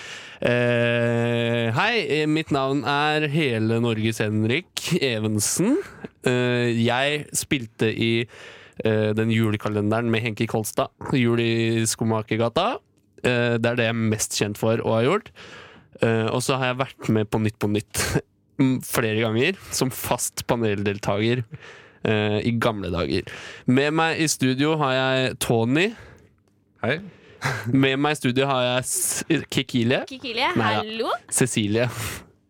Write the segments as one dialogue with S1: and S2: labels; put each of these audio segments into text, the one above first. S1: Eh, hei, eh, mitt navn er hele Norges Henrik Evensen. Eh, jeg spilte i eh, den julekalenderen med Henki Kolstad. Jul i Skomakergata. Eh, det er det jeg er mest kjent for og har gjort. Eh, og så har jeg vært med på Nytt på Nytt mm, flere ganger som fast paneldeltaker eh, i gamle dager. Med meg i studio har jeg Tony.
S2: Hei.
S1: Med meg i studio har jeg S- Kikilie.
S3: Kikilie,
S1: Nei, ja.
S3: hallo.
S1: Cecilie.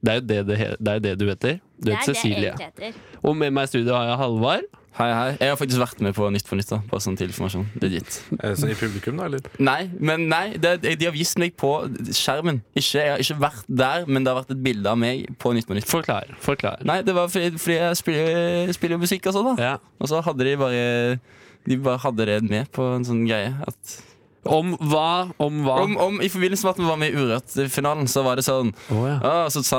S1: Det er jo det, det, he- det, er jo det du heter. Du
S3: Det
S1: heter
S3: er det jeg
S1: Cecilie.
S3: egentlig heter.
S1: Og med meg i studio har jeg Halvard.
S4: Hei, hei. Jeg har faktisk vært med på Nytt på Nytt. da Bare sånn til informasjon. Legit.
S2: Eh, Så I publikum, da, eller?
S4: Nei, men nei. Det, de har vist meg på skjermen. Ikke, jeg har ikke vært der, men det har vært et bilde av meg på Nytt på Nytt.
S1: Forklar. forklar.
S4: Nei, det var fordi, fordi jeg spiller, spiller jo musikk og sånn, da.
S1: Ja.
S4: Og så hadde de bare De bare hadde det med på en sånn greie. At,
S1: Om hva? Om hva?
S4: om, om, I forbindelse med at vi var med i Urørt-finalen, så var det sånn
S1: Å, ja.
S4: Ja, så sa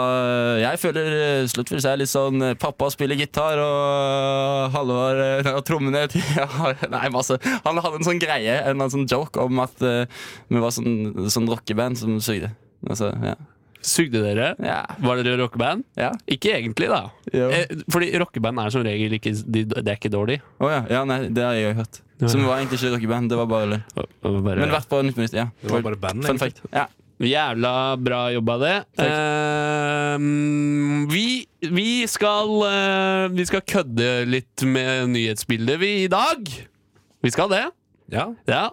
S4: Jeg føler eh, Sluttfils er litt sånn eh, Pappa spiller gitar og Halvor eh, nei, og trommene til- ja, Nei, masse Han hadde en sånn greie, en eller annen sånn joke om at eh, Vi var sånn, sånn rockeband som sugde Altså, ja
S1: Sugde dere?
S4: Ja,
S1: Var dere rockeband?
S4: ja
S1: Ikke egentlig, da.
S4: Jo.
S1: Eh, fordi rockeband er som regel ikke de, Det er ikke dårlig.
S4: Åja, ja, nei, det har jeg jo hørt Så vi var egentlig ikke rockeband, det var bare løy
S1: Og- og bare-
S4: Men vært på nytt minutt, ja
S2: Det var bare band.
S4: Fun
S2: egentlig.
S4: fact ja.
S1: Jævla bra jobba, det.
S4: Takk.
S1: Ehm, vi, vi, skal, eh, vi skal kødde litt med nyhetsbildet vi i dag. Vi skal det.
S2: Ja.
S1: Ja.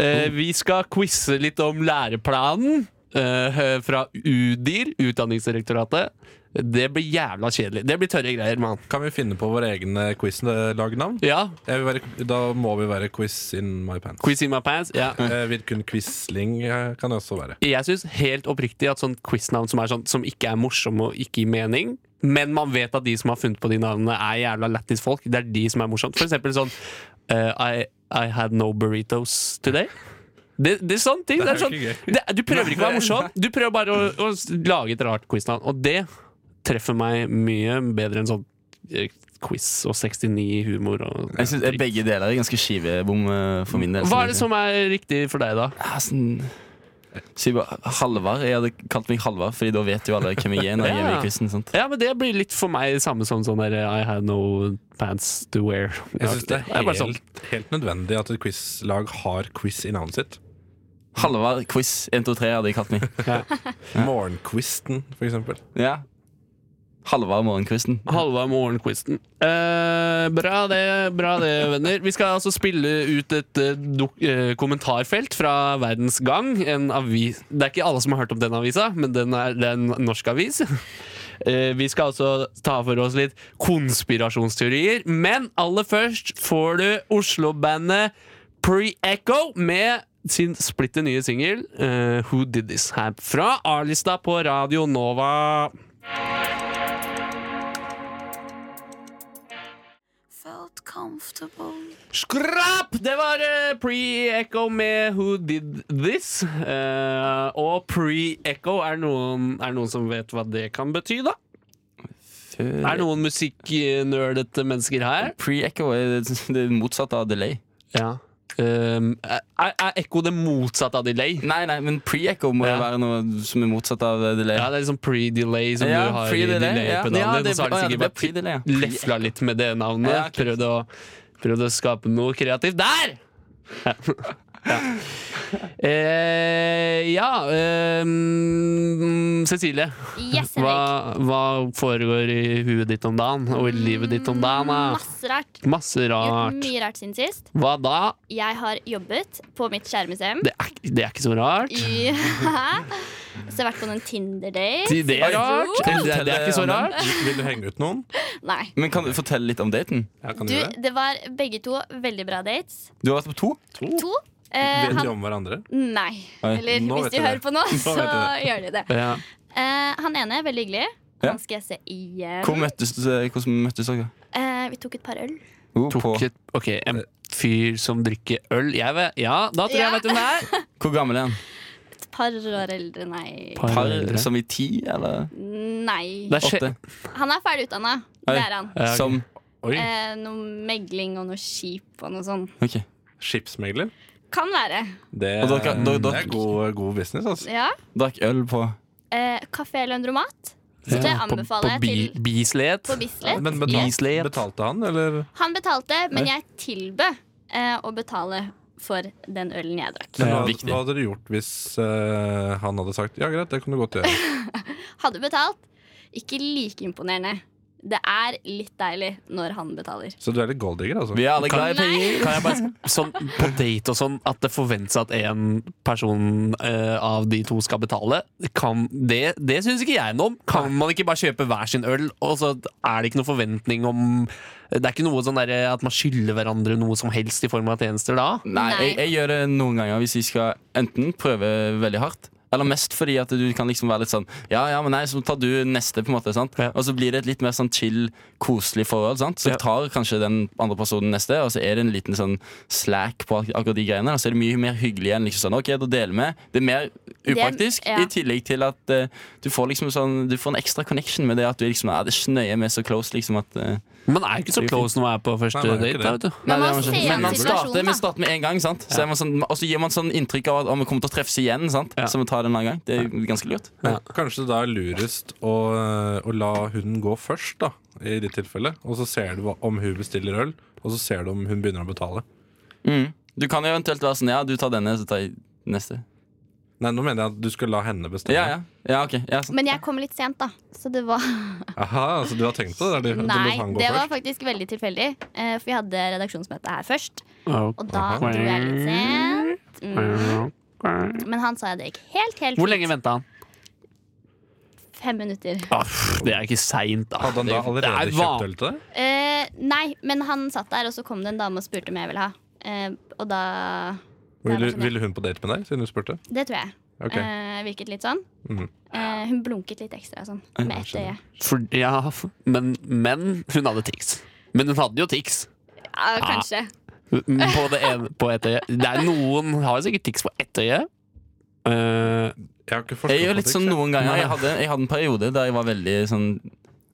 S1: Eh, vi skal quize litt om læreplanen eh, fra UDIR, Utdanningsdirektoratet. Det blir jævla kjedelig. Det blir tørre greier, mann.
S2: Kan vi finne på våre egne quiz-lagnavn?
S1: Ja.
S2: Jeg vil være- Da må vi være Quiz in my pants.
S1: Quiz in my pants. Ja.
S2: Eh, Vidkun Quisling eh, kan det også være.
S1: Jeg syns helt oppriktig at sånt quiznavn som, er sånn, som ikke er morsomme og ikke gir mening, men man vet at de som har funnet på de navnene, er jævla lættis folk. Det er de som er morsomt. For eksempel sånn eh, I, I had no burritos today. Det, det er sånne ting. Det
S2: Det er
S1: er
S2: jo
S1: sånn,
S2: ikke gøy.
S1: det, du prøver ikke å være morsom, du prøver bare å, å s- lage et rart quiznavn. Og det treffer meg mye bedre enn sånn eh, quiz og 69-humor. og
S4: Jeg synes eh, begge deler er ganske skivebom eh, for min del
S1: Hva er det som er riktig for deg, da?
S4: Ja, sånn Si bare Halvar. Jeg hadde kalt meg Halvar, Fordi da vet jo alle hvem jeg er. Når jeg er med
S1: Ja.
S4: i quizen, sant?
S1: Ja, men det blir litt for meg samme som sånn der I had no pants to wear.
S2: Jeg syns det
S1: er
S2: er
S1: bare sånn.
S2: helt, helt nødvendig at et quizlag har quiz i navnet sitt.
S4: Halvar quiz 1, 2, 3 hadde jeg kalt meg.
S2: Morgenquisten, for eksempel.
S4: Ja Halvar morgenquizen.
S1: Halva morgenquizen. Eh, bra det, bra det, venner. Vi skal altså spille ut et eh, dok eh, kommentarfelt fra Verdens Gang. En avis Det er ikke alle som har hørt om den avisa, men den er, det er en norsk avis. Eh, vi skal altså ta for oss litt konspirasjonsteorier. Men aller først får du Oslo-bandet Pre-Echo med sin splitter nye singel eh, Who Did This her fra A-lista på Radio Nova. Skrapp! Det var eh, Pre-Echo med Who Did This. Eh, og Pre-Echo, er det noen, er det noen som vet hva det kan bety, da? Er det noen musikknerdete mennesker her?
S4: Pre-echo er det- det motsatte av delay.
S1: Ja. Um, er, er ekko det motsatte av delay?
S4: Nei, nei, men pre-echo må jo
S1: Ja.
S4: være noe som er motsatt av eh, delay.
S1: Ja, det er liksom pre-delay som
S4: Ja,
S1: du har i
S4: pre-delay,
S1: delay
S4: ja.
S1: på
S4: Ja,
S1: navnet.
S4: det-
S1: og så har de
S4: å ja,
S1: sikkert
S4: det
S1: bare
S4: ble pre-delay, ja.
S1: ti- lefla litt med det navnet.
S4: Ja, ok.
S1: prøvd, å, prøvd å skape noe kreativt der! Ja. Eh, ja ehm, Cecilie,
S5: Yes, Henrik.
S1: hva, hva foregår i huet ditt om dagen? Og i livet ditt om dagen? da?
S5: Mm, Masse rart.
S1: Masse
S5: Gjort
S1: rart.
S5: mye rart siden sist.
S1: Hva da?
S5: Jeg har jobbet på mitt skjærmuseum.
S1: Det er, det er ikke så rart.
S5: Ja. Så jeg har vært på noen Tinder-date.
S1: Det det er rart.
S4: Kan du
S1: Det, det er ikke så
S4: fortelle om
S1: rart.
S4: den?
S2: Vil du henge ut noen?
S5: Nei.
S4: Men kan du fortelle litt om daten?
S2: Ja, kan
S5: Du,
S2: du det?
S5: det var begge to veldig bra dates.
S4: Du har vært på to?
S1: Oh.
S5: To.
S2: Vet
S5: Eh,
S2: de
S5: han,
S2: om hverandre?
S5: nei.
S4: Nei,
S5: Eller
S2: nå
S5: hvis
S2: vet
S5: de
S2: jeg
S5: hører
S2: det.
S5: på nå,
S2: Nå
S5: så
S2: vet
S5: gjør de det.
S1: Ja.
S5: Eh, han ene er veldig hyggelig.
S4: Ja.
S5: Han skal jeg se igjen.
S4: Hvor møttes, hvordan møttes dere?
S5: Eh, vi tok et par øl.
S4: Jo, på-
S1: Tok et, ok,
S2: Eh.
S1: en fyr som drikker øl. Jeg vet, ja, da tror jeg jeg
S5: Ja.
S1: vet hvem det er.
S4: Hvor gammel er han?
S5: Et par år eldre, nei.
S1: Par-
S4: Par,
S1: eldre.
S4: som i ti, eller?
S5: Nei.
S1: Det er skje-
S4: Åtte?
S5: Han er ferdig utdanna.
S4: Oi.
S5: Det er han.
S1: Ja, ok.
S4: Som
S2: Oi,
S5: Eh, noe megling og noe skip og noe sånt.
S4: Ok.
S2: skipsmegler.
S5: Kan være.
S2: Det,
S4: Og dere- dere-
S2: det er god, god business, altså.
S5: Ja.
S4: Drakk øl på
S5: Eh, Kafé Løndromat. Så det
S1: På-
S5: anbefaler
S1: på bi,
S5: jeg til
S1: Bislett.
S5: på Bislett.
S2: Men
S1: Islet.
S2: betal, betalte han, eller?
S5: Han betalte, men jeg tilbød eh, å betale for den ølen jeg drakk.
S2: Men hva,
S4: viktig.
S2: hva hadde dere gjort hvis eh, han hadde sagt ja, greit, det kan du godt gjøre?
S5: Hadde betalt. Ikke like imponerende. Det er litt deilig når han betaler.
S2: Så du er litt golddigger, altså?
S4: Vi er alle
S1: Kan-
S4: glad i penger.
S1: Kan jeg bare, sånn, på date og sånn, at det forventes at en person eh, av de to skal betale, kan, det, det syns ikke jeg noe om. Kan man ikke bare kjøpe hver sin øl, og så er det ikke noe forventning om Det er ikke noe sånn der, at man skylder hverandre noe som helst i form av tjenester da?
S2: Mm.
S4: Nei,
S5: Nei.
S4: jeg, jeg gjør det noen ganger hvis jeg skal enten prøve veldig hardt, eller mest fordi at du kan liksom være litt sånn Ja, ja, men nei, så tar du neste, på en måte. sant?
S1: Ja.
S4: Og så blir det et litt mer sånn chill, koselig forhold. sant? Så
S1: Ja.
S4: tar kanskje den andre personen neste, og så er det en liten sånn slack på ak- akkurat de greiene. Og så er det mye mer hyggelig enn liksom sånn OK, da deler vi. Det er mer upraktisk,
S5: Det er- ja.
S4: i tillegg til at eh, du får liksom sånn Du får en ekstra connection med det at du er liksom Ja, det er ikke nøye, vi er så close, liksom at eh,
S1: Man er jo ikke så close når man er på første
S2: Nei, man er
S1: date.
S2: ikke
S1: Da,
S2: det.
S1: vet du.
S5: Men
S4: Nei,
S5: man
S4: det er
S5: ser
S4: ikke- men man
S5: situasjonen,
S4: starter,
S5: da.
S4: vi starter med en gang, sant? Så er man sånn, og så gir man sånn inntrykk av at «Å, vi kommer til å treffes igjen. Sant?
S1: Ja.
S4: Så vi tar det en annen gang. Det er jo ganske lurt.
S2: Men Kanskje det da er lurest å, eh, å la hunden gå først, da, i ditt tilfelle. Og så ser du hva- om hun bestiller øl, og så ser du om hun begynner å betale.
S5: Mm.
S4: Du kan jo eventuelt være sånn Ja, du tar denne, så tar jeg neste.
S2: Nei, nå mener jeg at du skal la henne bestemme.
S4: Ja, ja. ja ok. Ja, sant.
S5: Men jeg kom litt sent, da. Så det var
S2: Aha, altså du har tenkt på det? Der, du, du
S5: Nei,
S2: lot han gå
S5: det var
S2: først.
S5: faktisk veldig tilfeldig. eh, For vi hadde redaksjonsmøte her først. Og da
S1: Aha.
S5: dro jeg litt sent. Mm. Men han sa det gikk helt, helt
S1: Hvor lenge
S5: fint.
S1: venta han?
S5: Fem minutter.
S1: Ah, pff, det er ikke seint, da.
S2: Hadde han da
S1: Det er
S2: allerede
S1: van-
S2: kjøpt øl til deg?
S5: Eh, nei, men han satt der, og så kom det en dame og spurte om jeg ville ha. Eh, og da Nei,
S2: Ville,
S5: det var sånn.
S2: ville hun på date med deg, siden du spurte?
S5: Det tror jeg.
S2: Ok.
S5: Eh, virket litt sånn.
S2: Mhm.
S5: Eh, hun blunket litt ekstra sånn, med ett øye.
S1: For, ja, f- men, men hun hadde tics. Men hun hadde jo tics.
S5: Ja, kanskje.
S1: Ah, Men På, det ene, på ett øye. Det er noen har jo sikkert tics på ett øye. Eh,
S2: Jeg har ikke
S4: Jeg
S2: forsket
S4: gjør
S2: på
S4: litt sånn
S2: det,
S4: noen ganger.
S1: Nei.
S4: Jeg hadde, jeg hadde en periode der jeg var veldig sånn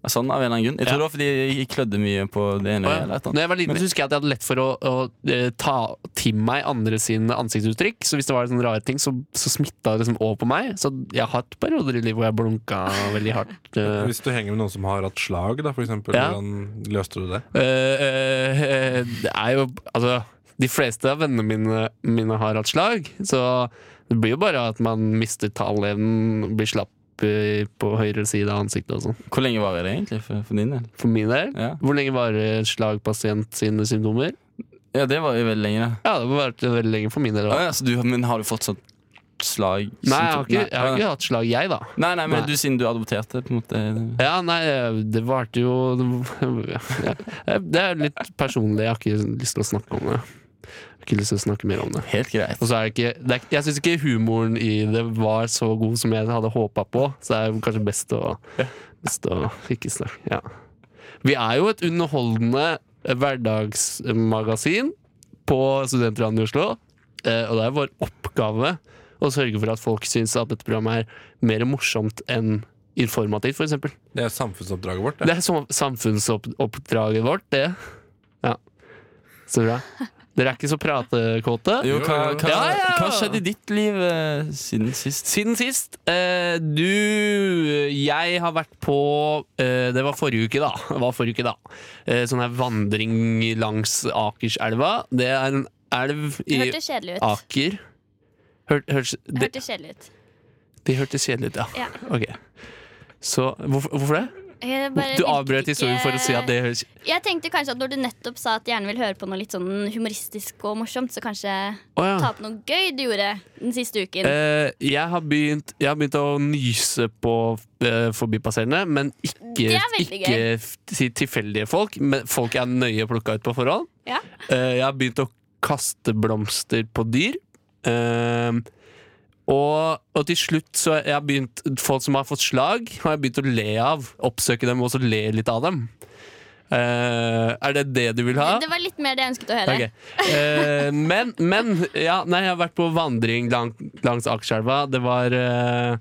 S4: Sånn av en eller annen grunn. Jeg tror det var fordi jeg klødde mye på det ene.
S1: og
S4: eller et eller
S1: når jeg var liten, så husker jeg at jeg hadde lett for å, å eh, ta til meg andre sine ansiktsuttrykk. Så hvis det var sånne rare ting, så, så smitta det liksom over på meg. Så jeg har hatt perioder i livet hvor jeg blunka veldig hardt. eh,
S2: Hvis du henger med noen som har hatt slag, da, for eksempel,
S1: Ja.
S2: hvordan løste du det?
S1: Eh, eh, Det er jo Altså, de fleste av vennene mine, mine har hatt slag, så det blir jo bare at man mister taleevnen, blir slapp eh, på høyre side av ansiktet og sånn.
S4: annet. Hvor lenge varer det egentlig for, for din del?
S1: For min del.
S4: Ja.
S1: Hvor lenge varer et slagpasient sine symptomer?
S4: ja, det var jo veldig lenge, da.
S1: Ja, det har vært veldig lenge for min del.
S4: Å,
S1: Da.
S4: ja, så du, men har du fått sånn slag?
S1: Nei, jeg har, ikke,
S4: Nei.
S1: jeg har ikke hatt slag, jeg, da.
S4: Nei, nei, men
S1: Nei.
S4: du siden du adopterte på en måte
S1: Ja, nei, det varte jo ja, Det er litt personlig, jeg har ikke lyst til å snakke om det. Jeg har ikke lyst til å snakke mer om det.
S4: Helt greit.
S1: Og så er det ikke, det er, jeg syns ikke humoren i det var så god som jeg hadde håpa på, så det er jo kanskje best å, best å ikke snakke. Ja. Vi er jo et underholdende hverdagsmagasin på Studentradioen i Oslo, eh, og det er vår oppgave å sørge for at folk syns at dette programmet er mer morsomt enn informativt, f.eks.
S2: Det er samfunnsoppdraget vårt.
S1: Det
S2: Det.
S1: er som- samfunnsoppdraget vårt, det. Ja. Så bra. Dere er ikke så pratekåte?
S4: Jo, hva, hva,
S1: Ja, ja, ja.
S4: hva skjedde i ditt liv eh, siden sist?
S1: Siden sist eh, Du, jeg har vært på eh, Det var forrige uke da, det var forrige uke, da. Eh, Sånn her vandring langs Akerselva Det er en elv i
S5: Det hørtes kjedelig ut.
S1: Aker Hør, hørs-
S5: Det
S1: det,
S5: hørtes kjedelig ut.
S1: det hørtes kjedelig ut, ja.
S5: Ja.
S1: Ok. Så hvorfor, hvorfor det?
S5: Jeg bare
S1: Du
S5: likte
S1: avbrøt historien for å si at det høres
S5: Jeg tenkte kanskje at Når du nettopp sa at gjerne vil høre på noe litt sånn humoristisk og morsomt, så kanskje
S1: Å ja.
S5: ta opp noe gøy du gjorde den siste uken.
S1: Ah. Eh, jeg, har begynt, jeg har begynt å nyse på eh, forbipasserende, men
S5: Det
S1: ikke,
S5: er veldig
S1: ikke f- si tilfeldige folk. Men folk jeg er nøye plukka ut på forhånd.
S5: Ja.
S1: Eh, jeg har begynt å kaste blomster på dyr. Eh, og, og til slutt så har jeg begynt folk som har fått slag, har jeg begynt å le av. Oppsøke dem og så le litt av dem. Eh, er det det du vil ha?
S5: Det var litt mer det jeg ønsket å høre.
S1: Ok. Eh, men, men ja, nei, jeg har vært på vandring lang, langs Akerselva. Det var eh,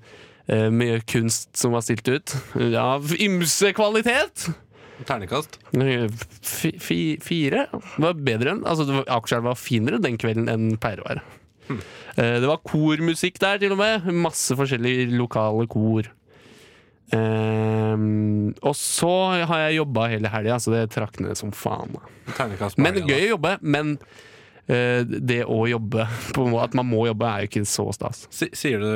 S1: eh, mye kunst som var stilt ut. Av ymse kvalitet!
S2: Ternekast.
S1: Eh, Fi, fi, fire Det var bedre enn altså, det var- Akerselva var finere den kvelden enn den pleier å være. Eh, det var kormusikk der, til og med. Masse forskjellige lokale kor. Eh, og så har jeg jobba hele helga, så det trakk ned som faen. Da.
S2: Ternekast på
S1: Men
S2: helga, da.
S1: gøy å jobbe, men eh, det å jobbe på en måte, At man må jobbe, er jo ikke så stas.
S2: Si- Sier du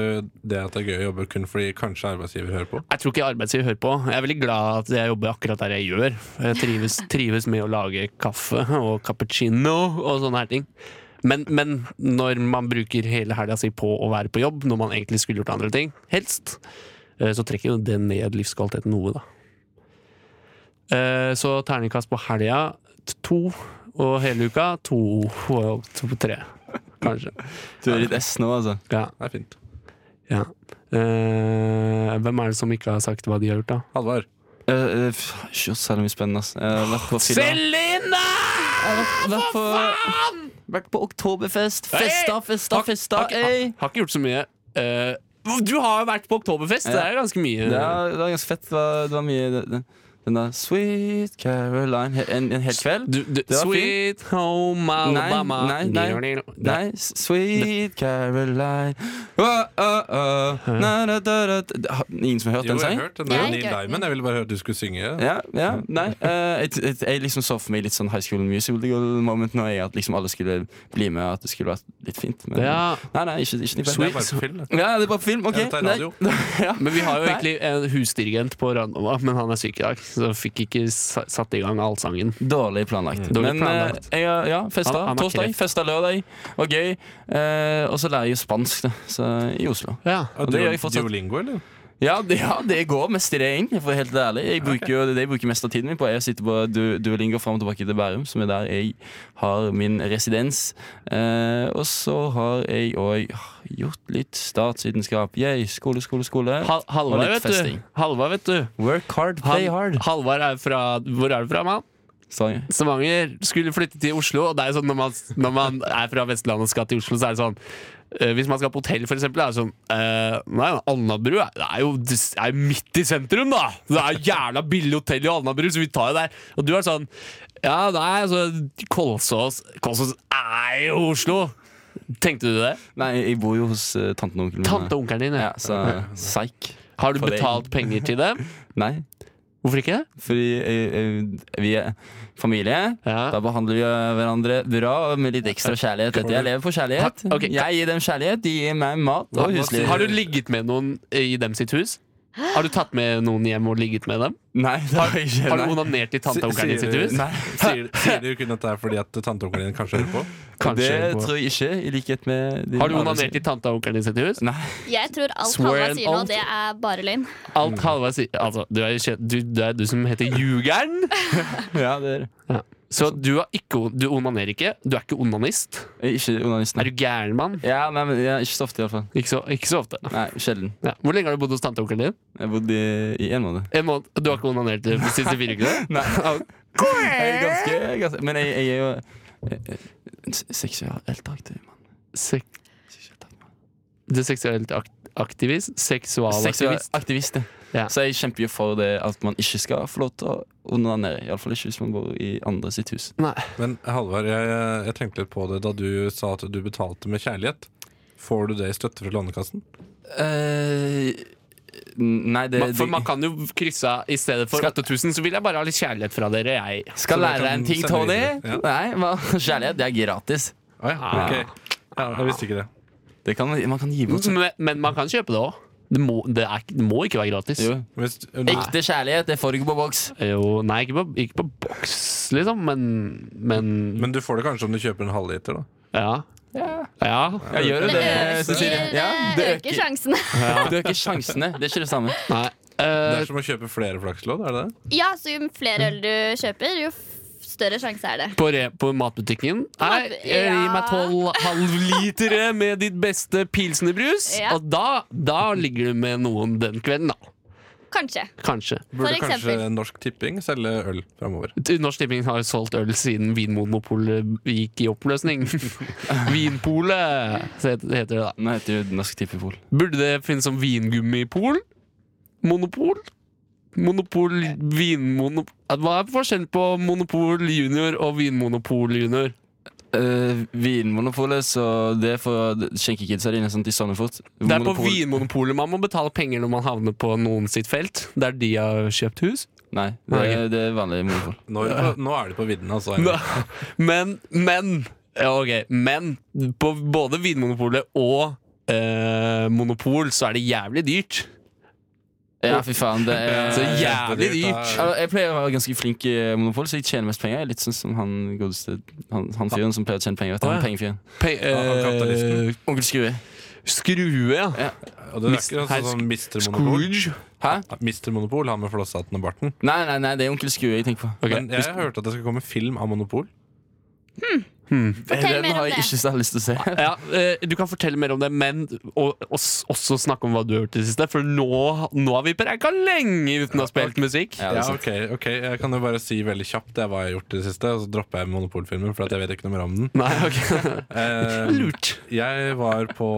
S2: det at det er gøy å jobbe kun fordi kanskje arbeidsgiver hører på?
S1: Jeg tror ikke arbeidsgiver hører på. Jeg er veldig glad at jeg jobber akkurat der jeg gjør. Jeg trives, trives med å lage kaffe og cappuccino og sånne her ting. Men, men når man bruker hele helga si på å være på jobb, når man egentlig skulle gjort andre ting, helst, eh, så trekker jo det ned livskvaliteten noe, da. Eh, Så terningkast på helga t- to, og hele uka to og to- tre, kanskje.
S4: Du er litt S nå, altså.
S1: Ja,
S2: Det er fint.
S1: ja. Eh, hvem er det som ikke har sagt hva de har gjort, da?
S2: Halvard.
S4: Uh, ikke så særlig mye spennende, ass. Jeg har vært på fylla.
S1: Celine!
S4: Vært på, vært på oktoberfest. Festa, festa, festa.
S1: Har, har,
S4: Ey.
S1: har ikke gjort så mye. Eh, du har jo vært på Oktoberfest, det er ganske mye.
S4: Det var, det var ganske fett. Det var, det var mye det- det- Den der Sweet Caroline he- En, en hel kveld?
S1: Du, du,
S4: Det var
S1: sweet home Alabama.
S4: Nei, nei, nei.
S1: Det-
S4: Nei, s- Sweet Caroline Åh, åh, åh. Na, da, da, da, da. Har- Ingen som har hørt
S2: Jo,
S4: den
S2: jeg har
S4: sangen?
S2: hørt den. Det er jo
S5: Jeg har
S2: Neil
S5: ikke hørt den.
S2: Diamond. Jeg ville bare høre at du skulle synge.
S4: Ja, ja, nei eh, et, et, Jeg liksom så for meg litt sånn High School Musical moment Når jeg at liksom alle skulle bli med At det skulle vært litt fint men,
S1: Ja.
S4: Nei, nei, ikke, ikke
S2: Det er
S4: Sweet
S2: bare på film. det.
S4: Ja, det er bare film, ok
S2: Jeg tar radio.
S4: Nei. ja.
S1: Men vi har jo
S4: Ah, Nei.
S1: egentlig en husdirigent på Ranova, men han er syk i dag. Så fikk ikke sa- satt i gang allsangen.
S4: Dårlig planlagt.
S1: Mm. Dårlig
S4: Men
S1: planlagt.
S4: eh, jeg har- ja, festa
S1: Han- han har
S4: torsdag,
S1: kreft.
S4: festa lørdag. Og gøy. Eh, og så lærer jeg jo spansk da, så, i Oslo.
S1: Ja.
S2: Og
S4: det
S2: du,
S4: gjør jeg fortsatt.
S2: Duolingo, eller?
S4: Ja det, ja, det går mest i det inn, for å være helt ærlig. Jeg bruker jo, det jeg bruker mest av tiden min på, er å sitte på du, Duolingo fram og tilbake til Bærum, som er der jeg har min residens. Eh, og så har jeg òg gjort litt statsvitenskap. Yay, skole, skole, skole.
S1: Hal
S4: Og
S1: Halvard,
S4: litt
S1: vet du.
S4: festing.
S1: Halvard, vet du.
S4: Work hard, play
S1: Han,
S4: hard.
S1: Halvard er fra Hvor er du fra, mann?
S4: Stavanger.
S1: Stavanger skulle flytte til Oslo, og det er jo sånn når man, når man er fra Vestlandet og skal til Oslo, så er det sånn eh, hvis man skal på hotell, for eksempel, er det sånn eh, Nei, Alnabru er, det er jo det er jo midt i sentrum, da! Det er jævla billig hotell i Alnabru, så vi tar jo der. Og du er sånn Ja, nei, altså Kolsås Kolsås er jo Oslo! Tenkte du det?
S4: Nei, jeg bor jo hos eh, tanten og onkelen min.
S1: Tante og onkelen din, ja.
S4: Ja, så psyk.
S1: Har du
S4: for det.
S1: betalt penger til dem?
S4: Nei.
S1: Hvorfor ikke?
S4: Fordi eh, eh, vi er familie.
S1: Ja.
S4: Da behandler vi eh, hverandre bra og med litt ekstra kjærlighet. Dette jeg lever for kjærlighet.
S1: Ha- ok.
S4: Jeg gir dem kjærlighet, de gir meg mat og
S2: Hva- hva
S4: husliv.
S2: sier-
S1: Har du ligget med noen i dem sitt hus? Har du tatt med noen hjem og ligget med dem?
S4: Nei, det har jeg ikke.
S1: Har du
S4: Nei.
S1: onanert i tante og onkelen din
S2: Sier
S1: sitt
S2: du-
S1: hus?
S4: Nei.
S2: Sier, sier du kun at det er fordi at tanteonkelen din kanskje hører på?
S1: Kanskje.
S4: Det tror jeg ikke, i likhet med din
S1: Har du
S4: andre
S1: onanert i
S4: side.
S1: tante og onkelen din sitt hus?
S4: Nei.
S5: Jeg tror alt
S1: Swear
S5: Halvard
S1: and
S5: sier nå,
S1: oath.
S5: det er bare løgn.
S1: Alt Halvard sier Altså, du er, jo kjent- du, det er du som heter Ljugeren.
S4: Ja, det er
S1: Så du, har ikke, on- du onanerer ikke. Du er ikke onanist.
S4: jeg er Ikke onanisten.
S1: Er du gæren mann?
S4: Ja, nei, men ja, ikke så ofte, iallfall.
S1: Ikke så, ikke så ofte.
S4: Nei, sjelden.
S1: Ja. Hvor lenge har du bodd hos tante og onkelen din?
S4: Jeg bodde i- i én måned.
S1: En måned. Du har ikke onanert de siste fire ukene?
S4: Nei. Jeg er ganske, ganske Men jeg, jeg er jo eh, eh, seksuelt aktiv mann.
S1: Sek
S4: Seksuelt aktiv.
S1: du er seksuelt ak aktivist?
S4: Seksualaktivist.
S1: Seksualaktivist?
S4: Aktivist, ja.
S1: Ja.
S4: Så jeg kjemper jo for det at man ikke skal få lov til å onanere. Iallfall ikke hvis man bor i andre sitt hus.
S1: Nei.
S2: Men Halvard, jeg, jeg tenkte litt på det da du sa at du betalte med kjærlighet. Får du det i støtte fra Lånekassen?
S4: Eh, nei, det,
S1: Man, for man
S4: det
S1: kan jo krysse av i stedet for
S4: Skal-
S1: 8000, så vil jeg bare ha litt kjærlighet fra dere, jeg.
S4: Skal
S2: Så man
S4: lære deg en
S2: kan
S4: ting,
S2: sende
S4: Tony.
S2: videre, ja.
S4: Nei, hva- Kjærlighet, det er gratis.
S2: Å ja, ok. Ja, Ah. jeg visste ikke det.
S4: Det kan, man kan gi bort sånn.
S1: Men, men man kan kjøpe det òg. Det, må- det, er ikke- det må ikke være gratis.
S4: Jo.
S2: Hvis, nei,
S4: Ekte kjærlighet, det får du ikke på boks.
S1: Jo, nei, ikke på, ikke på boks, liksom, men, men,
S2: men du får det kanskje om du kjøper en halvliter, da.
S1: ja. ja.
S4: Ja, gjør du det, eh, Cecilie?
S5: øker,
S4: Ja,
S5: det øker sjansene.
S4: Du øker sjansene. Det er ikke det samme.
S1: Nei.
S2: Det
S1: Eh,
S2: er som å kjøpe flere flakslodd, er det det?
S5: Ja, så jo flere øl du kjøper, jo f- større sjanse er det.
S1: på, re, på matbutikken Nei,
S5: Mat-
S1: eh, gi
S5: ja.
S1: meg tolv halvlitere med ditt beste pilsnerbrus.
S5: Ja.
S1: Og da, da ligger du med noen den kvelden, da.
S5: Kanskje.
S1: Kanskje.
S2: Burde
S5: For
S2: kanskje
S5: eksempel.
S2: Norsk Tipping selge øl framover?
S1: Norsk Tipping har jo solgt øl siden Vinmonopolet gikk i oppløsning. Vinpolet så het- heter det da.
S4: Nå heter det Norsk Tippepol.
S1: Burde det finnes sånn som vingummipol? Monopol? Monopol, vinmonopol Hva er forskjellen på monopol junior og vinmonopol junior?
S4: Uh, vinmonopolet, så det får skjenkekidsa dine sånn til Sandefot.
S1: Det er på Vinmonopolet man må betale penger når man havner på noen sitt felt. Der de har kjøpt hus.
S4: Nei, det,
S1: Nei,
S4: det er vanlig monopol.
S2: Nå, er du på- nå er du på vidden, altså. Eirik.
S1: Men, men ja, Ok, men på både Vinmonopolet og eh, Monopol så er det jævlig dyrt.
S4: Ja, fy faen, det er
S1: Så jævlig
S2: kjempedyrt,
S1: dyrt.
S2: da.
S4: Ja, Jeg pleier å være ganske flink i monopol, så jeg tjener mest penger. Jeg er Litt sånn som han godeste Han, han fyren som pleier å tjene penger. Vet du,
S1: Å,
S4: han
S1: ja.
S4: pengefyren.
S1: Pe eh,
S2: kapitalisten.
S4: Onkel Skrue.
S1: skrue, ja.
S2: Og det er
S1: Mist-
S2: ikke
S1: her-
S2: sånn som Mister Monopol.
S1: Scrooge.
S4: Hæ?
S2: Mister Monopol, han med flosshatten og barten.
S4: Nei, nei, nei, det er Onkel Skrue jeg tenker på.
S1: Ok,
S2: Men jeg har hørt at det skal komme film av Monopol.
S5: Fortell
S4: Den
S5: mer om
S4: har jeg
S5: det.
S4: ikke så lyst til å se.
S1: ja, eh, du kan fortelle mer om det, men og, og, s- også snakke om hva du har gjort i det siste. For nå, nå har vi prenka lenge uten å ha spilt musikk.
S4: Ja, det
S2: Ja,
S4: er sant.
S2: ok, ok, Jeg kan jo bare si veldig kjapt det er hva jeg har gjort i det siste, og så dropper jeg Monopol-filmen. For at jeg vet ikke noe mer om den
S1: Nei, ok
S2: Eh,
S1: Lurt.
S2: Jeg var på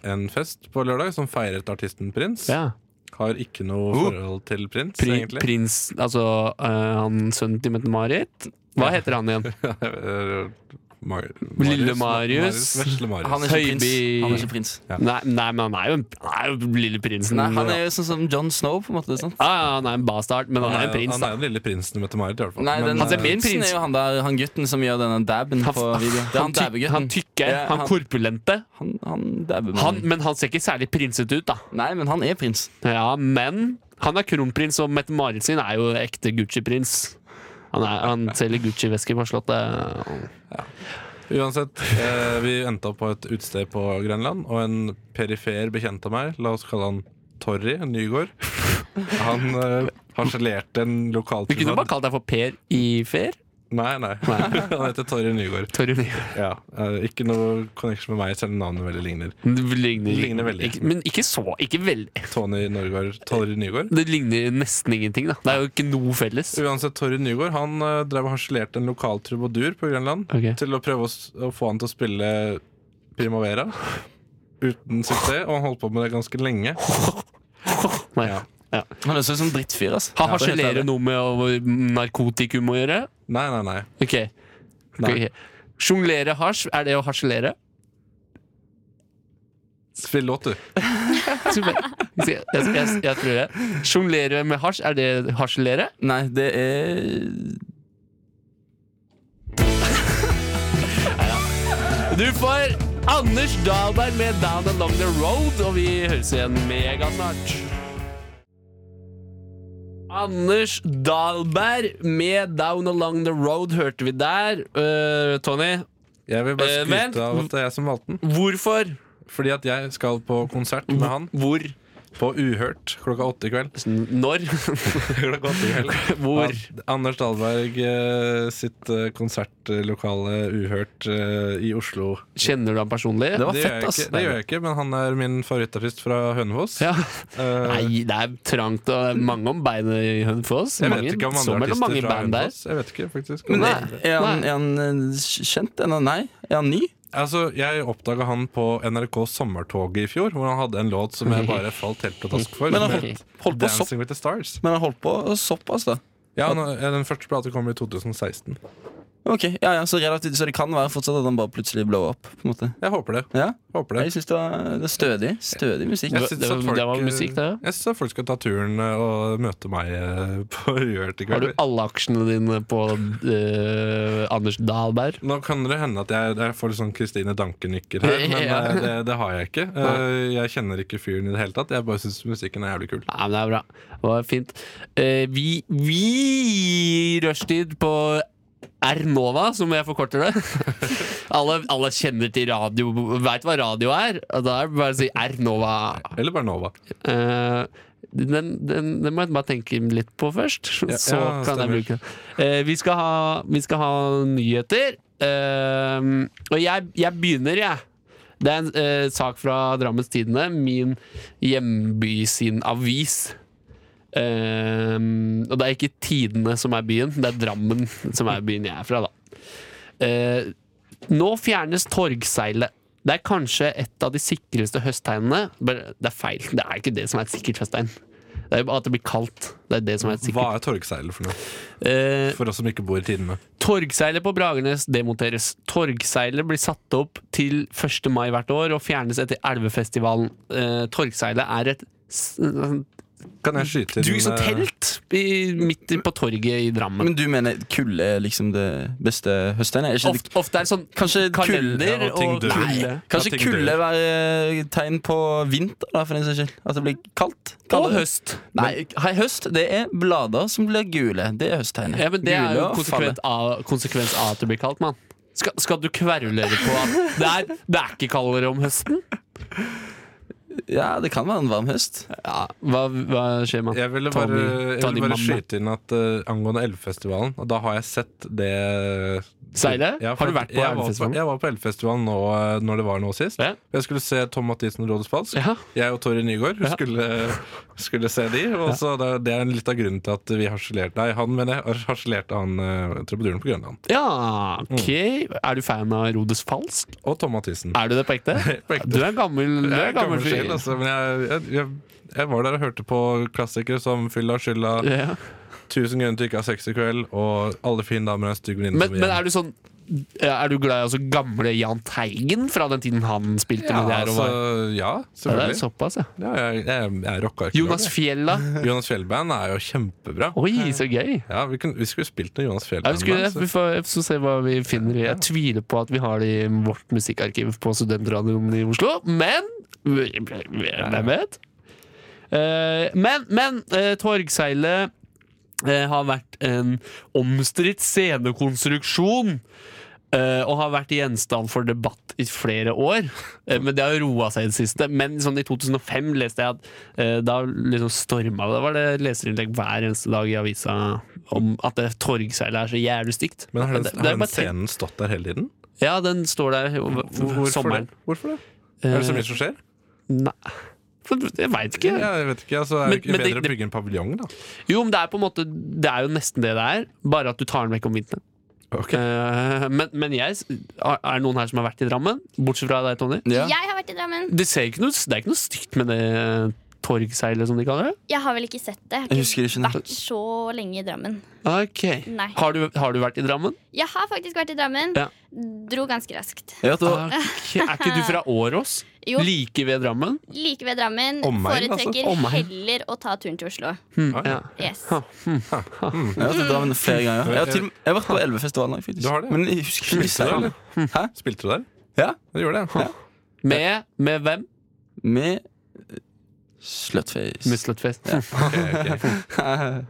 S2: en fest på lørdag som feiret artisten Prins.
S1: Ja.
S2: Har ikke noe
S1: Oh.
S2: forhold til Prins,
S1: Pri,
S2: egentlig.
S1: prins Altså eh, han sønnen til Mette-Marit. Hva heter han igjen?
S2: Eh, Mar-
S1: Lille
S2: Marius.
S1: Marius.
S2: Vesle Marius.
S4: Han er ikke prins.
S1: Høiby.
S4: Han er ikke prins.
S1: Nei, nei, men han er jo, en, han er jo lille prinsen.
S4: Nei, han er jo sånn som John Snow, på en måte. sånn. sant?
S1: ja, ja, han er en bastard, men han er en prins,
S2: han
S1: da.
S2: er jo den lille prinsen i Mette-Marit, i hvert fall.
S4: Nei, den,
S1: han ser mer
S4: prinsen
S1: prins.
S4: er jo han der, han gutten som gjør denne dabben
S1: Han,
S4: på videoen. Det
S1: han,
S4: er han
S1: tyk,
S4: dabbegutten.
S1: han tykke,
S4: Ja,
S1: han
S4: han- Mm.
S1: korpulente.
S4: Han, han dabber
S1: Han,
S4: mannen.
S1: men han ser ikke særlig prinset ut, da.
S4: Nei, men han er prins.
S1: Ja, men han er kronprins, og Mette-Marit sin er jo ekte Gucci-prins. Han, er, han selger Gucci-vesker på Slottet.
S2: Uansett, eh, vi endte opp på et utested på Grenland, og en perifer bekjent av meg, la oss kalle han Torry Nygård, han eh, harselerte en lokal
S1: Vi kunne bare kalt deg for Per i Fer.
S2: Nei, nei. han heter Torry Nygård.
S1: Torry Nye.
S2: Ja, eh, ikke noe connection med meg, selv om navnet veldig ligner.
S1: Det ligner,
S2: Ligner veldig.
S1: Ikke, men ikke så ikke veldig.
S2: Tony Norgård, Torry Nygård.
S1: Det ligner nesten ingenting, da. Det er jo ikke noe felles.
S2: Uansett, Torry Nygård han eh, drev og harselerte en lokal trubadur på Grønland
S1: Ok.
S2: til å prøve å, s å få han til å spille Primavera. Uten suksess, og han holdt på med det ganske lenge.
S1: Nei.
S2: Ja.
S1: Ja.
S4: Han er sånn som drittfyr, altså.
S2: Ja, det er
S1: Han
S2: helt
S1: harselerer
S2: ærlig.
S1: noe med å- narkotikum å gjøre?
S2: Nei, nei, nei.
S1: Ok.
S2: Nei.
S1: Ok. Sjonglere hasj, er det å harselere?
S2: Spill låt, du.
S1: Jeg, jeg, jeg, jeg tror det. Sjonglere med hasj, er det harselere?
S4: Nei, det er
S1: Du får Anders Dahlberg med Down Along The Road, og vi høres igjen megasnart. Anders Dahlberg med Down Along The Road hørte vi der. Eh, Tony,
S2: Jeg vil bare
S1: Eh, men-
S2: skryte av at det er jeg som valgte den.
S1: hvorfor?
S2: Fordi at jeg skal på konsert med han
S1: Hvor?
S2: på Uhørt klokka åtte i kveld.
S1: Når?
S2: Klokka åtte i kveld.
S1: Hvor?
S2: Ja, Anders Dahlberg eh, sitt eh, konsertlokale Uhørt eh, i Oslo.
S1: Kjenner du ham personlig?
S4: Det var
S2: Det gjør,
S4: fett,
S2: jeg
S4: ass.
S2: ikke, det gjør jeg ikke, men han er min favorittartist fra Hønefoss.
S1: Ja.
S2: Eh,
S1: Nei, det er trangt, og det er mange om beinet i Hønefoss.
S2: jeg
S1: Mange-
S2: vet ikke om
S1: så
S2: andre
S1: mellom mange
S2: artister fra
S1: band der.
S2: Hønefoss. Jeg vet ikke, faktisk.
S4: Men
S1: Nei.
S4: er, er, han, er han eh, kjent ennå? Nei? Er han ny?
S2: Altså, jeg oppdaga han på NRK Sommertoget i fjor, hvor han hadde en låt som jeg bare falt helt pladask for.
S4: Men han
S2: som het
S4: holdt, holdt på sopp.
S2: Dancing with the Stars.
S4: Men han holdt på såpass, da.
S2: Ja, nå- Den første plata kom i 2016.
S4: Ok, ja, ja, så, relativt, så det kan være fortsatt at han bare plutselig blow up? på en måte
S2: Jeg håper det.
S4: Ja,
S2: Håper det.
S4: jeg synes det var det er stødig. Stødig musikk.
S2: Jeg synes
S1: Det var-
S2: at folk,
S1: det var musikk, det, ja.
S2: Jeg syns at folk skal ta turen eh, og møte meg eh, på Rørt i
S1: Har
S2: kveld.
S1: du alle aksjene dine på eh, Anders Dahlberg?
S2: Nå kan det hende at jeg, jeg får litt sånn Kristine Danke-nykker her, men
S1: Ja.
S2: eh, det, det har jeg ikke. Eh, Jeg kjenner ikke fyren i det hele tatt. Jeg bare syns musikken er jævlig kul.
S1: Nei, men det er bra. Det var fint. Eh, vi vi rushtid på R-Nova, som jeg forkorter det. alle, alle kjenner til radio, veit hva radio er. Og da er det bare å si R-Nova.
S2: Eller bare Nova.
S1: Eh, den, den, den må jeg bare tenke litt på først,
S2: Ja,
S1: så
S2: ja,
S1: kan jeg
S2: stemmer.
S1: bruke den. Eh, vi, skal ha, vi skal ha nyheter. Eh, og jeg, jeg begynner, jeg. Det er en eh, sak fra Drammens Tidende, min hjemby sin avis. Eh, og det er ikke Tidene som er byen, det er Drammen som er byen jeg er fra, da. Eh, nå fjernes torgseilet. Det er kanskje et av de sikreste høsttegnene. Bare- Det er feil. Det er ikke det som er et sikkert høsttegn. Det er jo bare at det blir kaldt. Det er det som er et
S2: Hva
S1: sikkert.
S2: er torgseiler for noe?
S1: Eh,
S2: For oss som ikke bor i tidene.
S1: Torgseilet på Bragernes demonteres. Torgseilet blir satt opp til 1. mai hvert år og fjernes etter Elvefestivalen. Eh, torgseilet er et s-
S2: Kan jeg skyte inn
S1: Du som
S2: eh,
S1: telt i, midt i- på torget i Drammen.
S4: Men du mener kull er liksom det beste høsttegnet? Er ikke
S1: Ofte, ofte er det sånn
S4: Kanskje
S1: kalender
S2: Ja, og ting
S1: og
S2: dør.
S1: kulde.
S4: det- Kanskje
S2: at ting
S4: kulde
S2: dør.
S4: er tegn på vinter, da, for den saks skyld? At det blir kaldt?
S1: Og
S4: Kaldere.
S1: høst.
S4: Nei, hei, høst det er blader som blir gule. Det er høsttegnet.
S1: Ja, men det er jo
S4: Gule og
S1: konsekvent av, konsekvens av at det blir kaldt, mann. Skal, skal du kverulere på at det er, det er ikke kaldere om høsten?
S4: fallet. Ja, det kan være en varm høst.
S1: Ja, hva, hva skjer, mann?
S2: Jeg ville
S1: Ta
S2: bare,
S1: de-
S2: jeg
S1: ta de
S2: ville bare
S1: mamme.
S2: skyte inn at eh, angående Elvefestivalen Og da har jeg sett det
S1: Seilet?
S2: Ja,
S1: Har
S2: for
S1: du vært på
S2: jeg var
S1: Elvefestivalen?
S2: Jeg var på Elvefestivalen nå, eh, når det var nå sist.
S1: Ja.
S2: Jeg skulle se Tom Mathisen og Rådets Falsk.
S1: Ja.
S2: Jeg og Torry Nygaard
S1: Ja.
S2: skulle, skulle se de. Og så det, det er litt av grunnen til at vi harselerte Nei, han mener jeg har- harselerte han eh, trubaduren på Grønland.
S1: ja, ok. Er du fan av Rodes Falsk?
S2: Og Tom Mathisen.
S1: Er du det på ekte?
S2: På ekte.
S1: Du er en gammel, du er
S2: Jeg
S1: en gammel fyr.
S2: sjel, altså, men jeg, jeg, jeg, jeg var der og hørte på klassikere som Fylla skylda,
S1: Ja.
S2: 1000 grunner til ikke å ha sex i kveld og Alle fine damer er en stygg venninne
S1: Men,
S2: som
S1: men
S2: igjen.
S1: er du sånn Er du glad i altså gamle Jahn Teigen fra den tiden han spilte
S2: ja,
S1: med det her? Og
S2: altså,
S1: var?
S2: ja,
S1: Ja, det er
S2: selvfølgelig.
S1: såpass, ja.
S2: Ja, jeg, jeg, jeg rocka ikke
S1: Jonas
S2: noe.
S1: Fjella.
S2: Jonas Fjellband er jo kjempebra.
S1: Oi, så gøy.
S2: Ja, vi, kunne, vi skulle spilt noe Jonas
S1: Ja, vi,
S2: Fjellband.
S1: skulle,
S2: altså.
S1: vi får vi får se hva vi finner. Jeg tviler på at vi har det i vårt musikkarkiv på Studentradioen i Oslo, men hvem vet? Eh, Men, men eh, Torgseilet eh, har vært en omstridt scenekonstruksjon. eh, og har vært gjenstand for debatt i flere år. Eh, men det har roa seg i det siste. Men sånn i 2005 leste jeg at eh, da liksom storma det. Da var det leserinnlegg hver eneste dag i avisa om at det torgseilet er så jævlig stygt.
S2: Men har
S1: Det-
S2: den,
S1: det er
S2: har
S1: bare
S2: den scenen stått der hele tiden?
S1: tenkt- Ja, den står der jo-
S2: Hvorfor
S1: sommeren.
S2: det? Hvorfor det? Er det så mye som skjer?
S1: Nei Jeg veit ikke.
S2: Ja, jeg vet ikke, altså, Er
S1: Men-
S2: det ikke
S1: men det-
S2: bedre å
S1: det-
S2: bygge en paviljong, da?
S1: Jo, men det er på en måte Det er jo nesten det det er, bare at du tar den vekk om vinteren.
S2: Ok.
S1: Eh, men, men jeg Er det noen her som har vært i Drammen? Bortsett fra deg, Tony.
S4: Ja.
S5: Jeg har vært i Drammen.
S1: Det, ser ikke noe, det er ikke noe stygt med det eh, torgseilet, som de kaller det.
S5: Jeg har vel ikke sett det.
S4: Jeg
S5: Jeg
S4: husker
S5: har
S4: ikke
S5: ikke
S4: noe.
S5: vært så lenge i Drammen.
S1: Ok
S5: Nei.
S1: har, du, har du vært i Drammen?
S5: Jeg har faktisk vært i Drammen.
S1: Ja.
S5: Dro ganske raskt.
S4: Jeg vet du-
S1: Ok, Er ikke du fra Åros?
S5: Jo,
S1: Like ved Drammen?
S5: like ved Drammen.
S2: Omegn, altså.
S5: Foretrekker
S1: Omegn.
S5: heller å ta turen til Oslo.
S1: Hmm,
S2: Oi.
S1: ja.
S5: Yes.
S4: Jeg har vært i Drammen flere ganger. Jeg har, til, og med- jeg har vært på Elvefestivalen òg, faktisk.
S2: Du har det?
S4: Men jeg husker ikke
S2: Spilte du der,
S4: seilen.
S2: eller? Spilte du der?
S4: Ja,
S2: Du gjorde det? ja.
S1: Med, med hvem?
S4: med eh, Slutface.
S1: Med Slutface.
S2: Ok, ok.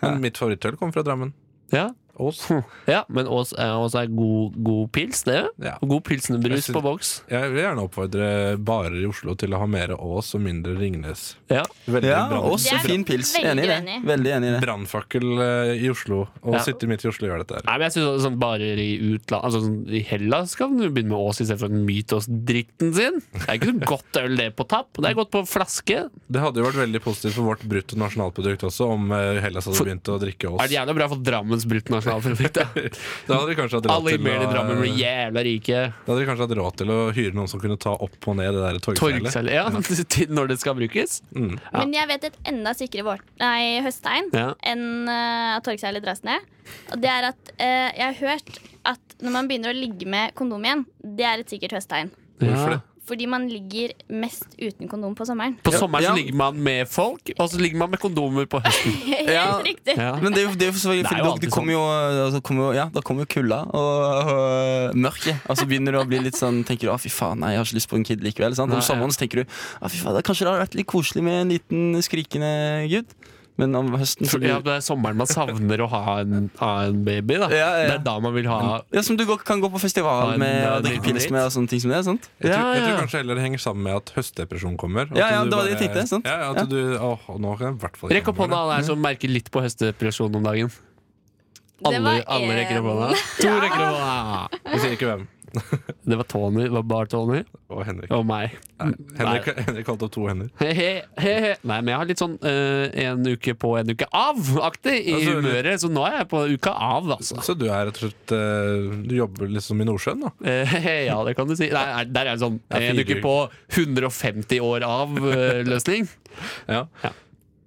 S2: Men mitt favorittøl kommer fra Drammen.
S1: Ja.
S2: Ås.
S1: ja, men Ås er, Ås er god, god pils, det.
S2: Ja.
S1: God pilsnerbrus på boks.
S2: Jeg vil gjerne oppfordre barer i Oslo til å ha mer Ås og mindre Ringnes.
S1: Ja.
S2: Veldig
S4: Ja,
S2: brann-
S4: også
S5: Det er
S4: fin pils.
S5: veldig
S4: Enig i det.
S5: uenig.
S4: Veldig enig i det.
S2: Brannfakkel eh, i Oslo. Å
S1: Ja.
S2: sitte midt i Oslo og gjøre dette her.
S1: Nei, men jeg synes sånn Barer i utlandet altså, sånn, I Hellas kan du begynne med Ås istedenfor Mytos-drikten sin. Det er ikke så godt øl det på tapp. Det er godt på flaske.
S2: Det hadde jo vært veldig positivt for vårt brutto nasjonalprodukt også om eh, Hellas hadde
S1: For-
S2: begynt å drikke
S1: Er det
S2: Ås.
S1: jævla bra for Drammens bruttonasjonalprodukt? ja?
S2: Da hadde de kanskje hatt råd
S1: Alle i
S2: til
S1: Mæl i Drammen blir
S2: å,
S1: jævla rike.
S2: da hadde de kanskje hatt råd til å hyre noen som kunne ta opp og ned det der torgseilet.
S1: Torgseilet. Ja, til når det skal brukes. Ja.
S5: Men jeg vet et enda sikrere vår, nei, høsttegn
S1: Ja.
S5: enn eh, at torgseilet dras ned. Og det er at eh, jeg har hørt at når man begynner å ligge med kondom igjen, det er et sikkert høsttegn.
S2: Hvorfor det?
S5: Fordi man ligger mest uten kondom på sommeren.
S1: På sommeren
S4: Ja.
S1: så ligger man med folk, og så ligger man med kondomer på høsten.
S5: Helt
S4: Ja.
S5: riktig.
S1: Ja.
S4: Men det er jo, det er jo for så vidt
S1: Det er jo
S4: fordi
S1: alltid sånn.
S4: det kommer jo, altså, kommer jo Ja, da kommer jo kulda og, og mørket. Og så begynner du å bli litt sånn Tenker du, ah, fy faen, nei, jeg har ikke lyst på en kid likevel. Sant?
S1: Nei,
S4: Om sommeren så tenker du ah, fy faen, da, kanskje det hadde vært litt koselig med en liten skrikende gud. Men om høsten så
S1: Ja,
S4: blir
S1: det er sommeren man savner å ha en, ha en baby. Da.
S4: Ja, ja.
S1: Det er da man vil ha
S4: ja, Som du går- kan gå på
S1: Ha
S4: festival
S1: en,
S4: med
S1: eh,
S4: og drikke
S1: liten
S4: pils
S1: date.
S4: med. og sånne ting som det, sant?
S2: Jeg,
S1: Ja,
S2: tror, jeg
S1: ja.
S2: tror kanskje heller det henger sammen med at høstdepresjon kommer. at
S4: Ja, ja,
S2: du
S4: det var det
S2: bare-
S4: jeg tenkte, sant?
S2: Ja, ja, at du, åh, nå kan jeg i hvert fall
S1: Rekk opp hånda alle her som merker litt på høstdepresjon om dagen.
S5: Det
S1: Alle,
S5: var eh,
S1: alle rekker opp hånda.
S5: en.
S1: To rekker opp hånda.
S2: Vi sier ikke hvem.
S1: Det var Tony, det var bare Tony
S2: Og Henrik.
S1: og meg.
S2: Nei, Henrik, Henrik holdt opp to hender.
S1: He, he, he, he. Nei, men jeg har litt sånn eh, en uke på, en uke av-aktig i
S2: Altså,
S1: humøret, så nå er jeg på uka av, altså.
S2: Så du er rett og slett eh, Du jobber liksom i Nordsjøen, da?
S1: Eh, ja, det kan du si. Nei, nei, der er det sånn
S2: Det er
S1: en uke
S2: fire
S1: på 150 år eh, av-løsning.
S2: Ja.
S1: Ja.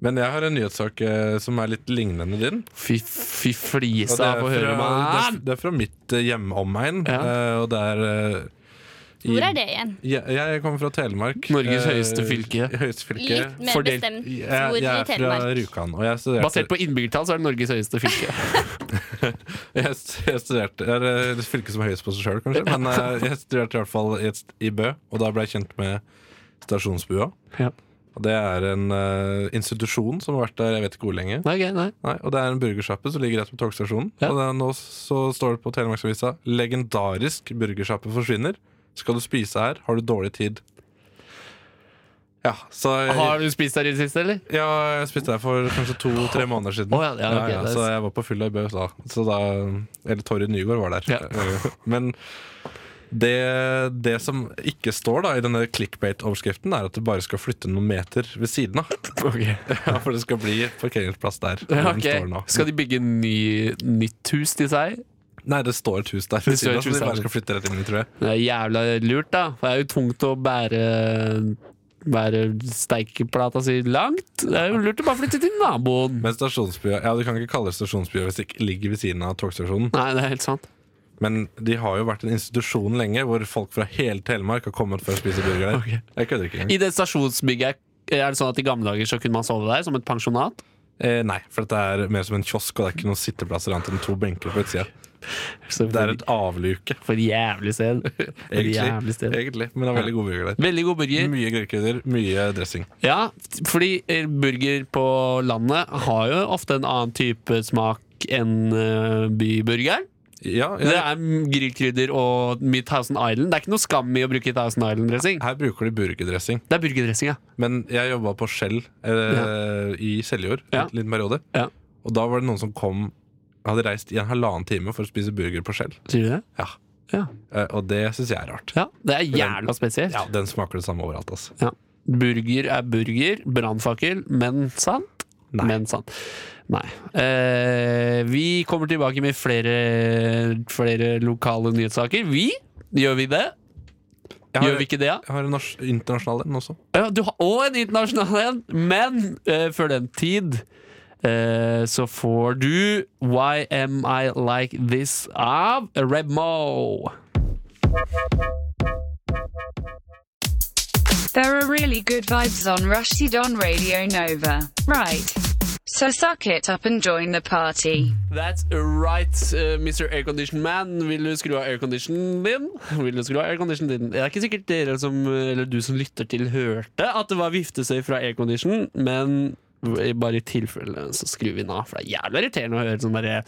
S2: Men jeg har en nyhetssak eh, som er litt lignende din.
S1: Fy, fy
S2: Og
S1: flisa, få
S2: det, er fra,
S1: høre,
S2: det,
S1: mann!
S2: er, det er fra mitt eh, hjemomegn.
S1: Ja.
S2: eh, Og det er eh, i-
S5: Hvor er det igjen?
S2: Jeg, jeg kommer fra Telemark.
S1: Norges
S2: eh,
S1: høyeste fylke.
S2: Høyeste fylke.
S5: Litt mer
S1: fordelt-
S5: bestemt
S2: Jeg,
S5: hvor
S2: jeg
S5: i
S2: er fra
S5: Telemark.
S2: Rjukan, og jeg studerte
S1: Basert på innbyggertall så er det Norges høyeste fylke.
S2: Jeg, st- jeg studerte Det er eh, fylket som er høyest på seg sjøl, kanskje. Men eh, jeg studerte i hvert fall i, et st- i Bø, og da ble jeg kjent med Stasjonsbua.
S1: Ja.
S2: Og det er en eh, institusjon som har vært der jeg vet ikke hvor lenge.
S1: Nei, ok, nei.
S2: Nei, og det er en burgersjappe som ligger rett ved togstasjonen.
S1: Ja.
S2: Og det er, nå så står det på Telemarksavisa 'Legendarisk burgersjappe forsvinner'. Skal du spise her, har du dårlig tid. Ja, så jeg,
S1: Har du spist der i det siste, eller?
S2: ja, jeg spiste her for kanskje to-tre måneder siden.
S1: Å, ja, ja, ok, det er-
S2: så jeg var på fylla i Bø da. Så da eller Torry Nygaard var der. Men det, det som ikke står da i denne clickbait-overskriften, er at du bare skal flytte noen meter ved siden av. Ja, for det skal bli parkeringsplass der.
S1: Ja,
S2: Den
S1: ok.
S2: står nå.
S1: Skal de bygge en ny, nytt hus til seg?
S2: Nei, det står et hus der
S1: Det
S2: ved siden av,
S1: står et
S2: så
S1: hus
S2: de
S1: der.
S2: bare skal flytte rett inn i, tror jeg.
S1: Det er jævla lurt, da. For det er jo tungt å bære Bære steikeplata si langt. Det er jo lurt å bare flytte til naboen.
S2: Men stasjonsbya Ja, du kan ikke kalle det stasjonsbya hvis det ikke ligger ved siden av togstasjonen.
S1: Nei, det er helt sant.
S2: Men de har jo vært en institusjon lenge, hvor folk fra hele Telemark har kommet for å spise burger der.
S1: Ok.
S2: Jeg kødder ikke engang.
S1: I det stasjonsbygget er det sånn at i gamle dager så kunne man sove der, som et pensjonat?
S2: Eh, nei, for dette er mer som en kiosk, og det er ikke noen sitteplasser annet enn to benker på utsida.
S1: Så
S2: Det er
S1: for,
S2: et avluke,
S1: for jævlig sted. For jævlig
S2: egentlig.
S1: sted.
S2: egentlig men det er veldig god burger der.
S1: Veldig god burger.
S2: Mye grillkrydder, mye dressing.
S1: Ja, fordi eh, burger på landet har jo ofte en annen type smak enn eh, byburgeren.
S2: Ja,
S1: Det
S2: ja.
S1: er mm, grillkrydder og mye Thousand Island. Det er ikke noe skam i å bruke Thousand Island-dressing.
S2: Her bruker de burgerdressing,
S1: Det er burgerdressing, ja.
S2: men jeg jobba på Skjell eh, i Seljord
S1: Ja.
S2: en liten periode.
S1: Ja.
S2: Og da var det noen som kom hadde reist i en halvannen time for å spise burger på Skjell.
S1: Sier du det?
S2: Ja.
S1: Ja.
S2: Eh, og det syns jeg er rart.
S1: ja. Det er jævla spesielt.
S2: Ja, Den smaker det samme overalt. Altså.
S1: Ja. Burger er burger, brannfakkel, men sant?
S2: Nei.
S1: Men sant. Nei. Eh, vi kommer tilbake med flere, flere lokale nyhetssaker. Vi? Gjør vi det?
S2: Jeg har,
S1: Gjør vi ikke det, ja?
S2: jeg har en nors- internasjonal en også.
S1: Ja, du har òg en internasjonal en, men eh, før den tid eh, så får du Why Am I Like This av Rebmo.
S3: There are really good vibes on Rushdie on Radio Nova. Right. So suck it up and join the party.
S1: That's right, eh, Mr. Aircondition Man. Vil du skru av airconditionen din? Vil du skru av airconditionen din? Det er ikke sikkert dere som, eller du som lytter til, hørte at det var viftesøy fra aircondition, men bare i tilfelle så skrur vi den av, for det er jævlig irriterende å høre sånn derre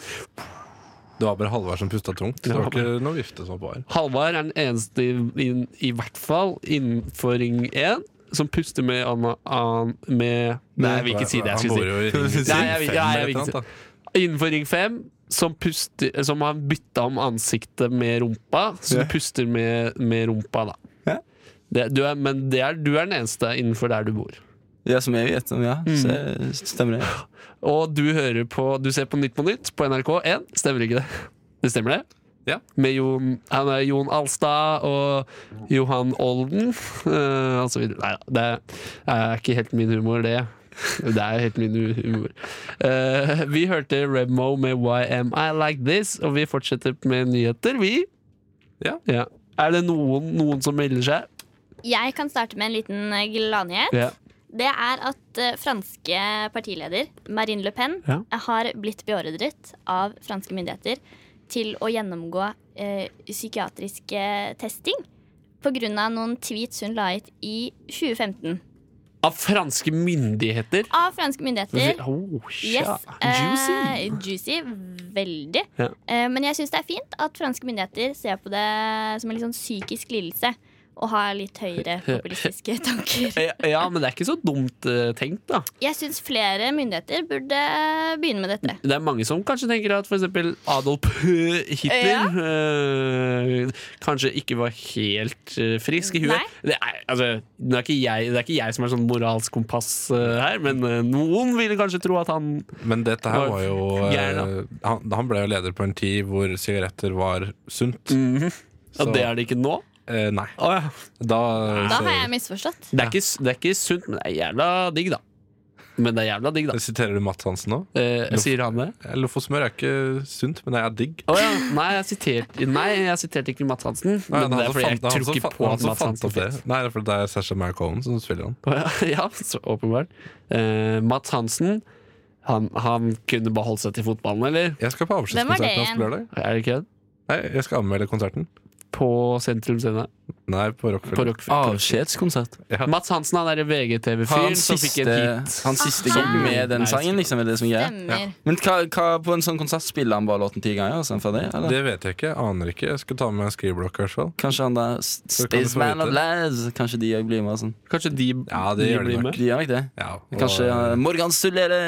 S2: Det var bare Halvard som pusta tungt. Det var
S1: Ja.
S2: ikke noe vifte som var på her.
S1: Halvard er den eneste, i, i, i hvert fall innenfor Ring 1, som puster med Anna An... Med Nei, jeg vil ikke si det. jeg
S2: Han bor
S1: skulle si
S2: jo i
S4: Skal du si-
S2: Ring
S1: Nei,
S2: Ring
S1: jeg
S2: fem
S1: vil-
S2: eller et
S1: nei, jeg vil ikke
S2: eller annet, da.
S1: Innenfor Ring 5, som, puster, som har bytta om ansiktet med rumpa, så
S4: Ja.
S1: du puster med, med rumpa, da.
S4: Ja.
S1: Det, du er, men det er, du er den eneste innenfor der du bor.
S4: Ja, som jeg vet om, ja. Så eh, stemmer det.
S1: Og du hører på Du ser på Nytt på Nytt på NRK1. Stemmer ikke det? Det stemmer det?
S2: Ja.
S1: Med Jon, han er Jon Alstad og Johan Olden eh, og så videre. Nei da, det er ikke helt min humor, det. Det er helt min hu- humor. Eh, vi hørte Remo med Why Am I Like This, og vi fortsetter med nyheter, vi.
S2: Ja.
S1: Er det noen, noen som melder seg?
S5: Jeg kan starte med en liten eh, gladnyhet.
S1: Ja.
S5: Det er at eh, franske partileder Marine Le Pen
S1: Ja.
S5: har blitt beordret av franske myndigheter til å gjennomgå eh, psykiatrisk eh, testing pga. noen tweets hun la ut i 2015.
S1: Av franske myndigheter?
S5: Av franske myndigheter.
S1: Oh,
S5: Eh, Yes.
S1: sja.
S5: Eh,
S1: Juicy!
S5: juicy. Veldig.
S1: Ja.
S5: Eh, men jeg syns det er fint at franske myndigheter ser på det som en litt sånn psykisk lidelse. Og har litt høyere populistiske tanker.
S1: Ja, ja, men det er ikke så dumt eh, tenkt, da.
S5: Jeg syns flere myndigheter burde begynne med dette.
S1: Det er mange som kanskje tenker at f.eks. Adolf Hitler
S5: Ja.
S1: eh, kanskje ikke var helt eh, frisk i
S5: Nei.
S1: huet. Det er, altså, det, er ikke jeg, det er ikke jeg som er sånn moralsk kompass eh, her, men eh, noen ville kanskje tro at han
S2: Men dette her
S1: Var
S2: var jo eh,
S1: gæren,
S2: han, han ble jo leder på en tid hvor sigaretter var sunt.
S1: At
S2: Så-
S1: Mhm. det er det ikke nå.
S2: Eh, nei.
S1: Å, ja.
S2: Da,
S5: Da har jeg misforstått.
S1: det, er ikke, det er ikke sunt, men det er jævla digg, da. Men det er jævla digg, da.
S2: Siterer du Matt Hansen nå?
S1: Eh, sier han det?
S2: Eh, Lofotsmør er ikke sunt, men det er digg.
S1: Å ja. Nei, jeg siterte nei, jeg siterte ikke Mads Hansen.
S2: Nei,
S1: Men
S2: han
S1: det er
S2: som
S1: fordi jeg
S2: fant- han
S1: tror
S2: som
S1: ikke
S2: fant-
S1: på
S2: han
S1: at
S2: som
S1: Mads
S2: fant
S1: Hansen
S2: opp
S1: finnes.
S2: det. Nei, det er fordi det er Sasha Mary Cohen som spiller han.
S1: Å Ja, ja, så åpenbart. Eh, Mats Hansen, han, han kunne bare holdt seg til fotballen, eller?
S2: Jeg skal på
S5: Hvem var det
S2: avskjedskonserten hans på lørdag.
S1: Er det ikke det?
S2: Nei, jeg skal anmelde konserten.
S1: På Sentrum Scene.
S2: Nei, på
S1: På
S2: Rockfjord.
S1: Rock-
S4: Avskjedskonsert.
S2: Ja.
S1: Mats Hansen, han derre
S4: Har
S1: VGTV-fyren
S4: han
S1: som fikk en
S4: siste,
S1: hit. Ah.
S4: han siste
S5: Aha.
S4: gig med den
S1: Nei,
S4: sangen, liksom? Er det som er?
S5: Stemmer.
S4: Men hva, hva, på en sånn konsert spiller han bare låten ti ganger? Og så er han ferdig, eller?
S2: Det vet jeg ikke. Aner ikke. Jeg skal ta med meg en skriveblokk i hvert fall.
S4: Kanskje han der
S2: kan du få
S4: Staysman of
S2: vite.
S4: Lads Kanskje de òg blir med? og Sånn.
S1: Kanskje de,
S2: Ja, det gjør de
S1: blir
S2: nok.
S1: med?
S4: De gjør nok det.
S2: Ja, og-
S4: Kanskje eh, Morgan Sulere!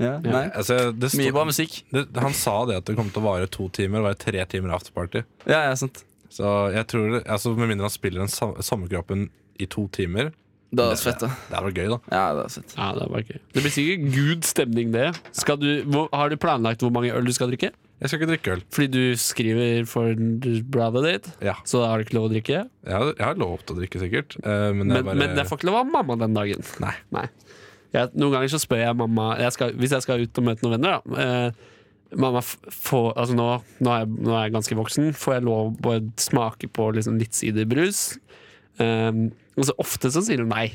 S4: Ja, nei.
S1: eh,
S2: altså, det
S4: Mye bra
S2: står,
S4: musikk.
S2: det, Han sa det at det kom til å vare to timer, og være tre timer afterparty.
S4: Ja, ja, sant.
S2: Så jeg tror det, altså Med mindre han spiller den sam sommerkroppen i to timer.
S4: Det høres fett, da.
S2: Det er vel gøy, da.
S4: Ja, det høres fett.
S1: Ja, det, var gøy. det blir sikkert good stemning, det. Skal du, hvor, har du planlagt hvor mange øl du skal drikke?
S2: Jeg skal ikke drikke øl.
S1: Fordi du skriver for bladet ditt,
S2: Ja,
S1: så da har du ikke lov å drikke.
S2: Jeg har, jeg har lov til å drikke, sikkert. eh, men,
S1: Men,
S2: jeg bare,
S1: men jeg får ikke lov av mamma den dagen.
S2: Nei.
S1: Jeg, noen ganger så spør jeg mamma jeg skal, Hvis jeg skal ut og møte noen venner, da. Eh, mamma, f- får- altså nå, nå, er jeg, nå er jeg ganske voksen. Får jeg lov å bare smake på liksom litt siderbrus? Um, og så ofte så sier hun nei.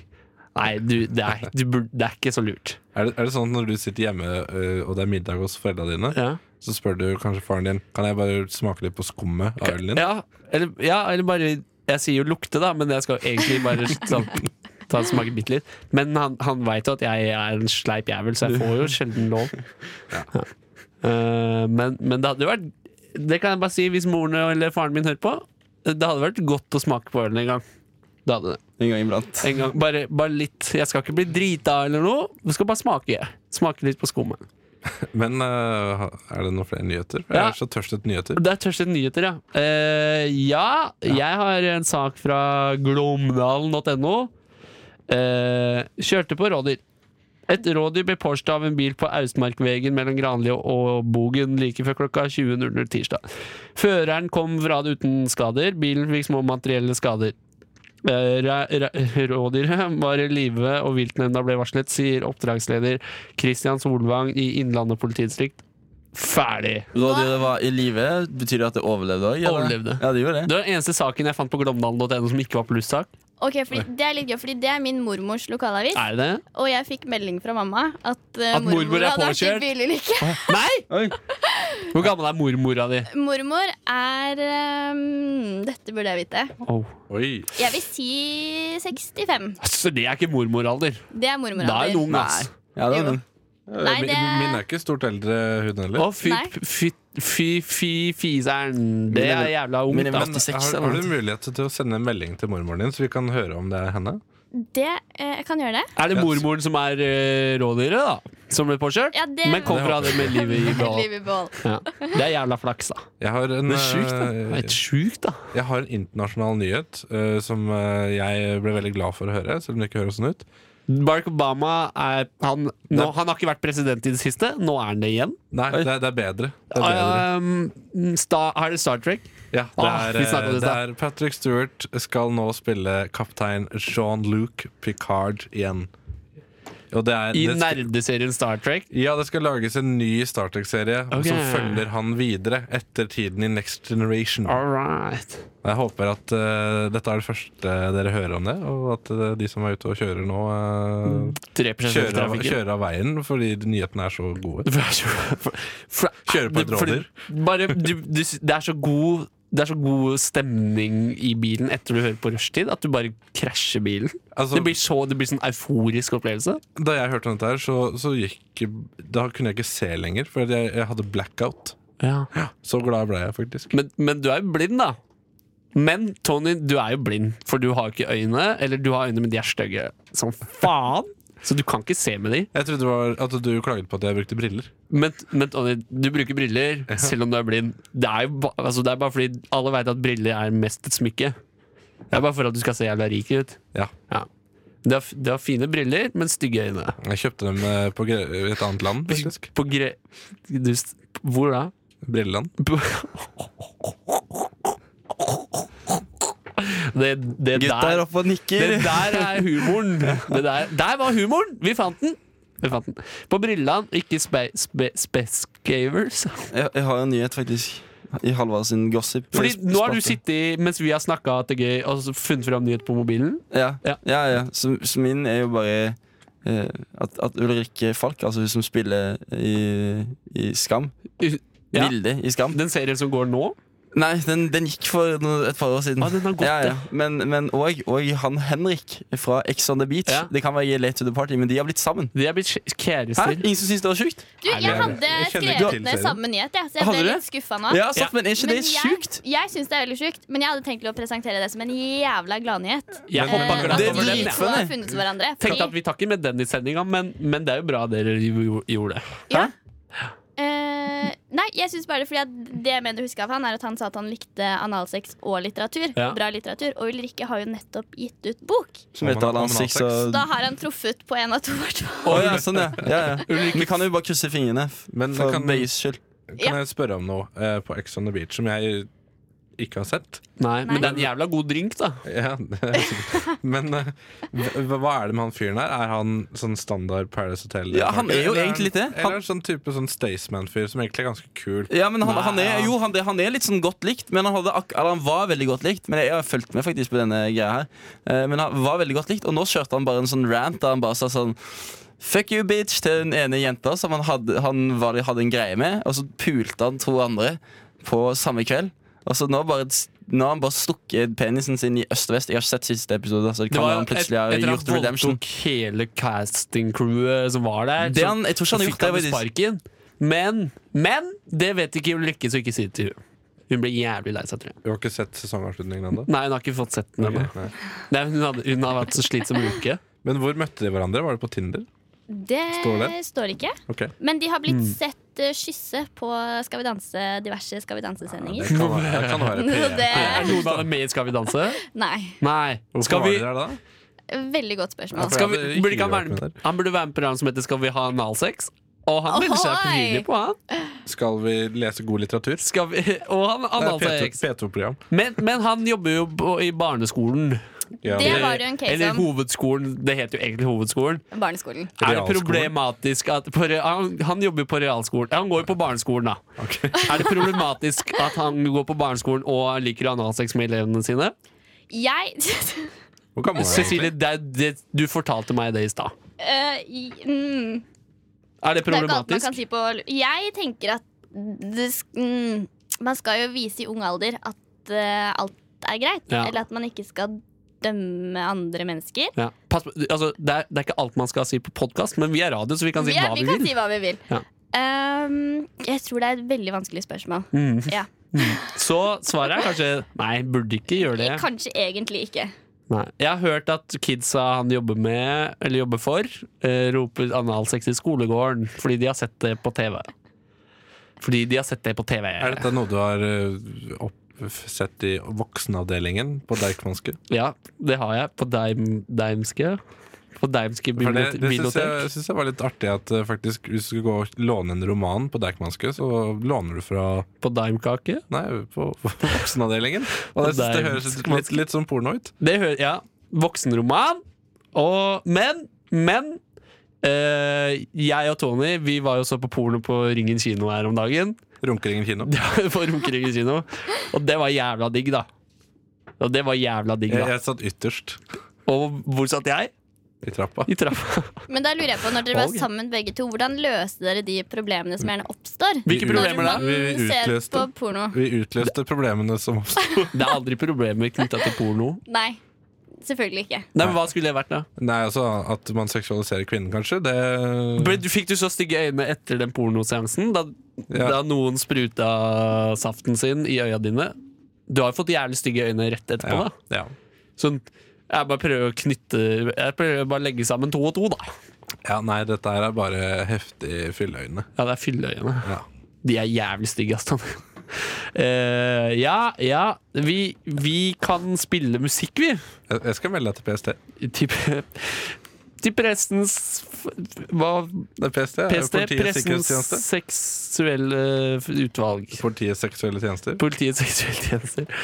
S1: Nei, du, det, er, du burde, det er ikke så lurt.
S2: er, det, er det sånn at når du sitter hjemme eh, og det er middag hos foreldra dine,
S1: Ja.
S2: så spør du kanskje faren din Kan jeg bare smake litt på skummet av ølen din?
S1: Ja, eller, ja, eller bare Jeg sier jo lukte, da, men jeg skal egentlig bare sånn, ta og smake bitte litt. Men han, han veit jo at jeg er en sleip jævel, så jeg får jo sjelden lov. Ja. Eh, men, men det hadde jo vært Det kan jeg bare si hvis moren eller faren min hører på. Det hadde vært godt å smake på ølen en gang. Det hadde det.
S4: En gang iblant.
S1: En gang. Bare, bare litt. Jeg skal ikke bli drita eller noe. Jeg skal bare smake. Smake litt på skummet.
S2: Men eh, ha- er det noen flere nyheter? Jeg
S1: Ja.
S2: er så tørst etter nyheter.
S1: Det er tørstet nyheter, ja. Eh, ja, jeg har en sak fra glomdalen.no. Eh, kjørte på rådyr. Et rådyr ble påstått av en bil på Austmarkvegen mellom Granli og Bogen like før klokka 20.00 tirsdag. Føreren kom fra det uten skader. Bilen fikk små materielle skader. Eh, ra- ra- Rådyret var i live, og viltnemnda ble varslet, sier oppdragsleder Kristian Solvang i Innlandet politidistrikt. Ferdig!
S4: Rådyret var i live. Betyr det at det overlevde òg?
S1: Overlevde.
S4: Ja, det gjorde det.
S1: Det var den eneste saken jeg fant på glomdalen.no som ikke var plussak.
S5: Ok, fordi Det er litt gøy, fordi det er min mormors lokalavis.
S1: Er det det?
S5: Og jeg fikk melding fra mamma at, eh,
S1: At mormor er
S5: hadde vært i
S1: påkjørt?
S5: bilulykke.
S1: Nei!
S4: Oi.
S1: Hvor gammel er mormora di?
S5: Mormor er ehm, Dette burde jeg vite.
S1: Oh.
S2: Oi.
S5: Jeg vil si 65.
S1: Så det er ikke mormoralder.
S5: Det er
S1: Da er hun
S5: mormoralder.
S1: ung, ass.
S4: Ja, det var den.
S5: Nei,
S2: min,
S5: det-
S2: Eh, min er ikke stort eldre, hun heller.
S1: Å, fy,
S5: Nei.
S1: fy, fy, fy fiseren. Det er jævla ungt,
S4: Mine
S1: da.
S4: venner- 86
S2: eh, har,
S4: eller
S2: har
S4: noe.
S2: du mulighet til å sende en melding til mormoren din, så vi kan høre om det er henne?
S5: Det, eh, jeg kan gjøre det.
S1: Er det mormoren som er eh, rådyret, da? Som ble påkjørt?
S5: Ja, det-
S1: Men kom fra det med livet i
S5: Liv
S1: behold.
S5: i behold.
S1: Ja. Det er jævla flaks, da.
S2: Jeg har en,
S1: Det er sjukt, da. Det er
S2: eh,
S1: helt sjukt, da.
S2: Jeg har en internasjonal nyhet eh, som eh, jeg ble veldig glad for å høre. Selv om det ikke høres sånn ut
S1: Barack Obama er han, nå, han har ikke vært president i det siste. Nå er han det igjen.
S2: Nei, det er, det er bedre. Det er, bedre.
S1: Um, sta, er det Star Trek?
S2: Ja, det
S1: Ah,
S2: er,
S1: vi
S2: eh,
S1: snakket om det i
S2: det
S1: stad.
S2: er Patrick Stewart skal nå spille kaptein Jean-Luc Picard igjen. Og det er,
S1: I
S2: det skal,
S1: nerdeserien Star Trek.
S2: ja, det skal lages en ny Star Trek-serie
S1: Ok.
S2: som følger han videre etter tiden i Next Generation.
S1: All right.
S2: Jeg håper at eh, dette er det første dere hører om det, og at eh, de som er ute og kjører nå, eh,
S1: 3 av
S2: kjører, av,
S1: Mm. trafikken.
S2: kjører av veien fordi nyhetene er så gode. Kjøre
S1: Kjøre
S2: på et rådyr.
S1: Bare, du, du, det, er så god, det er så god stemning i bilen etter du hører på rushtid at du bare krasjer bilen.
S2: Altså,
S1: Det blir, så, det blir sånn euforisk opplevelse.
S2: Da jeg hørte om dette, her, så, så gikk Da kunne jeg ikke se lenger, for jeg, jeg hadde blackout. Så glad ble jeg faktisk.
S1: Men, men du er jo blind, da. Men Tony, du er jo blind, for du har jo ikke øyne. Eller du har øyne, men de er stygge som faen. Så du kan ikke se med de.
S2: Jeg trodde det var at du klaget på at jeg brukte briller.
S1: Men, men Tony, du bruker briller selv om du er blind. Det er jo ba, altså, det er bare fordi alle veit at briller er mest et smykke. Det er bare for at du skal se jævla rik ut.
S2: Ja,
S1: Du har, f- du har fine briller, men stygge øyne.
S2: Jeg kjøpte dem eh, på gre i et annet land, faktisk.
S1: På gre... Du, st- hvor da?
S2: Brilleland.
S1: På- Det, det der
S4: oppe og nikker.
S1: Det der er humoren. Det der, der var humoren! Vi fant den! Vi fant den. På Brilleland, ikke spe, spe, Spescavers.
S4: Jeg, jeg har en nyhet, faktisk. I Halvard sin gossip.
S1: Fordi nå har du
S4: spalte.
S1: sittet mens vi har snakka at det er gøy, og så funnet fram nyhet på mobilen.
S4: Ja,
S1: Ja.
S4: ja, ja, Så, så min er jo bare eh, at, at Ulrikke Falk, altså hun som spiller i, i Skam
S1: Ja.
S4: Vilde i Skam
S1: Den serien som går nå.
S4: Nei, den, den gikk for no- et par år siden.
S1: Ah, den har gått,
S4: ja,
S1: ja.
S4: ja. Men, men og, og han Henrik fra Ex on the Beach.
S1: Ja.
S4: Det kan være Late to the Party, men de har blitt sammen.
S1: De er blitt kj-
S4: Hæ?
S1: kjærester.
S4: Ingen som syns det var sjukt?
S5: Du, jeg
S2: jeg-
S5: hadde
S2: jeg kjenner ikke
S5: skrevet
S2: til
S5: ned
S2: serien.
S5: samme nyhet, jeg, så jeg
S4: Hadde
S5: ble
S4: du det?
S5: litt skuffa nå.
S4: Ja, sant,
S1: Ja.
S4: Men er ikke
S5: Men
S4: det
S5: jeg,
S4: sjukt?
S5: jeg syns det er veldig sjukt, men jeg hadde tenkt til å presentere det som en jævla gladnyhet.
S1: Jeg
S5: Eh,
S1: hoppa glatt
S4: det er
S1: over den. jeg.
S5: to
S4: dritfunny.
S5: har funnet hverandre.
S1: Tenkte at
S5: Fordi,
S1: Vi tar ikke med den i sendinga, men, men det er jo bra dere jo- gjorde det.
S5: ja. Eh, nei, jeg synes bare det fordi at det jeg mener å huske av han, er at han sa at han likte analsex og litteratur.
S1: Ja.
S5: Bra litteratur. Og Ulrikke har jo nettopp gitt ut bok.
S4: Som heter
S2: Om han- om han
S4: Alan
S2: har
S4: Six
S2: sex.
S4: og
S5: Da har han truffet på en av to, i hvert fall.
S4: Å ja, sånn, ja. ja, ja. Vi kan jo bare krysse fingrene f-
S2: Men
S4: for
S2: kan-
S4: begges skyld.
S5: Ja.
S2: Kan jeg spørre om noe eh, på Ex on the Beach som jeg ikke har sett?
S1: Nei,
S5: Nei.
S1: Men det er en jævla god drink, da.
S2: Ja, det er sikkert. Men eh, hva hva er det med han fyren her? Er han sånn standard Paradise Hotel?
S4: Ja, han er jo
S2: Eller
S4: egentlig det. Han-
S2: Eller er han sånn type sånn Staysman-fyr som egentlig er ganske kul?
S4: Ja, men han,
S1: Nei,
S4: han, er,
S1: ja.
S4: jo, han, det- han er litt sånn godt likt, men han, hadde ak eller han var veldig godt likt. Men jeg har fulgt med faktisk på denne greia her. Eh, men han var veldig godt likt, og nå kjørte han bare en sånn rant der han bare sa sånn Fuck you, bitch, til den ene jenta som han, hadde, han var, hadde en greie med. Og så pulte han to andre på samme kveld. Og så nå bare nå har han bare stukket penisen sin i øst og vest. Jeg har ikke sett siste episode. Så det kan være han plutselig har
S1: etter
S4: gjort redemption.
S1: voldtok hele casting-crewet som var der.
S4: Det
S1: så-
S4: han, jeg tror ikke
S1: Så
S4: han har
S1: fikk
S4: gjort det.
S1: han
S4: faktisk.
S1: sparken. Men, men det vet ikke Ulrikke, så ikke si det til henne. Hun ble jævlig lei seg, tror jeg.
S2: Du har ikke sett sesongavslutningen ennå?
S1: Nei, hun har ikke fått sett den ennå.
S2: Ok, nei.
S1: Nei, Hun, hadde- hun har vært så slitsom en uke.
S2: Men hvor møtte de hverandre? Var det på Tinder?
S5: Det
S2: Står
S5: står,
S2: det?
S5: ikke.
S2: Ok Mm.
S5: Men de har blitt sett eh, kysse på Skal vi danse, diverse Skal vi danse-sendinger.
S2: Det kan være, det kan være
S5: Så
S2: PR.
S5: det
S1: Er noen av dem med i Skal vi danse?
S5: Nei.
S1: Nei.
S2: Hvorfor
S1: Skal
S2: var
S1: vi,
S2: de der da?
S5: Veldig godt spørsmål.
S2: Ja,
S1: skal vi
S2: Hvorfor
S1: burde ikke han,
S2: hadde de ikke
S1: være,
S2: vært med der?
S1: han burde være med på programmet som heter Skal vi ha analsex? Og han meldte seg
S5: Ohoi!
S1: frivillig på, han.
S2: Skal vi lese god litteratur?
S1: Skal vi, og han
S2: Det er P2-
S1: analsex.
S2: P2-program.
S1: Men, men han jobber jo på, i barneskolen.
S2: Ja,
S5: Det
S2: det-
S5: var jo en case
S1: Eller
S5: om
S1: hovedskolen. Det heter jo egentlig hovedskolen.
S5: barneskolen.
S1: Er det
S2: Realskolen?
S1: problematisk at på, re- han, han jobber på realskolen. Ja, Han går jo på barneskolen, da.
S2: ok.
S1: Er det problematisk at han går på barneskolen og liker analsex med elevene sine?
S5: Jeg
S2: Hvor gammel er han?
S1: Cecilie, det, er- det, du fortalte meg det i stad.
S5: Eh, i- mm,
S1: Er det
S5: Det er jo ikke alt man
S1: problematisk?
S5: kan si på Jeg tenker at det, sk- mm, man skal jo vise i ung alder at eh, alt er greit.
S1: Ja.
S5: Eller at man ikke skal dømme andre mennesker.
S1: Ja. Pass, på- altså, det, er, det er ikke alt man skal si på podkast, men vi er radio, så vi kan si
S5: Vi, er,
S1: hva
S5: vi
S1: vi
S5: kan
S1: vil.
S5: si hva vi vil.
S1: Ja.
S5: Ehm, jeg tror det er et veldig vanskelig spørsmål.
S1: Mm.
S5: Ja.
S1: Så svaret er kanskje nei, burde ikke gjøre det.
S5: Eh, Kanskje egentlig ikke.
S1: Nei. Jeg har hørt at kidsa han jobber med, eller jobber for, eh, roper analsex i skolegården fordi de har sett det på TV. Fordi de har sett det på TV.
S2: Er dette noe du har eh, opp, sett i voksenavdelingen på Deichmanske?
S1: Ja, det har jeg. På Deim, Deimske. På Deimske
S2: For det,
S1: bibliotek.
S2: det syns jeg, synes jeg var litt artig at eh, faktisk hvis du skal gå og låne en roman på Deichmanske, så låner du fra
S1: På Daimkake.
S2: Nei, på, på voksenavdelingen. Og
S1: På
S2: jeg synes det høres litt,
S1: Deichmanske.
S2: litt, litt som porno ut.
S1: Det hører Ja. Voksenroman. Og Men, men Eh, jeg og Tony vi var jo så på porno på Ringen kino her om dagen.
S2: Runkeringen kino.
S1: på Runkeringen kino. Og det var jævla digg, da. Og det var jævla digg,
S2: Jeg,
S1: da.
S2: jeg satt ytterst
S1: Og hvor satt jeg?
S2: i trappa.
S1: I trappa.
S5: Men da lurer jeg på, når dere var
S1: Og-
S5: sammen begge to, hvordan løste dere de problemene som gjerne oppstår?
S1: Hvilke
S2: Vi
S5: Når
S1: problemer da?
S5: man
S2: Vi
S5: ser
S2: utløste.
S5: på porno.
S2: Vi utløste problemene som oppsto.
S1: Det er aldri problemer knytta til porno.
S5: Nei, selvfølgelig ikke.
S1: Nei, men Hva skulle det vært, da?
S2: Nei, altså At man seksualiserer kvinnen, kanskje. Det
S1: Ble- du- Fikk du så stygge øyne etter den pornoseansen? Da,
S2: Ja.
S1: da noen spruta saften sin i øya dine? Du har jo fått jævlig stygge øyne rett etterpå,
S2: ja,
S1: da.
S2: ja.
S1: Sånn, jeg bare prøver å knytte Jeg prøver bare å legge sammen to og to, da.
S2: ja, nei, dette her er bare heftig fylleøyne.
S1: Ja, det er fylleøyene.
S2: Ja.
S1: De er jævlig stygge, ass. Eh, ja, ja. Vi, vi kan spille musikk, vi.
S2: Jeg, jeg skal melde deg til PST.
S1: Til, til pressens f- Hva?
S2: Det er PST, er
S1: PST?
S2: Politiets
S1: Pressens
S2: sikkerhetstjeneste.
S1: seksuelle utvalg.
S2: Politiets seksuelle tjenester.
S1: Politiets seksuelle tjenester.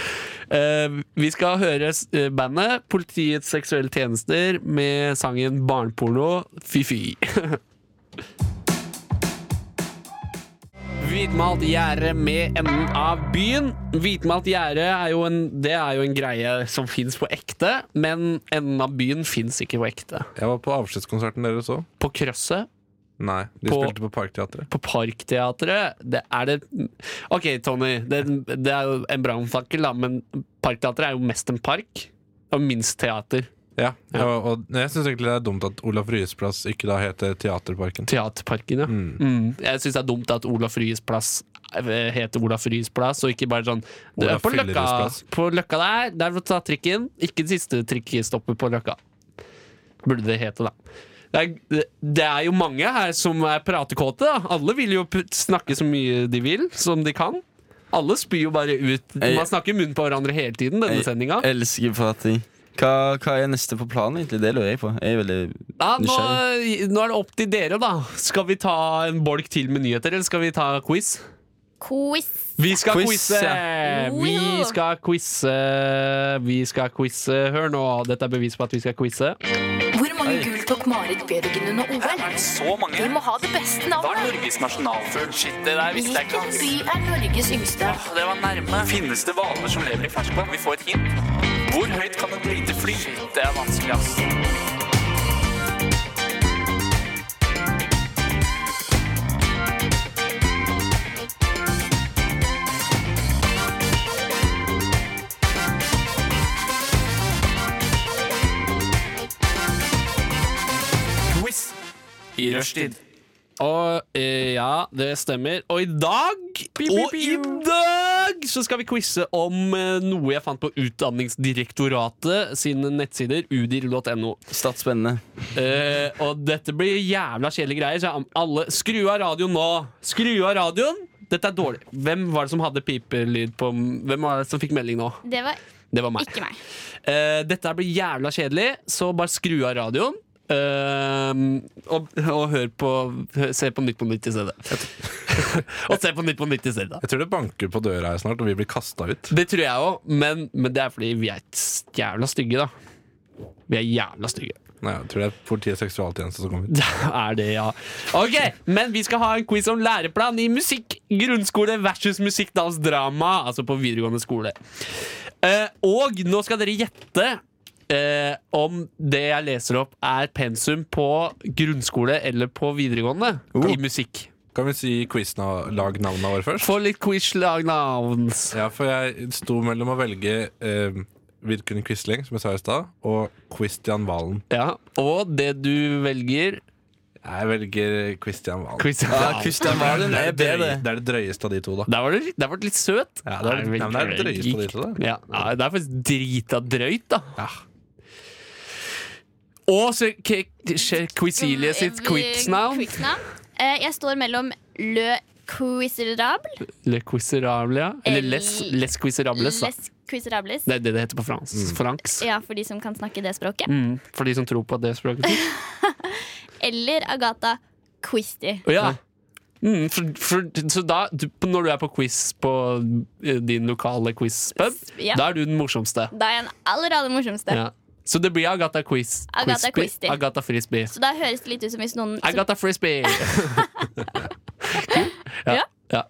S1: Eh, vi skal høre s- eh, bandet Politiets seksuelle tjenester med sangen Barneporno fy-fy. Hvitmalt gjerde med enden av byen. Hvitmalt gjerde er jo en, det er jo en greie som fins på ekte, men enden av byen fins ikke på ekte.
S2: Jeg var på avskjedskonserten deres òg.
S1: På Krøsset
S2: Nei, de
S1: På-
S2: spilte på Parkteatret.
S1: på Parkteatret det er det Ok, Tony, det, det er jo en brannfakkel, da, men Parkteatret er jo mest en park. Og minst teater.
S2: Ja,
S1: Ja.
S2: Og, og jeg syns egentlig det er dumt at Olaf Ryes plass ikke da heter Teaterparken.
S1: Teaterparken, ja. Mm. Jeg syns det er dumt at Olaf Ryes plass eh, heter Olaf Ryes plass, og ikke bare sånn du er
S2: Olaf
S1: på
S2: Fylleris
S1: løkka,
S2: plass.
S1: på løkka der, der må du ta trikken. Ikke det siste trikkestoppet på Løkka. Burde det hete, da. Det er, det er jo mange her som er pratekåte. da. Alle vil jo pr- snakke så mye de vil, som de kan. Alle spyr jo bare ut.
S4: Jeg-
S1: Man snakker i munnen på hverandre hele tiden. denne sendinga.
S4: elsker prating. Hva, hva er neste på planen, egentlig? Det lurer jeg på. Jeg er veldig
S1: Ja, nå,
S4: nysgjerrig.
S1: nå er det opp til dere, da. Skal vi ta en bolk til med nyheter, eller skal vi ta quiz?
S5: Quiz.
S1: Vi skal
S4: Quiz,
S1: quize! Vi
S5: Woho!
S1: skal quize. Vi skal quize. Hør nå, dette er bevis på at vi skal quize.
S6: Hvor mange gull tok Marit Bjørgen under OL?
S7: Så mange.
S6: Vi må ha det beste
S7: Hva er
S6: navnet.
S7: Norges nasjonalfugl? Shit, det der visste jeg
S6: Hvilken
S7: ikke.
S6: by er Norges yngste?
S7: Det var nærme. Finnes det hvaler som lever i ferskvann? Vi får et hint. Hvor høyt kan et lite fly? Shit, det er vanskelig, ass. Quiz i rushtid.
S1: Og eh, ja, det stemmer. Og i dag Og i dag så skal vi quize om eh, noe jeg fant på Utdanningsdirektoratet sine nettsider, udir.no.
S4: Statsspennende.
S1: Eh, og dette blir jævla kjedelige greier, så jeg- alle Skru av radioen nå! Skru av radioen! Dette er dårlig. Hvem var det som hadde pipelyd på Hvem var det som fikk melding nå?
S5: Det var
S1: Det var meg.
S5: ikke meg.
S1: Eh, dette her blir jævla kjedelig, så bare skru av radioen. eh, og, og hør på hø- Se på Nytt på Nytt i stedet. og se på Nytt på Nytt i stedet.
S2: Jeg tror det banker på døra her snart, og vi blir kasta ut.
S1: Det tror jeg òg, men, men det er fordi vi er s- jævla stygge, da. Vi er jævla stygge.
S2: Nei, jeg tror det er Politiets seksualtjeneste som kommer.
S1: Det er det, ja. Ok, Men vi skal ha en quiz om læreplan i musikk, grunnskole versus musikk, dans, drama. Altså på videregående skole. Eh, og nå skal dere gjette eh, om det jeg leser opp, er pensum på grunnskole eller på videregående i musikk.
S2: Kan vi si quiz-lagnavnene våre først?
S1: Få litt quiz-lagnavns.
S2: Ja, for jeg sto mellom å velge eh, Vidkun Quisling, som jeg sa i stad, og Christian Valen.
S1: Ja, og det du velger
S2: Jeg velger Christian Valen.
S1: quiz
S4: Ja, Kristian Valen
S2: det,
S4: er
S2: er det,
S4: bedre.
S2: drøy- det er det drøyeste av de to, da.
S1: Der var du, der var du litt søt.
S2: Ja, det er-
S1: Nei,
S2: nei, men det er
S1: vel-
S2: drøyest av
S1: gikk-
S2: de to,
S1: Ja, nei, det er faktisk drita drøyt, da. Og så Ke- Ke- Quisilie sitt quiznavn.
S5: eh, Quiznavn. Eh, Jeg står mellom Le Quizerable
S1: Le Quizerable, ja. Eller Les,
S5: El-
S1: les Quizerables, da.
S5: Les Quizerables.
S1: Det er det det heter på fransk.
S2: Mm.
S1: fransk.
S5: Ja, for de som kan snakke det språket.
S1: Mm, for de som tror på at det språket fins.
S5: Eller Agatha Quisty.
S1: Ja. Mm, for, for, så da, du, når du er på quiz på eh, din lokale quizpub,
S5: Ja.
S1: da er du den morsomste.
S5: Da er jeg den aller, aller morsomste.
S1: Ja. Så det blir Agatha Quiz.
S5: Agatha Christie.
S1: Agatha Frisbee.
S5: Så da høres det litt ut som hvis noen som,
S1: Agatha Frisbee! ja,
S5: Ja.
S1: ja.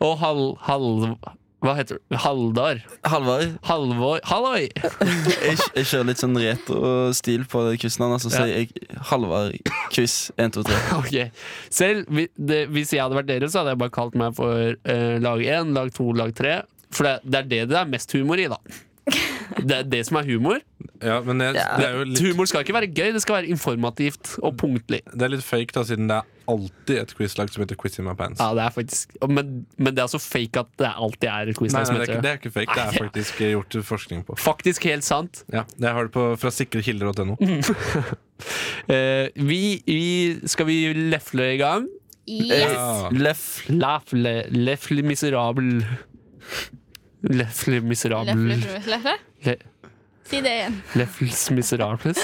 S1: Og Hal... Hal hva heter du? Haldar?
S4: Halvard,
S1: Halvor? Halloi!
S4: jeg, jeg kjører litt sånn retro-stil på quizen hans. Og så
S1: Ja.
S4: sier jeg Halvard-quiz 1, 2, 3.
S1: Ok. Selv vi- det, hvis jeg hadde vært dere, så hadde jeg bare kalt meg for eh, lag én, lag to, lag tre. For det, det er det det er mest humor i, da. Det er det som er humor.
S2: Ja, men jeg, det er jo litt
S1: Humor skal ikke være gøy, det skal være informativt og punktlig.
S2: Det er litt fake, da, siden det er alltid et quizlag som heter Quiz in my pants.
S1: Ja, det er faktisk Men, men det er altså fake at det alltid er et quiz.
S2: Nei,
S1: som
S2: nei, det, er
S1: heter
S2: ikke, det er ikke fake. Det er
S1: Nei,
S2: faktisk eh, gjort forskning på.
S1: Faktisk helt sant.
S2: Ja, jeg har det på, fra sikrekilder.no.
S1: Eh, vi, vi Skal vi lefle i gang?
S5: Yes!
S2: Ja.
S4: Leff.
S1: Lefle, lefle miserabel Lefle miserabel
S5: Løfle, løfle.
S1: Le-
S5: Si det igjen.
S1: Leffels Miserables.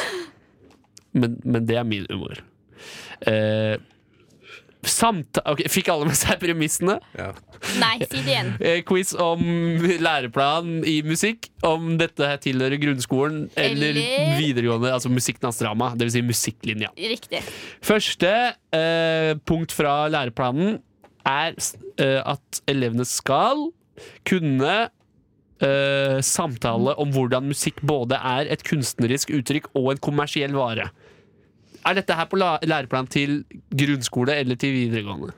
S1: Men, men det er min humor. Eh, samt ok, Fikk alle med seg premissene?
S2: Ja.
S5: Nei, si det igjen.
S1: Eh, quiz om læreplan i musikk. Om dette her tilhører grunnskolen eller,
S5: Eller-
S1: videregående. Altså musikkdansdrama, dvs. Si musikklinja.
S5: Riktig.
S1: Første eh, punkt fra læreplanen er s- eh, at elevene skal kunne eh, samtale om hvordan musikk både er et kunstnerisk uttrykk og en kommersiell vare. Er dette her på la- læreplan til grunnskole eller til videregående?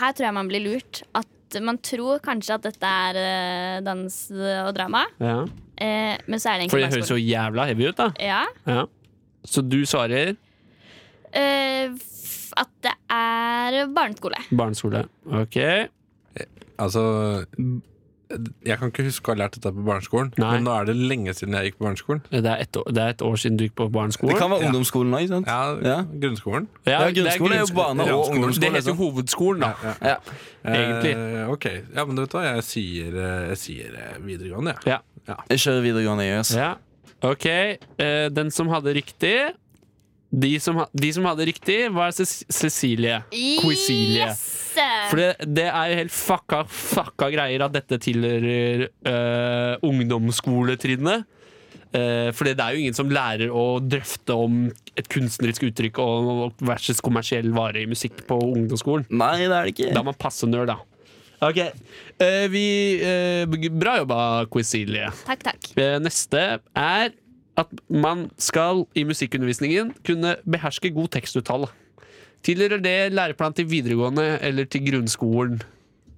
S5: Her tror jeg man blir lurt. At man tror kanskje at dette er eh, dans og drama, eh, men så er det
S1: For
S5: egentlig
S1: det høres jo
S5: barneskolen.
S1: jævla heavy ut, da.
S5: ja.
S1: Ja. Så du svarer
S5: eh, f- At det er barneskole.
S1: barneskole. Ok.
S2: Altså Jeg kan ikke huske å ha lært dette på barneskolen,
S1: Nei.
S2: men nå er det lenge siden jeg gikk på barneskolen.
S1: Det er ett år, det er ett år siden du gikk på
S4: Det
S1: barneskolen.
S4: kan være ungdomsskolen òg, ikke sant?
S2: Ja,
S4: Ja.
S2: grunnskolen.
S4: Ja, grunnskole er jo barne- og
S2: grunnskole.
S1: Det
S4: ungdomsskole.
S1: heter jo
S4: liksom.
S1: hovedskolen, da.
S4: Ja.
S1: Egentlig.
S2: Eh, ok, ja, men du vet hva, jeg sier, eh, jeg sier eh, videregående, jeg.
S1: Ja.
S4: Jeg kjører videregående, jeg. Altså.
S1: Ja. Ok, eh, den som hadde riktig De som, ha, de som hadde riktig, var Cec- Cecilie. Quisilie.
S5: Yes!
S1: For det, det er jo helt fucka, fucka greier at dette tilhører eh, ungdomsskoletrinnet. Eh, for det er jo ingen som lærer å drøfte om et kunstnerisk uttrykk og, og versus kommersiell vare i musikk på ungdomsskolen.
S4: Nei, det er
S1: Da
S4: det ikke.
S1: må man passe nerd, da. Ok, eh, vi, eh, Bra jobba, Quisilie.
S5: Takk, takk.
S1: Eh, Neste er at man skal i musikkundervisningen kunne beherske god tekstuttale. Tilhører det læreplan til videregående eller til grunnskolen?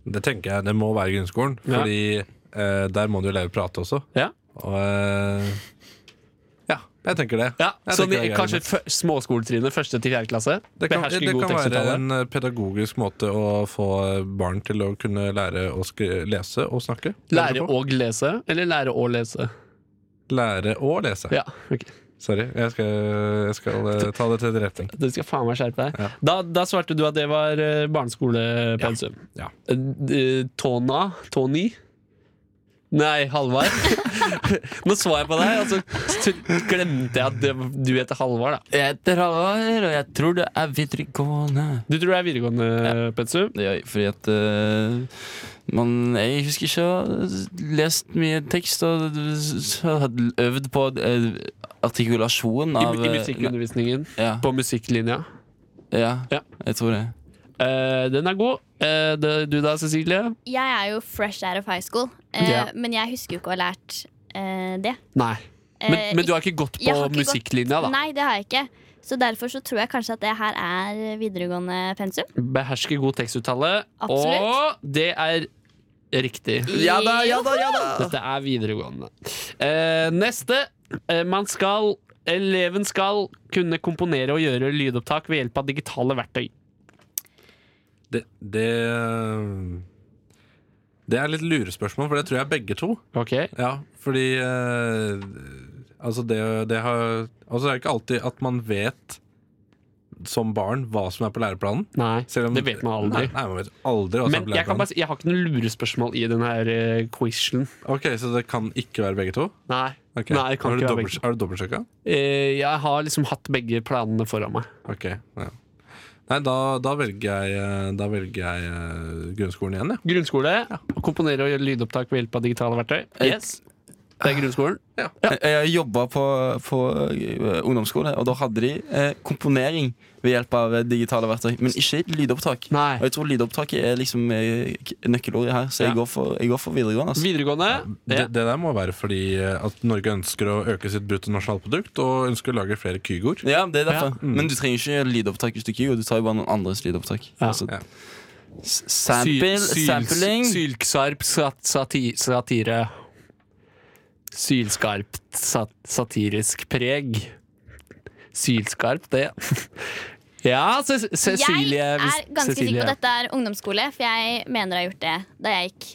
S2: Det tenker jeg, det må være grunnskolen,
S1: Ja.
S2: fordi eh, der må du jo lære å prate også.
S1: Ja,
S2: Og eh, ja, jeg tenker det.
S1: ja
S2: Jeg
S1: sånn
S2: tenker
S1: i,
S2: det er
S1: Kanskje
S2: greit.
S1: fø- småskoletrinnet, første til fjerde klasse?
S2: det kan,
S1: beherske
S2: det
S1: god
S2: kan være
S1: tekstuttale.
S2: en eh, pedagogisk måte å få barn til å kunne lære å skri lese og snakke.
S1: Lære
S2: på.
S1: og lese, eller lære å lese?
S2: lære å lese.
S1: Ja, ok
S2: Sorry, jeg skal, jeg skal eh, ta det til etterretning.
S1: Du skal faen meg skjerpe deg.
S2: Ja.
S1: Da, da svarte du at det var eh, barneskolepensum.
S2: Ja.
S1: Eh, eh, Tona? Tony? Nei, Halvard. Nå så jeg på deg, og så t- glemte jeg at det, du heter Halvard. da.
S4: Jeg heter Halvard, og jeg tror det er videregående.
S1: Du tror det er videregående pensum?
S4: Det gjør jeg, fordi at eh, man, Jeg husker ikke å ha lest mye tekst og s- hadde øvd på eh, artikulasjon
S1: I,
S4: av
S1: I
S4: eh,
S1: musikkundervisningen.
S4: Ja,
S1: På musikklinja.
S4: ja,
S1: Ja.
S4: jeg tror det.
S1: Eh, den er god. Eh, det, du da, Cecilie?
S5: Jeg er jo fresh out of high school, eh,
S1: Ja.
S5: men jeg husker jo ikke å ha lært eh, det.
S1: Nei. Men,
S5: Eh,
S1: men du har ikke gått
S5: jeg
S1: på
S5: har ikke gått-
S1: musikklinja, da?
S5: Nei, det har jeg ikke. Så derfor så tror jeg kanskje at det her er videregående pensum.
S1: Behersker god tekstuttale.
S5: Absolutt.
S1: Og det er riktig.
S4: Ja da, ja da, ja da!
S1: Dette er videregående. Eh, neste. Eh, man skal Eleven skal kunne komponere og gjøre lydopptak ved hjelp av digitale verktøy.
S2: Det, det Det er litt lurespørsmål, for det tror jeg begge to.
S1: Ok
S2: Ja, fordi eh, Altså, det, det har Altså, det er ikke alltid at man vet som barn hva som er på læreplanen.
S1: Nei,
S2: Selv om-
S1: det vet man aldri.
S2: Nei, sånn nei, man vet aldri hva som er på
S1: Men jeg, kan
S2: læreplanen.
S1: bare, si- jeg har ikke noen lurespørsmål i denne her, eh, quizen.
S2: Ok, Så det kan ikke være begge to?
S1: Nei.
S2: Ok.
S1: Nei, det kan
S2: har, du
S1: ikke være
S2: dobbelt-
S1: begge.
S2: har du dobbeltsjekka?
S1: Eh, jeg har liksom hatt begge planene foran meg.
S2: Ok, ja. Nei, da, da velger jeg, eh, da velger jeg eh, grunnskolen igjen, jeg.
S1: Grunnskole. Komponere og gjøre lydopptak ved hjelp av digitale verktøy. Yes. Det er grunnskolen.
S4: Jeg jobba på, på eh, ungdomsskole, og da hadde de eh, komponering ved hjelp av eh, digitale verktøy, men ikke lydopptak.
S1: Nei.
S4: Og jeg tror lydopptaket er liksom eh, k- nøkkelordet her, så jeg,
S1: Ja.
S4: går, for, jeg går for videregående. Altså.
S1: Videregående.
S2: Det,
S1: Ja.
S2: det der må være fordi eh, at Norge ønsker å øke sitt bruttonasjonalprodukt og ønsker å lage flere Kygoer.
S4: Ja, det er derfor.
S1: Ja.
S4: Men du trenger ikke gjøre lydopptak hvis du ikke gjør Du tar jo bare noen andres lydopptak.
S1: Ja.
S4: Altså,
S2: Ja.
S4: s- sample,
S1: Syl- syl-
S4: sampling.
S1: Sylskarp sat sati- satire. Sylskarpt sat satirisk preg. Sylskarpt, det. Ja, se, se,
S5: Jeg
S1: Cecilie
S5: er ganske sikker
S1: Cecilie.
S5: på at dette er ungdomsskole, for jeg mener å ha gjort det da jeg gikk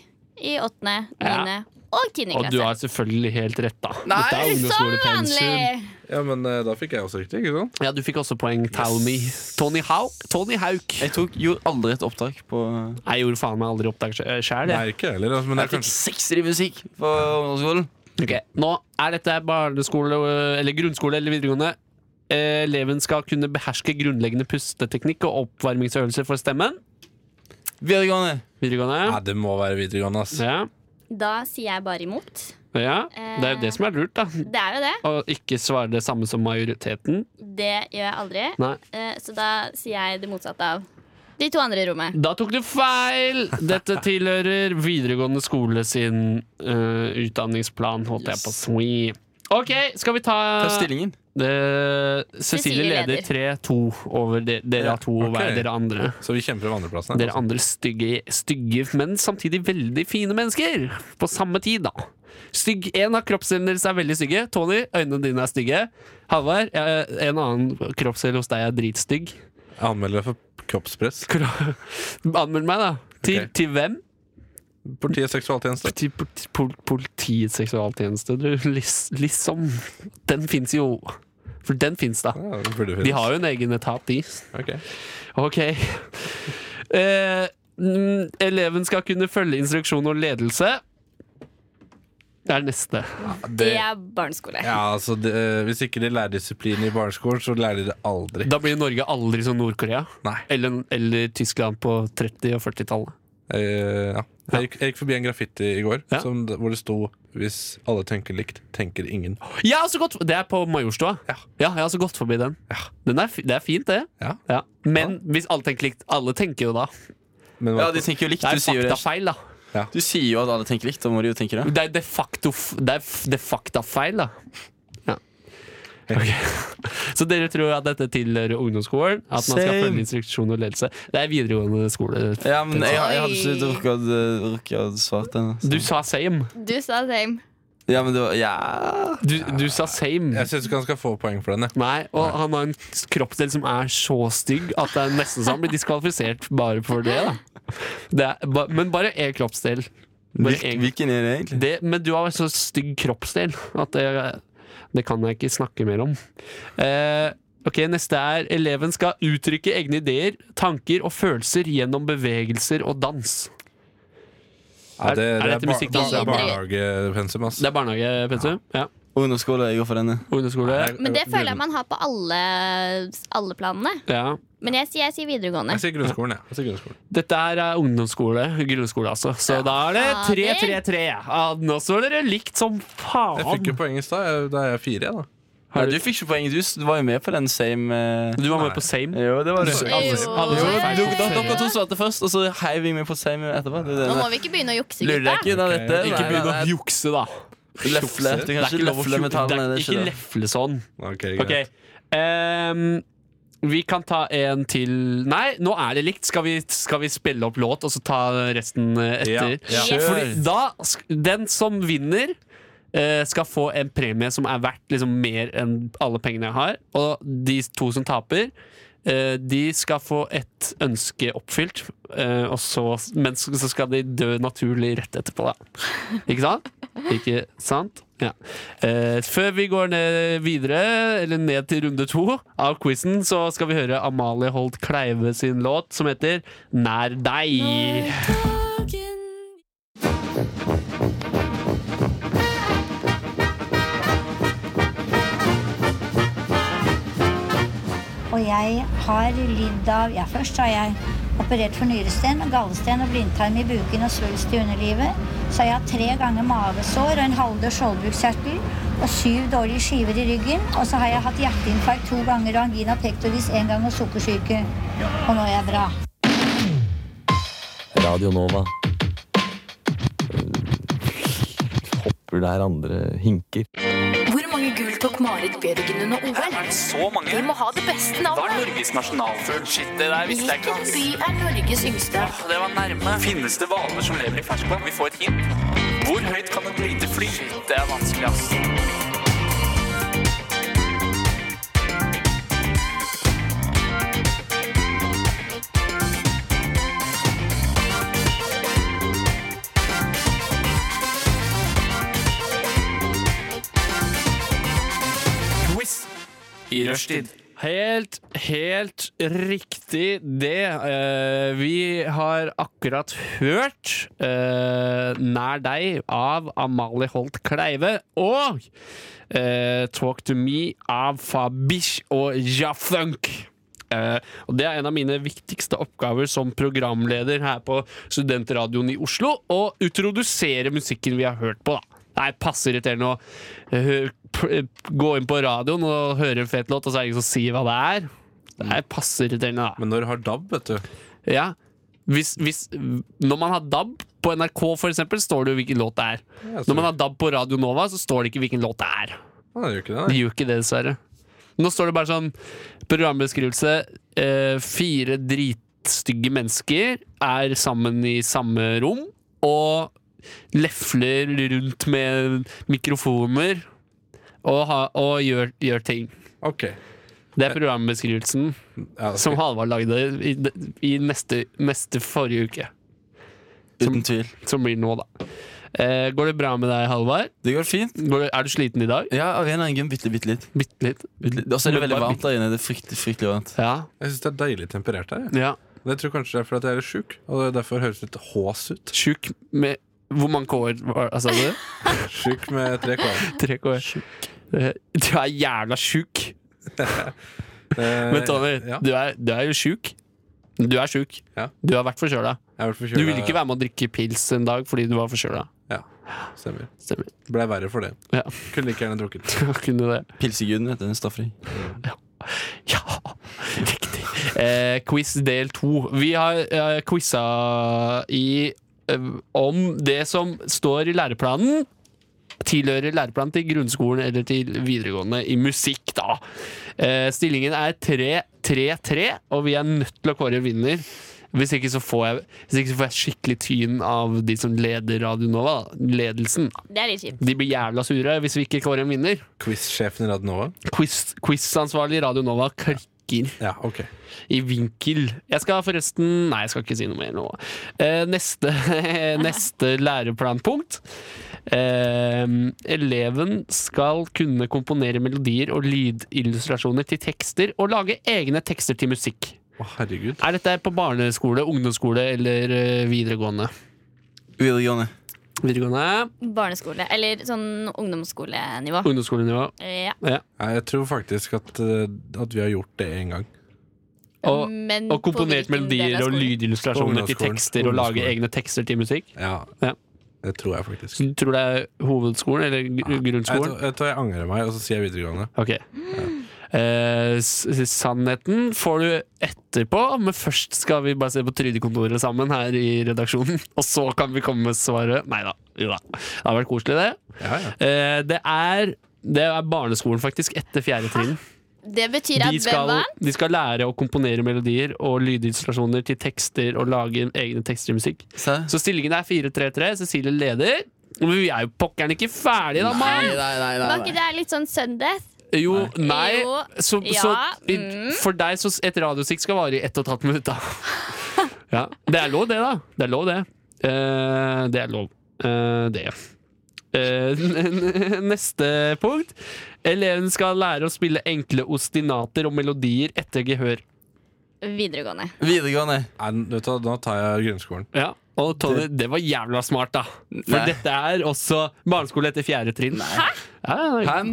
S5: i åttende,
S1: Ja.
S5: niende og tiende
S1: Og du
S5: klasse.
S1: har selvfølgelig helt rett, da. Dette er
S5: Som
S1: ungdomsskolepensum.
S5: vanlig!
S2: Ja, men eh, da fikk jeg også riktig, ikke sant?
S1: Ja, du fikk også poeng. Tell me. Tony Hauk. Tony Hauk.
S4: Jeg tok, gjorde aldri et opptak på
S1: Jeg gjorde faen meg aldri opptak eh, sjæl,
S2: Nei, ikke jeg heller. altså, Men det
S4: Jeg
S2: er
S4: fikk
S2: kanskje
S4: sekser i musikk på ungdomsskolen.
S1: Ok, Nå er dette barneskole, eller grunnskole eller videregående. Eh, Eleven skal kunne beherske grunnleggende pusteteknikk og oppvarmingsøvelser for stemmen.
S4: Videregående.
S2: Nei,
S1: Videregående.
S2: det må være videregående, ass.
S1: Ja,
S5: Da sier jeg bare imot.
S1: ja. Det er jo det som er lurt, da.
S5: Det er jo det.
S1: Å ikke svare det samme som majoriteten.
S5: Det gjør jeg aldri.
S1: Nei.
S5: Eh, Så da sier jeg det motsatte av de to andre i rommet.
S1: Da tok du feil! Dette tilhører videregående skole sin eh, utdanningsplan, holdt jeg på å si. OK, skal vi ta
S4: Hva er stillingen?
S1: det, Cecilie
S5: Cecilie
S1: leder 3-2 over de, dere
S4: Ja,
S1: har to
S2: ok.
S1: hver dere andre.
S2: Så vi kjemper om andreplassen. her,
S1: Dere andre stygge, stygge, men samtidig veldig fine mennesker. På samme tid, da. Stygg, en av kroppsdelene deres er veldig stygge. Tony, øynene dine er stygge. Halvard, eh, en annen kroppsdel hos deg er dritstygg.
S2: altså. Jeg anmelder deg for kroppspress.
S1: Kro- Anmeld meg, da. Til,
S2: Ok.
S1: til hvem?
S2: Politiets seksualtjeneste.
S1: Til pol- pol- politiets seksualtjeneste, du. Lis, liksom. Den fins jo. For den fins, da.
S2: Ja, det burde
S1: De har jo en egen etat, de.
S2: Ok.
S1: Ok. Eh, mm, eleven skal kunne følge instruksjon og ledelse. Det er neste.
S5: Det er barneskole.
S2: Ja, altså det, Hvis ikke de lærer disiplin i barneskolen, så lærer de det aldri.
S1: Da blir Norge aldri som Nord-Korea.
S2: Nei.
S1: Eller, eller Tyskland på 30- og 40-tallet.
S2: Eh, ja. jeg, gikk, jeg gikk forbi en graffiti i går
S1: Ja.
S2: som, hvor det sto 'Hvis alle tenker likt, tenker ingen'.
S1: Jeg har også gått, det er på Majorstua.
S2: Ja.
S1: jeg har også gått forbi den.
S2: Ja.
S1: den er, fi- det er fint, det.
S2: Ja.
S1: Ja. Men hvis alle tenker likt Alle tenker jo da.
S2: Men hva-
S4: Ja, de tenker jo likt.
S1: Det er
S4: Du sier jo det.
S1: faktafeil, da.
S4: Du sier jo at alle tenker likt. Da må de jo tenke det.
S1: Det er de facto f- Det er f- de faktafeil, da. Ja. Ok. Så dere tror at dette tilhører ungdomsskolen? At man skal
S4: Same.
S1: følge instruksjon og ledelse? Det er videregående skole.
S4: Ja, men jeg, jeg hadde ikke
S5: Oi.
S4: rukket, rukket svart den altså.
S1: Du sa same.
S5: Du sa same.
S4: Ja, men det var, ja
S1: Du, du sa same.
S2: Jeg syns ikke han skal få poeng for den. jeg.
S1: Nei, og han har en kroppsdel som er så stygg at det er nesten så han blir diskvalifisert bare for det. da det er, ba, Men bare én kroppsdel. Bare
S4: Hvil-
S1: én.
S4: Hvilken er det egentlig?
S1: Det, men du har så stygg kroppsdel at det, det kan jeg ikke snakke mer om. Eh, ok, Neste er eleven skal uttrykke egne ideer, tanker og følelser gjennom bevegelser og dans.
S2: Ja, det,
S1: Er- er
S2: det
S1: dette
S2: bar-
S1: musikk, da?
S2: Det er barnehagepensum, ass.
S1: Det er barnehage, Petter? Ja.
S4: Ungdomsskole, jeg går for denne
S1: Ungdomsskole?
S5: Men det føler jeg man har på alle, alle planene.
S1: Ja.
S5: Men jeg sier, jeg sier videregående.
S2: Jeg sier grunnskolen, jeg. jeg sier grunnskolen.
S1: Dette her er eh, ungdomsskole, grunnskole altså. Så da er det
S5: Ja,
S1: 3-3-3. Ja, nå står dere likt som
S2: Jeg fikk jo
S1: faen.
S2: poeng i stad. jeg- Da er jeg fire, jeg, da.
S4: Nei, du fikk ikke poeng, du s- var jo med på den same eh,
S1: Du var med på same.
S4: Jo, det var du
S1: Så
S4: Jo,
S1: Alle, alle som
S5: Jo.
S1: feil.
S4: dere- Dere to svarte først, og så heiv vi med på same etterpå Det er det
S5: Nå
S4: der.
S5: må vi ikke begynne å jukse,
S4: Lurer deg
S5: gutta.
S4: ikke unna dette
S1: Ikke
S4: Nei,
S1: begynn å
S4: nei, nei.
S1: jukse, da.
S4: Løfle, du kan
S1: Det er
S4: ikke
S1: ikke lov å
S4: løfle
S1: fju-
S4: med
S1: det
S4: tallene
S1: er
S4: det er
S1: ikke
S4: ikke det.
S1: lefle sånn.
S2: Ok,
S1: Ok.
S2: greit.
S1: ehm, vi kan ta en til Nei, nå er det likt. Skal vi, skal vi spille opp låt, og så ta resten eh, etter?
S2: Ja,
S5: ja.
S1: Fordi da sk- Den som vinner, eh, skal få en premie som er verdt liksom, mer enn alle pengene jeg har. Og de to som taper, eh, de skal få et ønske oppfylt. eh, og så, men så så skal de dø naturlig rett etterpå, da. Ikke sant? Ikke sant? Ja. Eh, før vi går ned videre, eller ned til runde to av quizen, så skal vi høre Amalie Holt Kleive sin låt som heter 'Nær deg'.
S8: Og jeg har lidd av Ja, først har jeg operert for nyresten, gallesten og blindtarm i buken og svulst i underlivet. Så jeg har tre ganger mavesår og en halvdød skjoldbruskkjertel og syv dårlige skiver i ryggen. Og så har jeg hatt hjerteinfarkt to ganger og angina pectoris én gang og sukkersyke. Og nå er jeg bra.
S9: Radio Nova. Eh, Hopper der andre hinker.
S6: Hvor mange gull tok Marit Bjørgen under OL?
S7: Er det så mange?
S6: Vi må ha det beste
S7: Hva er
S6: navnet.
S7: Norges nasjonalfugl? Shit, det der visste jeg ikke.
S6: Hvilken
S7: ass.
S6: by er Norges yngste?
S7: Åh, Det var nærme. Finnes det hvaler som lever i ferskvann? Vi får et hint. Hvor høyt kan et lite fly? Shit, Det er vanskelig, ass.
S1: Quiz i rushtid. Helt, helt riktig det. Eh, vi har akkurat hørt eh, 'Nær deg' av Amalie Holt Kleive og eh, 'Talk to Me' av Fabish og Jafunk. Eh, og Det er en av mine viktigste oppgaver som programleder her på Studentradioen i Oslo. Å utrodusere musikken vi har hørt på. da Det er passeirriterende å eh, p- gå inn på radioen og høre en fet låt, og så er det ingen som sier hva det er. Det er passeirriterende, da. Men når du har DAB, vet du Ja, hvis, hvis, Når man har DAB på NRK, for eksempel, står det jo hvilken låt det er.
S2: Ja, så-
S1: Når man har DAB på Radio Nova, så står det ikke hvilken låt det er.
S2: Nei, det gjør ikke det,
S1: De gjør ikke det, dessverre. Nå står det bare sånn programbeskrivelse. Eh, fire dritstygge mennesker er sammen i samme rom og lefler rundt med mikrofoner og, ha, og gjør, gjør ting. Det er programbeskrivelsen som Halvard lagde i, i neste, neste forrige uke. Som, Uten
S4: tvil.
S1: Som blir nå, da. Eh, går det bra med deg, Halvard?
S4: Det går fint.
S1: er du sliten i dag?
S4: Ja, av en eller annen grunn bitte, bitte litt.
S1: Bitte litt.
S4: Og så er det
S2: Men
S4: veldig
S2: bare
S4: varmt der inne. Det er fryktelig, fryktelig varmt.
S1: Ja.
S2: Jeg syns det er deilig temperert her. jeg.
S1: Ja.
S2: Men jeg tror kanskje det er fordi at jeg er litt sjuk, og det er derfor høres litt hås ut.
S1: Sjuk med Hvor mange K-er var- sa du?
S2: Sjuk med tre K-er.
S1: Tre K-er. Eh, Du er jævla sjuk. Men Tony,
S2: Eh, ja.
S1: du, er, du er jo sjuk. Du er sjuk. Du har vært forkjøla.
S2: forkjøla,
S1: Du ville ikke
S2: ja.
S1: være med å drikke pils en dag fordi du var forkjøla.
S2: Ja, stemmer.
S1: stemmer.
S2: Ble verre for det.
S1: Ja.
S2: Kunne like gjerne drukket.
S4: Pilseguden heter den staffri.
S1: Eh, quiz del to. Vi har eh, quiza i eh, om det som står i læreplanen. Tilhører læreplanen til grunnskolen eller til videregående i musikk, da. Eh, stillingen er 3-3-3, og vi er nødt til å kåre vinner. Hvis ikke, så får jeg, hvis ikke så får jeg skikkelig tyn av de som leder Radio Nova. da. Ledelsen.
S5: Det er litt kjipt.
S1: De blir jævla sure hvis vi ikke kårer en vinner.
S2: Quiz-sjefen i Radio Nova?
S1: Quiz, quizansvarlig i Radio Nova klikker i vinkel. Jeg skal forresten Nei, jeg skal ikke si noe mer nå. Eh, neste, neste læreplanpunkt. Eh, eleven skal kunne komponere melodier og lydillustrasjoner til tekster og lage egne tekster til musikk.
S2: herregud.
S1: Er dette på barneskole, ungdomsskole eller eh, videregående?
S4: Videregående.
S1: Videregående.
S5: Barneskole. Eller sånn ungdomsskolenivå.
S1: Ungdomsskolenivå.
S5: Ja.
S2: Nei, jeg tror faktisk at, eh, at vi har gjort det en gang.
S1: Og,
S5: Men
S1: og
S5: på
S1: komponert
S5: hvilken del
S1: melodier
S5: av
S1: og
S5: skolen?
S1: lydillustrasjoner til
S2: Ungdomsskolen.
S1: tekster og lage
S2: Ungdomsskolen.
S1: egne tekster til musikk?
S2: Ja, det tror jeg faktisk.
S1: Så du tror det er hovedskolen eller gr-
S2: Jeg
S1: grunnskolen?
S2: tror, jeg tror jeg angrer meg, og så sier jeg videregående.
S1: Ok. Eh, s- s- sannheten får du etterpå, men først skal vi bare se på Trygdekontoret sammen her i redaksjonen. Og så kan vi komme med svaret. Nei da. Jo da. Det har vært koselig, det. Eh, det, er, det er barneskolen, faktisk, etter fjerde trinn.
S5: Det betyr at
S1: De
S5: hvem
S1: skal,
S5: var han?
S1: de skal lære å komponere melodier og lydinstallasjoner til tekster og lage egne tekster i musikk. Så stillingen er 4-3-3. Cecilie leder. Men vi er jo pokkeren ikke ferdige, da, mann!
S5: Var ikke det litt sånn Sundeath?
S1: Jo, nei
S5: Jo,
S1: så,
S5: ja,
S1: så, i,
S5: mm.
S1: For deg så s- et radiostikk skal vare i ett og et halvt minutt da. ja. Det er lov det da Det er lov det Eh, Det er lov Eh, Det Eh, n- n- Neste punkt Eleven skal lære å spille enkle ostinater og melodier etter gehør
S5: Videregående.
S4: Videregående.
S2: Nei, vet du, hva, da tar jeg grunnskolen.
S1: Ja, Og Tony, det var jævla smart, da. For
S4: Nei.
S1: dette er også barneskole etter fjerde trinn. Hæ?
S4: Hæ?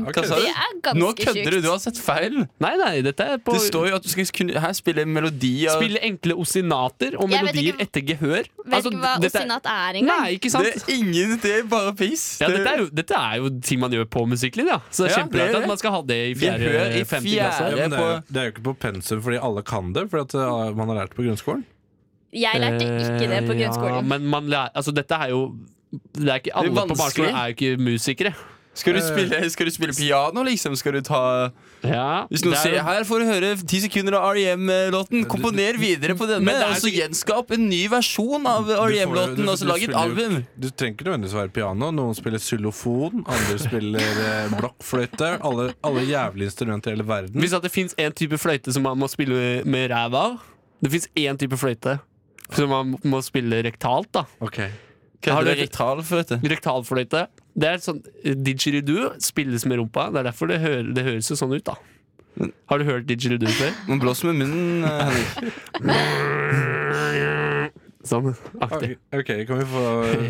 S4: Hva sa du? Det er ganske Nå kødder du, sjukt. du har sett feil.
S1: Nei, nei, dette er på
S4: Det står jo at du skal kunne her spille melodier
S1: Spille enkle osinater og
S5: Jeg vet
S1: melodier
S5: ikke-
S1: etter gehør. Altså,
S5: Vet ikke hva Ossinat er engang.
S1: Nei, ikke sant?
S4: Det er ingen, det er bare piss.
S1: Ja, dette er, jo, dette er jo ting man gjør på musikklinja. Så det er
S4: Ja, det er
S1: kjempelart
S4: det.
S1: at man skal ha det i fjerde,
S4: Gehør i
S1: femte
S4: fjerde
S1: klasse.
S2: Ja, men det, er, jo- det er jo ikke på pensum fordi alle kan det, fordi at eh, man har lært på grunnskolen.
S5: Jeg lærte ikke det på
S1: Eh, Ja,
S5: grunnskolen.
S1: men man lærer, altså, dette er jo det er ikke, Alle
S4: Det er
S1: på barneskolen er jo ikke musikere.
S4: Skal du, spille, skal du spille piano, liksom? Skal du ta
S1: Ja,
S4: Hvis noen
S1: det er
S4: sier
S1: jo-
S4: her får du høre ti sekunder av REM-låten, komponer videre på denne,
S1: Men det er
S4: og så
S1: jo ikke-
S4: gjenskap en ny versjon av
S2: Du får jo- du-
S4: REM-låten, og
S2: du
S4: så lag et
S2: spiller jo-
S4: album.
S2: Du trenger ikke nødvendigvis å være piano. Noen spiller xylofon, andre spiller eh, blokkfløyte. Alle, alle jævlige instrumenter i hele verden.
S1: Hvis at det fins én type fløyte som man må spille med ræva av Det fins én type fløyte som man må spille rektalt, da.
S4: Hva
S1: Har
S4: heter
S1: du-
S4: det? Rektalfløyte?
S1: Rektalfløyte. Det er sånn Didgeridoo spilles med rumpa. Det er derfor det, hø- det høres jo sånn ut, da. Har du hørt didgeridoo før?
S4: Man blåser med munnen, eh, Henrik.
S1: Sånn aktig.
S2: Ok, ok, kan vi få,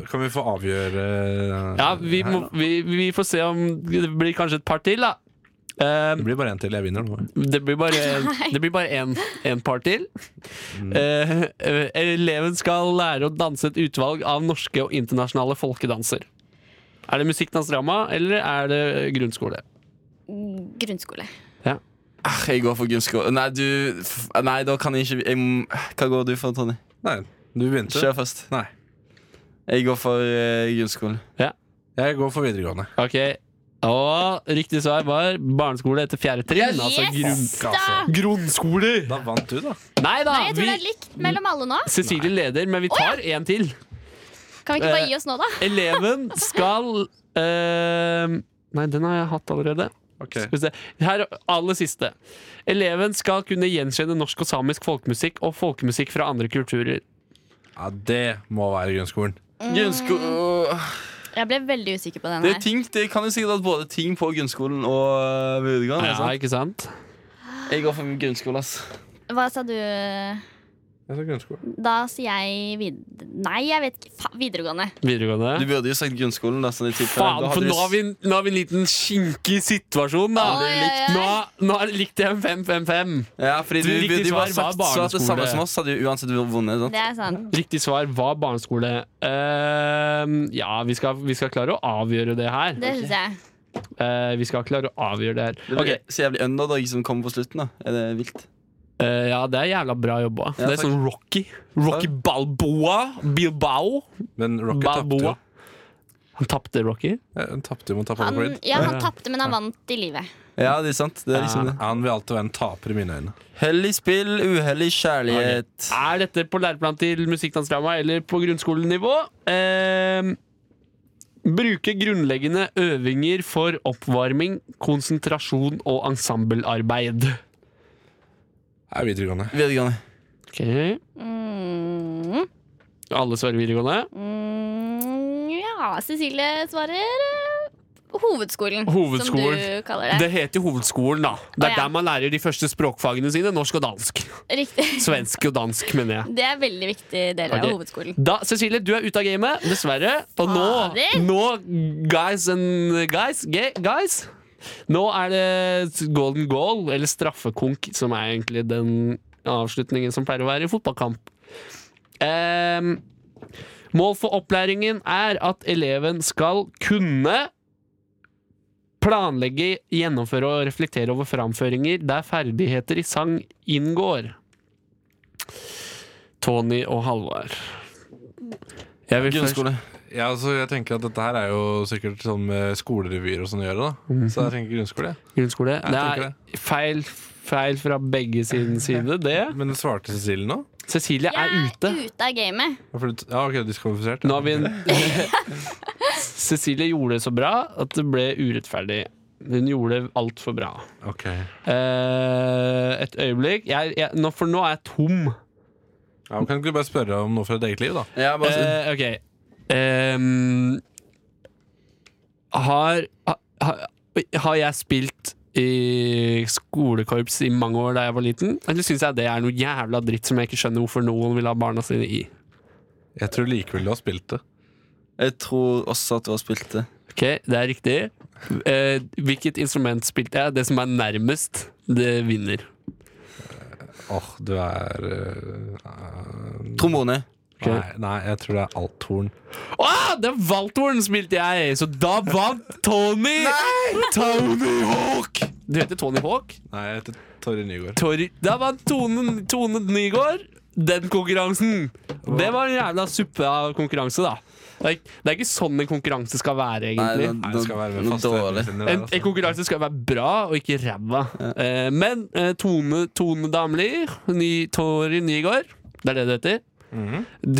S2: kan vi få avgjøre eh,
S1: Ja, vi,
S2: her,
S1: må,
S2: da?
S1: vi, vi får se om det blir kanskje et par til, da. Eh,
S2: Det blir bare én til. Jeg vinner nå.
S1: det blir bare Det blir bare en, en par til. Eh, eh, eleven skal lære å danse et utvalg av norske og internasjonale folkedanser. Er det musikkdansdrama, eller er det grunnskole?
S5: Grunnskole.
S4: Ah, Jeg går for grunnskole. Nei, du f- Nei, da kan jeg ikke jeg, må- Hva går du for, Tony?
S2: Nei, du begynte.
S4: Kjør først.
S2: Nei.
S4: Jeg går for eh, grunnskole.
S1: Ja.
S2: Jeg går for videregående.
S1: Ok Og riktig svar var barneskole etter fjerde trinn. altså grunn...
S5: da!
S1: Grunnskole!
S2: altså. Da vant du, da.
S1: Nei da!
S5: Nei, jeg tror det er
S1: Vi,
S5: likt mellom alle nå.
S1: Cecilie leder, men vi tar en til.
S5: Kan vi ikke bare
S1: Eh,
S5: gi oss nå, da?
S1: Eleven skal eh, Nei, den har jeg hatt allerede.
S2: Ok.
S1: Skal vi se. Her, aller siste. Eleven skal kunne gjenkjenne norsk og samisk folkemusikk og folkemusikk fra andre kulturer.
S2: Ja, det må være grunnskolen.
S4: Grunnsko
S5: Jeg ble veldig usikker på den
S4: det, er
S5: her.
S4: ting, det kan jo sikkert være både ting på grunnskolen og eh, videregående.
S1: Ja, ikke sant?
S4: sant? Jeg går for grunnskole, ass.
S5: Hva sa du?
S2: Jeg sa grunnskolen.
S5: Da sier jeg vid... Nei, jeg vet ikke. Fa videregående.
S4: Du
S1: Videregående.
S4: burde jo sagt grunnskolen. Da, sånn i tilfelle.
S1: Faen,
S4: Da hadde
S1: for
S4: du
S1: nå
S4: s-
S1: har vi, nå har vi en liten kinkig situasjon, da.
S5: Oi, oi, oi.
S1: Nå, nå er det likte jeg en 5-5-5.
S4: Ja, fordi
S1: Du
S4: du,
S1: likte
S4: du, du
S1: svar
S4: bare
S1: var
S4: sagt så at det
S1: barneskole.
S4: samme som oss, hadde jo uansett vunnet. Sant?
S5: Det er sant.
S1: Riktig svar var barneskole. Ehm, ja, vi skal, vi skal klare å avgjøre det her.
S5: Det syns jeg.
S1: Eh, vi skal klare å avgjøre det her.
S4: Det blir
S1: Ok,
S4: Så jævlig underdog som kommer på slutten. da Er det vilt?
S1: eh, Ja, det er jævla bra jobba.
S4: Ja,
S1: det er
S4: takk.
S1: sånn Rocky. Rocky Balboa. Bilbao.
S2: Men Rocket tapte jo.
S1: Balboa. Han tapte Rocky.
S2: Ja, Hun tapte jo mot Apollo
S5: Han,
S2: Creed.
S5: ja, han tapte, men han vant i livet.
S4: Ja, det er sant. Det er liksom det.
S2: Han vil alltid være en taper i mine øyne.
S4: Hell i spill, uhell i kjærlighet.
S1: Er dette på læreplan til musikkdansdrama eller på grunnskolenivå? Eh, bruke grunnleggende øvinger for oppvarming, konsentrasjon og ensemblearbeid.
S2: Jeg er videregående.
S1: Ah.
S4: Videregående.
S1: Ok, Alle svarer videregående.
S5: Mm, ja, Cecilie svarer eh, hovedskolen,
S1: Hovedskolen.
S5: som du kaller det.
S1: Det heter hovedskolen, da. Det er
S5: Å, ja.
S1: der man lærer de første språkfagene sine. Norsk og dansk.
S5: Riktig.
S1: Svensk og dansk, mener jeg.
S5: Det er en veldig viktig del
S1: Ok.
S5: av hovedskolen.
S1: Da, Cecilie, du er ute av gamet, dessverre. Og nå,
S5: Fader.
S1: nå guys and guys, ge- guys Nå er det golden goal, eller straffekonk, som er egentlig den avslutningen som pleier å være i fotballkamp. Ehm, mål for opplæringen er at eleven skal kunne planlegge, gjennomføre og reflektere over framføringer der ferdigheter i sang inngår. Tony og Halvard. Jeg vil først
S4: Grunnskole.
S2: Ja, altså, jeg tenker at dette her er jo sikkert sånn med skolerevyer og sånn å gjøre, da. Så jeg tenker grunnskole. jeg.
S1: Grunnskole. Det
S2: tenker
S1: er feil, feil fra begge sin side, det.
S2: Men svarte Cecilie nå?
S1: Cecilie
S5: Jeg
S1: er ute.
S5: er ute av gamet.
S2: Ja, for du- ja ok, diskvalifisert.
S1: Nå har vi en Cecilie gjorde det så bra at det ble urettferdig. Hun gjorde det altfor bra.
S2: Ok.
S1: Eh, et øyeblikk. Jeg, jeg, nå, for nå er jeg tom.
S2: Ja, men kan ikke du bare spørre om noe fra ditt eget liv, da?
S4: Ja, bare, så-
S1: Eh, ok. Ehm, har, har, har jeg spilt i skolekorps i mange år da jeg var liten? Eller syns jeg det er noe jævla dritt som jeg ikke skjønner hvorfor noen vil ha barna sine i?
S2: Jeg tror likevel du har spilt det.
S4: Jeg tror også at du har spilt eh, det.
S1: Ok, det er riktig. Eh, hvilket instrument spilte jeg? Det som er nærmest, det vinner.
S2: Åh, du er eh,
S4: Trombone.
S2: Nei, nei, jeg tror det er althorn.
S1: Å, det er valthorn spilte jeg! Så da vant Tony! Tony Hawk! Du heter Tony Hawk?
S2: Nei, jeg heter Torry Nygaard.
S1: Torry. Da vant Tone, Tone Nygaard den konkurransen. Det var en jævla suppe av konkurranse, da. Det er, det er ikke sånn en konkurranse skal være, egentlig.
S4: Nei, det skal være med faste dårlig. evner der,
S1: En,
S2: altså.
S1: en konkurranse skal være bra, og ikke ræva. Eh, men eh, Tone, Tone Damli, ny, Tori Nygaard, det er det det heter. Du,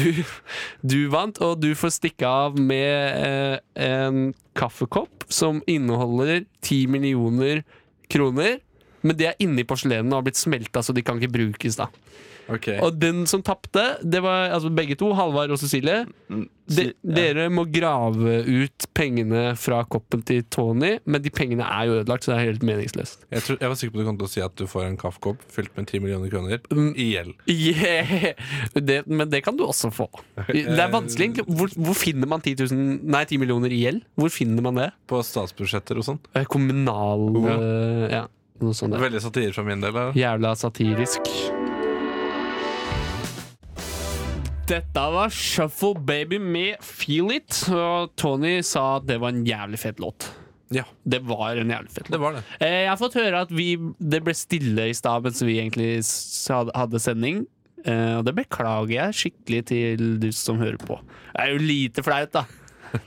S1: du vant, og du får stikke av med eh, en kaffekopp som inneholder ti millioner kroner. Men det er inni porselenet og har blitt smelta, så de kan ikke brukes. da Og den som tapte, det var altså begge to, Halvard og Cecilie. De, Dere må grave ut pengene fra koppen til Tony, men de pengene er jo ødelagt, så det er helt meningsløst.
S2: Jeg, tror, jeg var sikker på at du kom til å si at du får en kaffekopp fylt med 10 millioner kroner i gjeld.
S1: Yeah. Det, men det kan du også få. Det er vanskelig. egentlig. Hvor, hvor finner man 10, 000, nei, 10 millioner i gjeld? Hvor finner man det?
S2: På statsbudsjetter og sånn.
S1: Kommunal eh, Ja, noe sånt. der.
S2: Veldig satire fra min del. da.
S1: Jævla satirisk. Dette var Shuffle Baby med Feel It, og Tony sa at det var en jævlig fet låt.
S2: Ja.
S1: Det var en jævlig fet låt.
S2: Det var det.
S1: Eh, Jeg har fått høre at vi, det ble stille i stad mens vi egentlig s- had- hadde sending. Eh, Og det beklager jeg skikkelig til du som hører på. Det er jo lite flaut, da.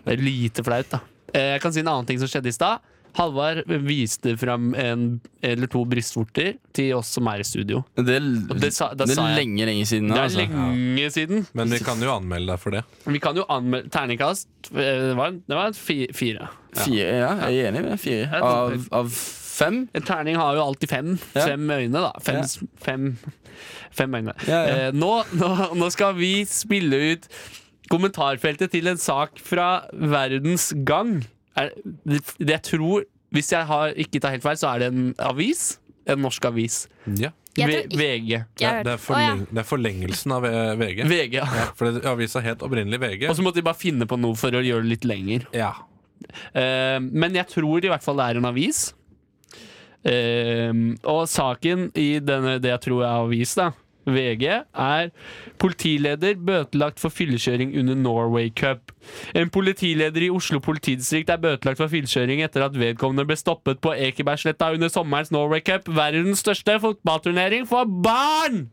S1: Det er lite flaut, da. Eh, Jeg kan si en annen ting som skjedde i stad. Halvard viste fram en eller to brystvorter til oss som er i studio.
S4: Det,
S1: Og det sa- da
S4: det
S1: sa jeg-
S4: er lenge, lenge siden.
S1: Det er
S4: altså.
S1: lenge siden.
S2: Men vi kan jo anmelde deg for det.
S1: Vi kan jo anmelde Terningkast. eh, Det var, en- det var en fi- fire.
S4: Fire, ja, jeg er enig med fire. Av, av fem?
S1: En terning har jo alltid fem,
S4: Ja.
S1: fem øyne, da. Fem,
S4: Ja.
S1: fem, fem øyne.
S4: Ja, ja.
S1: Eh, nå, nå, nå skal vi spille ut kommentarfeltet til en sak fra Verdens Gang. Er, det, det jeg tror, hvis jeg har, ikke tar helt feil, så er det en avis. En norsk avis.
S2: Ja.
S5: Jeg
S1: V-
S5: tror ikke-
S1: VG.
S2: Det,
S5: Jeg har hørt-
S2: det, er
S5: Å,
S2: forleng, det er forlengelsen av eh, VG.
S1: VG, ja.
S2: Ja, for det, avisa het opprinnelig VG.
S1: Og så måtte de bare finne på noe for å gjøre det litt lenger.
S2: Ja.
S1: Eh, men jeg tror i hvert fall det er en avis. Eh, og saken i denne, det jeg tror er avis, da, VG, er politileder bøtelagt for fyllekjøring under Norway Cup. En politileder i Oslo politidistrikt er bøtelagt for fyllekjøring etter at vedkommende ble stoppet på Ekebergsletta under sommerens Norway Cup, verdens største fotballturnering for barn!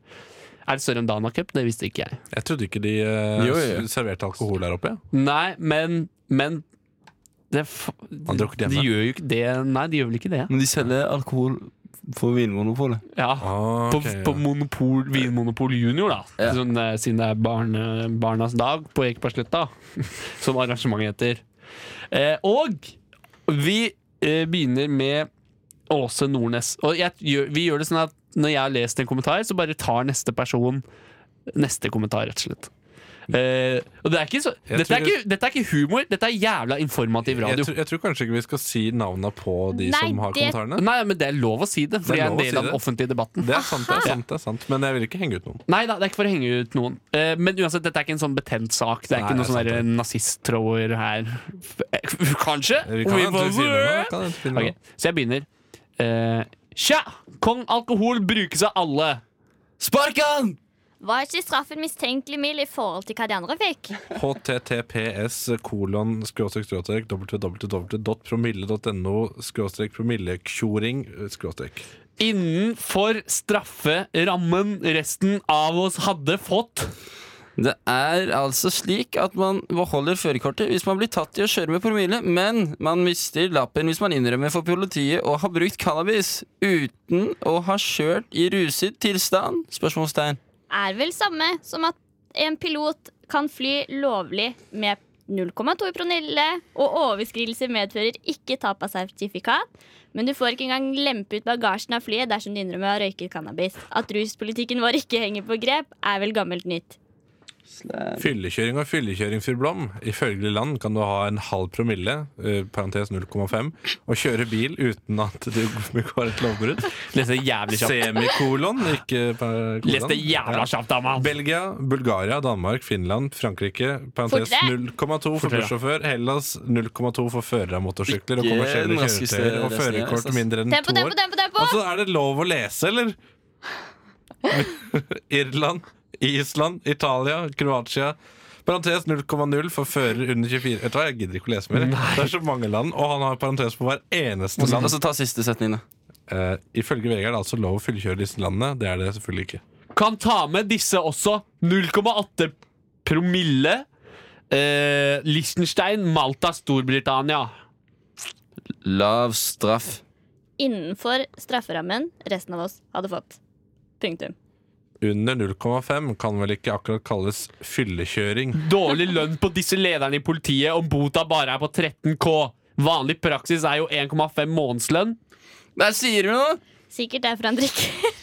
S1: Er det større enn Dana Cup? Det visste ikke jeg.
S2: Jeg trodde ikke de eh,
S4: Jo, jo, jo.
S2: serverte alkohol der oppe.
S1: Nei, men, men det, f-
S2: Han drukket hjemme.
S1: De gjør jo ikke det. Nei, de gjør vel ikke det.
S4: Men de selger alkohol for Vinmonopolet.
S1: Ja.
S2: Ah,
S1: På,
S2: ok, ja.
S1: på monopol, Vinmonopol Junior, da.
S4: Ja.
S1: Sånn, eh, siden det er barne, Barnas dag på Ekebergsletta, som arrangementet heter. Eh, og vi eh, begynner med Åse Nordnes. Og jeg, gjør- vi gjør det sånn at når jeg har lest en kommentar, så bare tar neste person neste kommentar, rett og slett. Eh, og det er ikke så,
S2: Jeg
S1: dette, er
S2: tror-
S1: ikke, dette er ikke humor, dette er jævla informativ
S2: Jeg,
S1: radio.
S2: tror- jeg tror kanskje ikke vi skal si navna på de
S5: Nei,
S2: som har
S5: det-
S2: kommentarene.
S1: Nei, men det er lov å si det, for
S2: Det
S1: det
S2: er
S1: er en
S2: lov å si
S1: del av den
S2: det.
S1: offentlige debatten.
S2: Det er sant, det er sant, det er sant men jeg vil ikke henge ut noen.
S1: Nei da, det er ikke for å henge ut noen. Eh, men uansett, dette er ikke en sånn betent sak. Det
S2: Nei,
S1: er ikke
S2: det er
S1: noen
S2: sant,
S1: sånne nazist-tråder her. F- eh, Kanskje?
S2: Vi kan
S1: Vi
S2: jo
S1: får-
S2: ikke si det nå, vi kan jo ikke si det nå.
S1: Ok, Så jeg begynner. Eh, Tja! Kong alkohol brukes av alle.
S4: Spark han!
S5: Var ikke straffen mistenkelig mild i forhold til hva de andre fikk?
S2: https kolon skråstrek skråstrek www.promille.no skråstrek promillekjoring skråstrek.
S1: Innenfor strafferammen resten av oss hadde fått.
S4: Det er altså slik at man beholder førerkortet hvis man blir tatt i å kjøre med promille, men man mister lappen hvis man innrømmer for politiet å ha brukt cannabis uten å ha kjørt i ruset tilstand? Spørsmålstegn.
S5: Er vel samme som at en pilot kan fly lovlig med 0,2 i promille, og overskridelse medfører ikke tap av sertifikat, men du får ikke engang lempe ut bagasjen av flyet dersom du innrømmer å ha røyket cannabis. At ruspolitikken vår ikke henger på grep, er vel gammelt nytt.
S2: Fyllekjøring og fyllekjøring, fru Blom. Ifølge Land kan du ha en halv promille, eh, parentes 0,5, og kjøre bil uten at du begår et lovbrudd.
S1: Leste jævlig kjapt.
S2: Semikolon, ikke par- kolon.
S1: Leste jævla
S2: Ja.
S1: kjapt, da, mann.
S2: Belgia, Bulgaria, Danmark, Finland, Frankrike, parentes
S1: Fortere.
S2: 0,2 for
S1: Fortere, ja.
S2: bussjåfør, Hellas 0,2 for førere av motorsykler og
S4: Ikke
S2: kommersielle
S4: den raskeste
S2: kjøretøyer og
S4: resten, jeg,
S2: førerkort
S4: altså.
S2: mindre enn
S5: Tempo,
S2: to
S5: tempo,
S2: år.
S5: tempo! tempo.
S2: Altså, er det lov å lese, eller? Irland, Island, Italia, Kroatia. Parentes 0,0 for fører under 24 Vet du hva, Jeg gidder ikke å lese mer. Det er så mange land, og han har parentes på hver eneste
S4: Og så-
S2: land.
S4: og så ta siste setningen, da.
S2: Eh, ifølge VG er det altså lov å fyllekjøre disse landene. Det er det selvfølgelig ikke.
S1: Kan ta med disse også. 0,8 promille. Eh, Liechtenstein, Malta, Storbritannia.
S4: Lav straff.
S5: Innenfor strafferammen resten av oss hadde fått. Punktum.
S2: Under 0,5 kan vel ikke akkurat kalles fyllekjøring.
S1: Dårlig lønn på disse lederne i politiet om bota bare er på 13K. Vanlig praksis er jo 1,5 månedslønn.
S4: Der sier du noe!
S5: Sikkert det er Fredrik.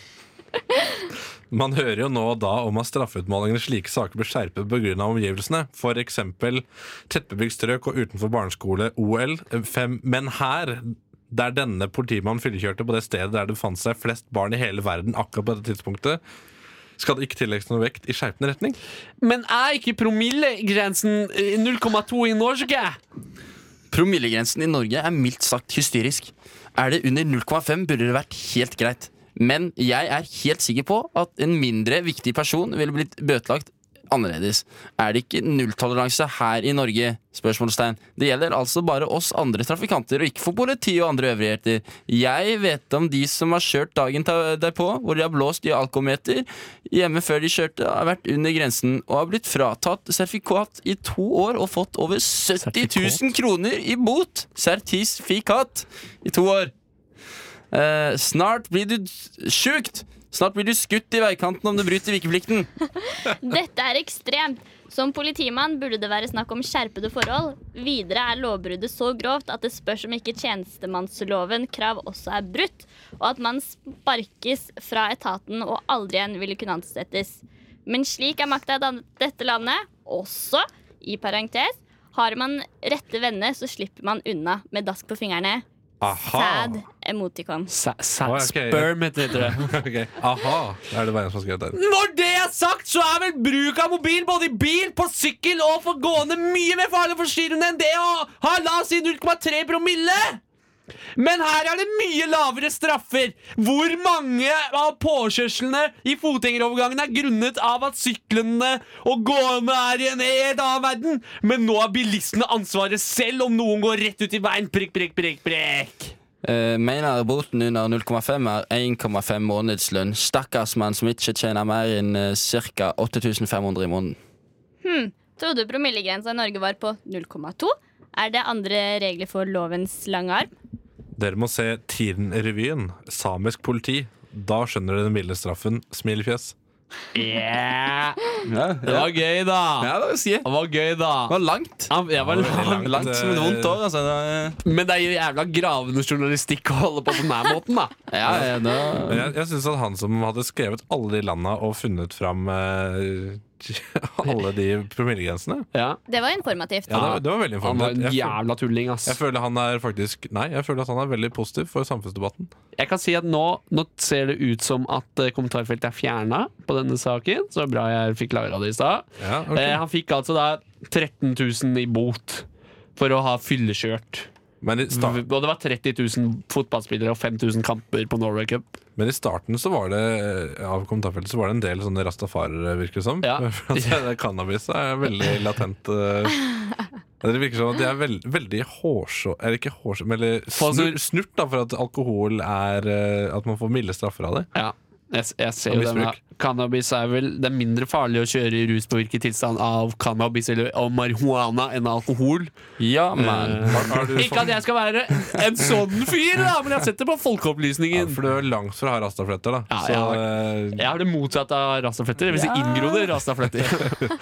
S2: Man hører jo nå og da om at straffeutmålingene i slike saker blir skjerpet pga. omgivelsene, f.eks. tettbebygd strøk og utenfor barneskole, OL. Fem, men her, der denne politimannen fyllekjørte på det stedet der det fant seg flest barn i hele verden akkurat på dette tidspunktet, skal det ikke tillegges noe vekt i skjerpende retning.
S1: Men er ikke promillegrensen eh, 0,2 i Norge?
S4: Promillegrensen i Norge er mildt sagt hysterisk. Er det under 0,5 burde det vært helt greit. Men jeg er helt sikker på at en mindre viktig person ville blitt bøtelagt annerledes. Er det ikke nulltoleranse her i Norge? Spørsmålstegn. Det gjelder altså bare oss andre trafikanter, og ikke for politi og andre øvrigheter. Jeg vet om de som har kjørt dagen ta- derpå, hvor de har blåst i alkometer hjemme før de kjørte, har vært under grensen og har blitt fratatt sertifikat i to år og fått over 70 000 kroner i bot. Sertifikat i to år. Eh, snart blir du sjukt! Snart blir du skutt i veikanten om du bryter vikeplikten.
S5: Dette er ekstremt. Som politimann burde det være snakk om skjerpede forhold. Videre er lovbruddet så grovt at det spørs om ikke tjenestemannsloven krav også er brutt, og at man sparkes fra etaten og aldri igjen ville kunne ansettes. Men slik er makta i dan- dette landet, også i parentes. Har man rette venner, så slipper man unna med dask på fingrene. Sad emoticon.
S2: Å, ok.
S1: Sperm heter det.
S2: Ok. Aha, det er det bare en som har skrevet der.
S1: Når det er sagt, så er vel bruk av mobil både i bil, på sykkel og for gående mye mer farlig og forstyrrende enn det å ha la oss si 0,3 promille! Men her er det mye lavere straffer. Hvor mange av påkjørslene i fotgjengerovergangen er grunnet av at syklene og gående er i en helt annen verden? Men nå har bilistene ansvaret selv om noen går rett ut i veien. Prikk, prikk, prikk, prikk.
S4: Eh, mener boten under 0,5 er 1,5 månedslønn. Stakkars mann som ikke tjener mer enn eh, ca. 8500 i måneden.
S5: Hmm. Trodde promillegrensa i Norge var på 0,2. Er det andre regler for lovens lange arm?
S2: Dere må se Tiden-revyen, samisk politi. Da skjønner dere den milde straffen. Smilefjes.
S1: Yeah.
S4: Ja,
S1: Det var gøy, da.
S4: Ja, det vil si.
S1: Det var gøy, da.
S4: Det var langt.
S1: Ja, jeg var langt.
S4: Langt
S2: eh,
S4: som et vondt år, altså. Det-
S1: Men det er jo jævla gravende journalistikk å holde på på denne måten, da.
S4: Ja, ja,
S2: Men
S4: da.
S2: Jeg, jeg syns at han som hadde skrevet alle de landa og funnet fram eh, alle de promillegrensene
S1: Ja.
S5: Det var informativt.
S2: ja, det, var- det var veldig
S1: Han var
S2: informativt.
S1: en
S2: Jeg, føl-
S1: jævla tulling, ass.
S2: jeg føler han er faktisk Nei, jeg føler at han er veldig positiv for samfunnsdebatten.
S1: Jeg kan si at nå, nå ser det ut som at eh, kommentarfeltet er fjerna på denne saken. Så bra jeg fikk lagra det i stad.
S2: Ja, ok.
S1: Eh, han fikk altså da 13 000 i bot for å ha fyllekjørt.
S2: Men, i sta-
S1: Og det var 30 000 fotballspillere og 5000 kamper på Norway Cup.
S2: men i starten så var det eh, av kommentarfeltet så var det en del sånne rastafarere, virker det som.
S1: Ja.
S2: For at det- Cannabis er veldig latent eh, Det virker som at de er veld, veldig hårså... Eller ikke hårså, men eller
S1: Folk som-
S2: snurt, snurt, da, for at alkohol er eh, At man får milde straffer av det.
S1: Ja, jeg, jeg ser
S2: Og
S1: jo den da.
S2: misbruk.
S1: Cannabis er vel Det er mindre farlig å kjøre i ruspåvirket tilstand av cannabis eller av marihuana enn alkohol.
S4: ja man.
S1: Eh,
S2: Har, har du
S1: Ikke at jeg skal være en sånn fyr, da, men jeg har sett det på
S2: Ja,
S1: Folkeopplysningen.
S2: for du er langt fra å ha rastafletter, da.
S1: Ja,
S2: så, eh,
S1: jeg Jeg har det motsatte av rastafletter. Det vil si inngrodde rastafletter.
S2: eh,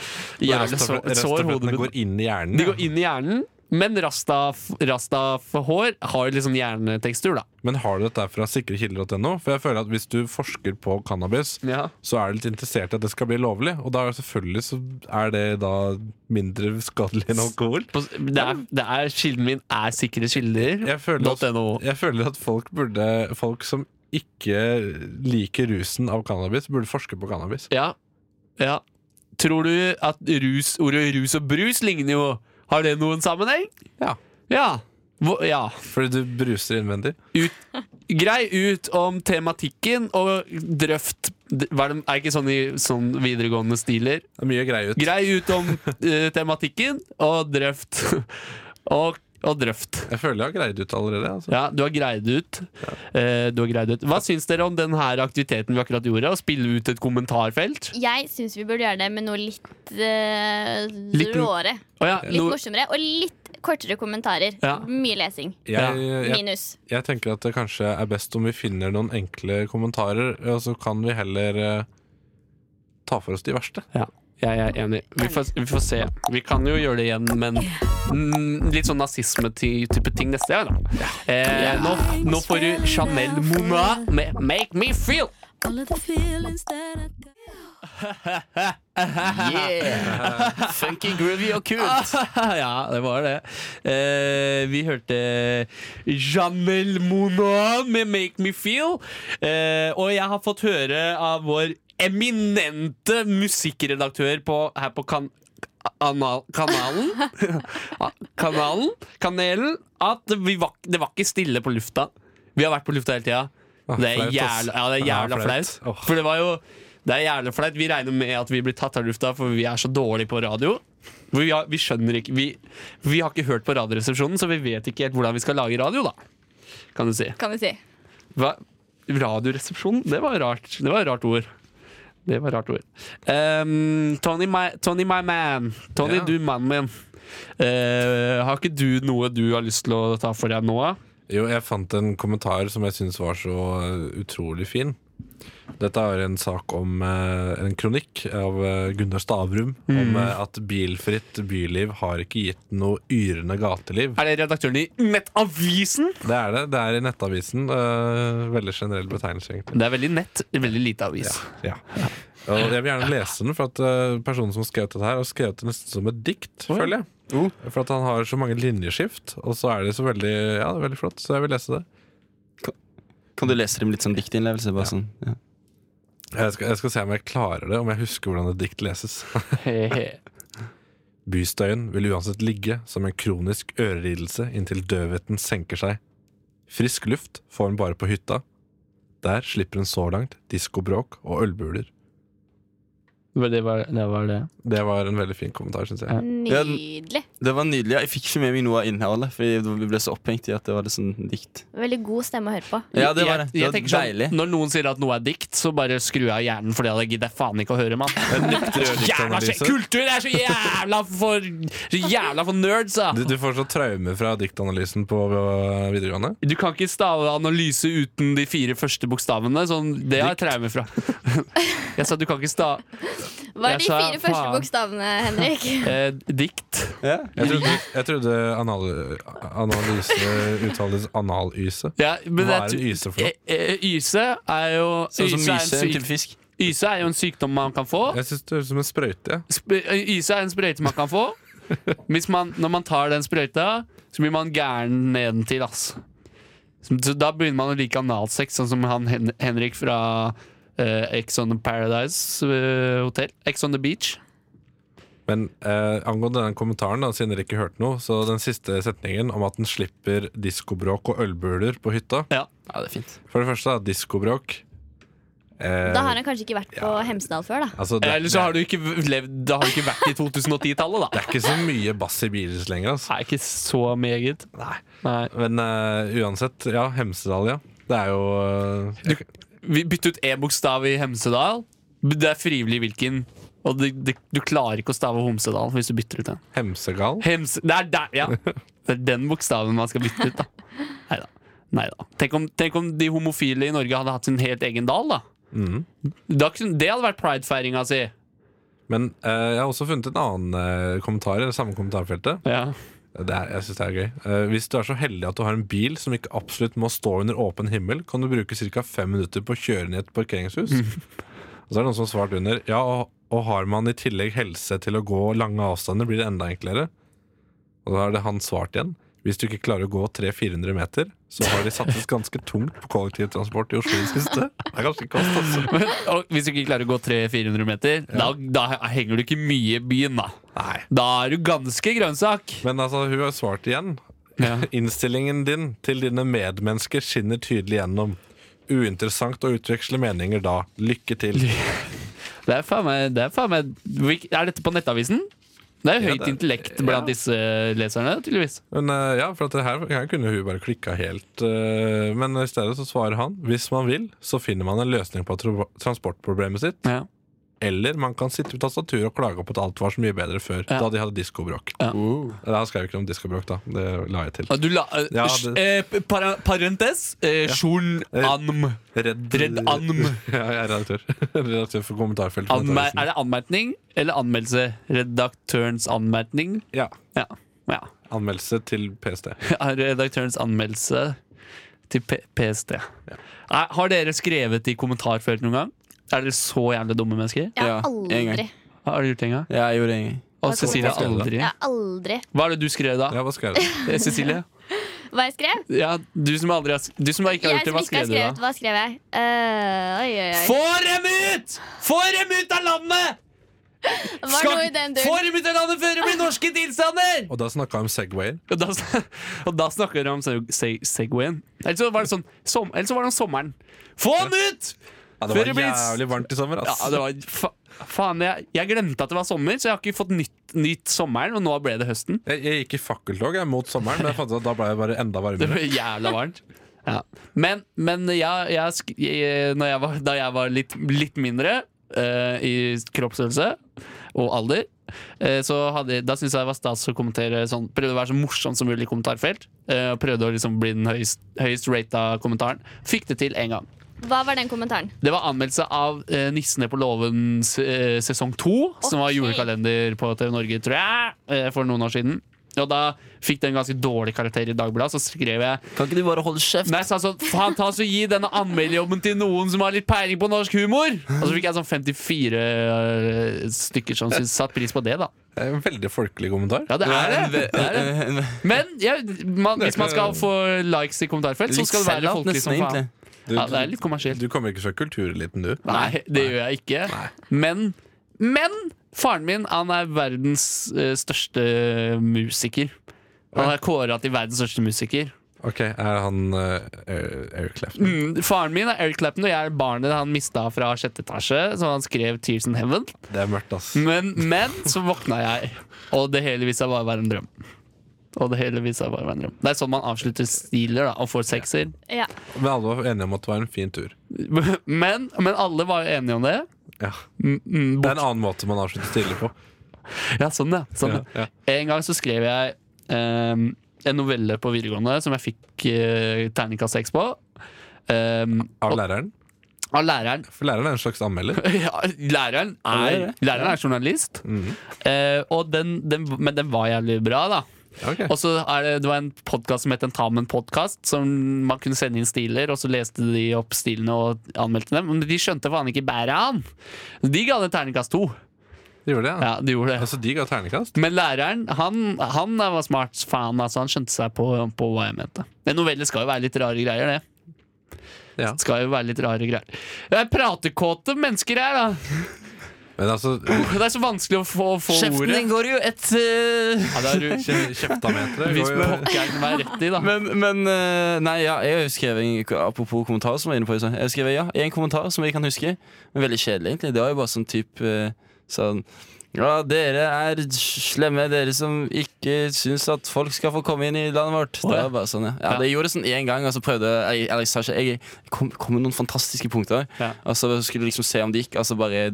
S2: rastafle-
S1: Jævlig sår, sår
S2: rastaflettene
S1: hodebunn.
S2: går inn i hjernen.
S1: De
S2: ja.
S1: går inn i hjernen, Men rastaf- rastaf-hår har jo liksom hjernetekstur, da.
S2: Men har du dette fra sikrekilder.no? For jeg føler at hvis du forsker på cannabis, så er du litt interessert i at det skal bli lovlig. Og da er det selvfølgelig så er det da mindre skadelig enn alkohol.
S1: Det er, det er, kilden min er sikre kilder.
S2: Jeg føler at, jeg føler at folk, burde, folk som ikke liker rusen av cannabis, burde forske på cannabis.
S1: Ja, ja. Tror du at rus, ordet rus og brus ligner jo Har det noen sammenheng?
S2: Ja.
S1: Ja. Hvor- ja.
S2: Fordi du bruser innvendig.
S1: Ut, grei ut om tematikken og drøft d- hva Er det er det ikke sånn i sånn videregående stiler?
S2: Det er mye grei ut.
S1: Grei ut om eh, tematikken og drøft. og, og drøft.
S2: Jeg føler jeg har greid ut allerede. Altså.
S1: Ja, du har greid ut. Eh, du har greid ut. Hva syns dere om denne aktiviteten vi akkurat gjorde? Å spille ut et kommentarfelt?
S5: Jeg syns vi burde gjøre det med noe litt eh,
S1: Litt-
S5: råere.
S1: Å ja,
S5: litt
S1: noe-
S5: morsommere og litt kortere kommentarer.
S2: Ja.
S5: Mye lesing.
S2: Jeg, jeg,
S5: Minus.
S2: jeg tenker at det kanskje er best om vi finner noen enkle kommentarer, og så kan vi heller eh, ta for oss de verste.
S1: Ja, jeg er enig. Vi får, vi får se. Vi kan jo gjøre det igjen, men mm, litt sånn nazisme-type ting neste gang, da. Eh, nå, nå får du Chanel Mona med 'Make Me Feel'.
S4: Yeah! Funky, groovy og kult.
S1: ja, det var det. Eh, vi hørte Janel Mona med 'Make Me Feel'. Eh, og jeg har fått høre av vår eminente musikkredaktør på, her på kan, anal, kanalen Kanalen Kanelen at vi var, det var ikke stille på lufta. Vi har vært på lufta hele tida. Det er
S2: Ah, flaut, ass.
S1: jævla, ja, det er
S2: Ja,
S1: jævla
S2: flaut.
S1: flaut. For det var jo Det er jævla flaut. Vi regner med at vi blir tatt av lufta, for vi er så dårlige på radio. Vi, har, vi skjønner ikke vi, vi har ikke hørt på Radioresepsjonen, så vi vet ikke helt hvordan vi skal lage radio, da. Kan du si.
S5: Kan vi si.
S1: Hva? Radioresepsjonen? Det var rart. Det var et rart ord. Det var et rart ord. Ehm, Tony, my, Tony, my man. Tony,
S2: Ja.
S1: du mannen min. Eh, har ikke du noe du har lyst til å ta for deg nå? da?
S2: Jo, jeg fant en kommentar som jeg syns var så eh, utrolig fin. Dette er en sak om eh, en kronikk av eh, Gunnar Stavrum om
S1: Mm.
S2: eh, at bilfritt byliv har ikke gitt noe yrende gateliv.
S1: Er det redaktøren i Nettavisen?
S2: Det er det. Det er i Nettavisen. eh, veldig generell betegnelse, egentlig.
S1: Det er veldig nett, veldig lite avis.
S2: Ja. Og jeg vil gjerne lese den, for at eh, personen som skrev dette her, har skrevet det nesten som et dikt,
S1: Oi. Oh.
S2: føler jeg. For at han har så mange linjeskift, og så er det så veldig Ja, det er veldig flott, så jeg vil lese det.
S4: Kan du lese dem litt som diktinnlevelse? Bare sånn. ja.
S2: Jeg skal, jeg skal se om jeg klarer det, om jeg husker hvordan et dikt leses. Bystøyen vil uansett ligge som en kronisk ørelidelse inntil døvheten senker seg. Frisk luft får en bare på hytta. Der slipper en så langt diskobråk og ølbuler.
S1: Det var det. Var det.
S2: Det var en veldig fin kommentar, syns jeg.
S5: Nydelig.
S4: Det var nydelig. ja. Jeg fikk ikke med meg noe av innholdet, for vi ble så opphengt i at det var litt sånn dikt.
S5: Veldig god stemme å høre på.
S4: Ja, det var det. Det
S1: Jeg, jeg
S4: var
S1: tenker sånn, når noen sier at noe er dikt, så bare skrur jeg av hjernen fordi jeg gidder faen ikke å høre, mann. Jævla
S2: diktanalyse.
S1: kjekk kultur! Det er så jævla for, så jævla for nerds, da!
S2: Du, du får så traume fra diktanalysen på øh, videregående.
S1: Du kan ikke stave analyse uten de fire første bokstavene. Sånn, det har jeg traume fra. Jeg sa du kan ikke sta...
S5: Hva er
S1: Jeg
S5: de
S1: sa,
S5: fire første
S1: faen.
S5: bokstavene, Henrik?
S1: Eh, dikt.
S2: Jeg trodde, jeg trodde anal, analyse uttales analyse.
S1: Ja, men
S2: Hva
S1: jeg
S2: er en
S1: tr-
S2: yse for noe?
S1: Eh, eh, Yse er jo
S2: Sånn som
S1: yse er en
S2: myse, en
S1: syk-
S2: type fisk.
S1: Yse er jo en sykdom man kan få.
S2: Jeg syns det høres ut som en sprøyte. jeg.
S1: Sp- Yse er en sprøyte man kan få. Hvis man, når man tar den sprøyta, så blir man gæren nedentil. ass. Så så da begynner man å like analsex, sånn som han Hen Henrik fra eh, Ex on the Paradise eh, Hotel. Ex on the Beach.
S2: Men eh, angående den kommentaren, da, siden dere ikke hørte noe, så den siste setningen om at den slipper diskobråk og ølbuler på hytta For det første, da, diskobråk eh,
S5: Da har han kanskje ikke vært på Hemsedal før, da.
S2: altså, det,
S1: Eller så har du ikke levd Da har du ikke vært i 2010-tallet, da.
S2: det er ikke så mye bass i biler lenger. Altså.
S1: Nei, ikke så meget.
S2: Nei.
S1: Nei.
S2: Men eh, uansett, ja, Hemsedal, ja. Det er jo eh,
S1: Du, vi bytter ut én bokstav i Hemsedal. Det er frivillig hvilken. Og det, det, du klarer ikke å stave Homsedal hvis du bytter ut den.
S2: Hemsegal?
S1: Hems, det er der, ja! Det er den bokstaven man skal bytte ut, da. Neida. Neida. Tenk, om, tenk om de homofile i Norge hadde hatt sin helt egen dal, da.
S2: Mhm.
S1: da kunne- det hadde vært pridefeiringa si.
S2: Men eh, jeg har også funnet en annen eh, kommentar i det samme kommentarfeltet.
S1: Ja.
S2: Det er, jeg synes det er gøy. Eh, hvis du er så heldig at du har en bil som ikke absolutt må stå under åpen himmel, kan du bruke ca. fem minutter på å kjøre ned et parkeringshus. Og så er det noen som har svart under. Ja, og, og har man i tillegg helse til å gå lange avstander, blir det enda enklere. Og da har det han svart igjen. Hvis du ikke klarer å gå 300-400 meter, så har de satset ganske tungt på kollektivtransport i Oslo i det siste. Det er ganske kost, altså.
S1: Men, og hvis du ikke klarer å gå 300-400 meter, da, da henger du ikke mye i byen, da. Da er du ganske grønnsak.
S2: Men altså, hun har svart igjen. Innstillingen din til dine medmennesker skinner tydelig gjennom. Uinteressant å utveksle meninger da. Lykke til.
S1: Det er faen meg, det er, faen meg hvil- er dette på nettavisen? Det er jo
S2: Ja,
S1: høyt
S2: det er-
S1: intellekt blant disse leserne, tydeligvis.
S2: Men eh, ja, for at det her, her kunne hun bare klikka helt. eh, men i stedet så svarer han hvis man vil, så finner man en løsning på tro- transportproblemet sitt. Eller man kan sitte ved tastaturet og klage på at alt var så mye bedre før, da de hadde diskobråk. Eller Han skrev ikke om diskobråk, da. Det la jeg til.
S1: Og du la, eh,
S2: Ja,
S1: sj-
S2: det-
S1: eh, para, parentes eh, Sjorn Anm.
S2: Redd,
S1: Redd Anm.
S2: ja, jeg er redaktør. redaktør for kommentarfeltet. på
S1: Anmer,
S2: Nettavisen.
S1: er det anmerkning eller anmeldelse? Redaktørens anmerkning?
S2: Ja.
S1: ja. ja.
S2: Anmeldelse til PST.
S1: Redaktørens anmeldelse til P PST. Er, har dere skrevet i kommentarfelt noen gang? Er dere så jævlig dumme mennesker?
S5: Jeg har Ja, aldri. en gang.
S1: Har du gjort det en gang?
S4: Jeg gjorde en gang.
S1: Og Cecilie aldri.
S5: Jeg har aldri
S1: Hva er det du skrev da?
S2: Ja, hva skrev
S1: du? Cecilie?
S5: Hva jeg skrev?
S1: Ja, du som aldri har, du som ikke har
S5: Jeg
S1: gjort det,
S5: som
S1: hva
S5: ikke
S1: skrev
S5: har
S1: du da?
S5: skrevet, hva skrev jeg? Eh, oi, oi, oi.
S1: Få dem ut! Få dem ut av landet!
S5: Det Var noe i den duren.
S1: Få dem ut av landet før det blir norske tilstander!
S2: Og da snakka vi om Segwayer.
S1: Og da, sn- og da snakker de om seg, seg, Segwayen. Eller så var det sånn som, Eller så var det om sommeren. Få dem ut!
S2: Ja, det
S1: Før
S2: var jævlig varmt i sommer, ass.
S1: Ja, det var, fa, faen, jeg, jeg glemte at det var sommer, så jeg har ikke fått nytt, nytt sommeren, og nå ble det høsten.
S2: Jeg, jeg gikk i fakkeltog jeg, mot sommeren, men jeg fant ut at da ble jeg bare enda
S1: Det ble
S2: varmere.
S1: jævla varmt. Ja. Men, men jeg, jeg, sk- jeg, når jeg var, da jeg var litt, litt mindre eh, i kroppsstørrelse og alder, eh, så hadde, da syntes jeg det var stas å kommentere sånn, prøvde å være så morsom som mulig i kommentarfelt. eh, og prøvde å liksom bli den høyest, høyest rata kommentaren. Fikk det til én gang.
S5: Hva var den kommentaren?
S1: Det var anmeldelse av eh, Nissene på låven eh, sesong to, som var julekalender på TV Norge, tror jeg, eh, for noen år siden. Og da fikk den ganske dårlig karakter i Dagbladet, så skrev jeg
S4: Kan ikke du bare holde kjeft?
S1: Nei, jeg sa sånn, faen, ta så gi denne anmeldejobben til noen som har litt peiling på norsk humor! Og så fikk jeg sånn 54 eh, stykker som syntes- satte pris på det, da.
S2: Det er en veldig folkelig kommentar.
S1: Ja, det er det. det, er det. Men ja, man, hvis man skal få likes i kommentarfelt, så
S2: Litt
S1: skal det være
S2: sellout,
S4: liksom,
S1: folkelig som
S2: nesten,
S1: faen.
S2: egentlig. Du-
S1: Ja, det er litt kommersielt.
S2: Du kommer ikke fra kultureliten, du.
S1: Nei, det gjør jeg ikke. Men, men faren min han er verdens eh, største musiker. Han er kåra til verdens største musiker.
S2: Ok, er han eh, Eric- Eric Clapton?
S1: Mm, faren min er Eric Clapton, og jeg er barnet han mista fra sjette etasje. Så han skrev 'Tears in Heaven'.
S2: Det er mørkt, ass.
S1: Men, men så våkna jeg, og det hele viste seg bare å være en drøm. Og det hele viste seg bare å være en drøm. Det er sånn man avslutter stiler da, og får sekser.
S5: Ja.
S2: Men alle var enige om at det var en fin tur.
S1: Men, men alle var jo enige om det.
S2: Ja.
S1: Mm,
S2: Det er en annen måte man avslutter stille på.
S1: Ja, sånn ja. Sånn, ja. En gang så skrev jeg ehm, en novelle på videregående som jeg fikk uh, terningkast seks på. Ehm,
S2: Av
S1: og-
S2: læreren?
S1: Av læreren.
S2: For læreren er en slags anmelder.
S1: ja, læreren
S2: Ja, det er
S1: er,
S2: det.
S1: læreren er journalist,
S2: Mhm.
S1: Eh, og den, den, men den var jævlig bra, da.
S2: Ok.
S1: Og så er det, det var en podkast som het Tentamen-podkast, som man kunne sende inn stiler, og så leste de opp stilene og anmeldte dem. Men de skjønte faen ikke bæret av den! De ga den terningkast to.
S2: De gjorde det,
S1: ja. de gjorde det.
S2: Altså, de ga terningkast?
S1: Men læreren han, han var smart faen, altså. Han skjønte seg på, på hva jeg mente. En novelle skal jo være litt rare greier, det. Skal jo være litt rare greier. Det er pratekåte mennesker her, da!
S2: Men altså
S1: Det er så vanskelig å få, få
S4: Kjeften
S1: ordet.
S4: din går jo et uh...
S1: Ja, det er du. Kje-
S2: kjeftameteret
S1: Hvis pokkeren meg rett i, da.
S4: Men, men eh, nei, ja, jeg skrev en, Apropos kommentarer som jeg var inne på i stad. Jeg skrev ja, en kommentar som jeg kan huske. Men veldig kjedelig, egentlig. Det var jo bare sånn type eh, sånn ja, dere er slemme, dere som ikke syns at folk skal få komme inn i landet vårt. Det
S9: ja.
S4: var bare sånn, ja. ja det gjorde det sånn én gang, og så prøvde jeg Eller jeg sa ikke Jeg kom, kom med noen fantastiske punkter, og så skulle jeg liksom se om det gikk, og så bare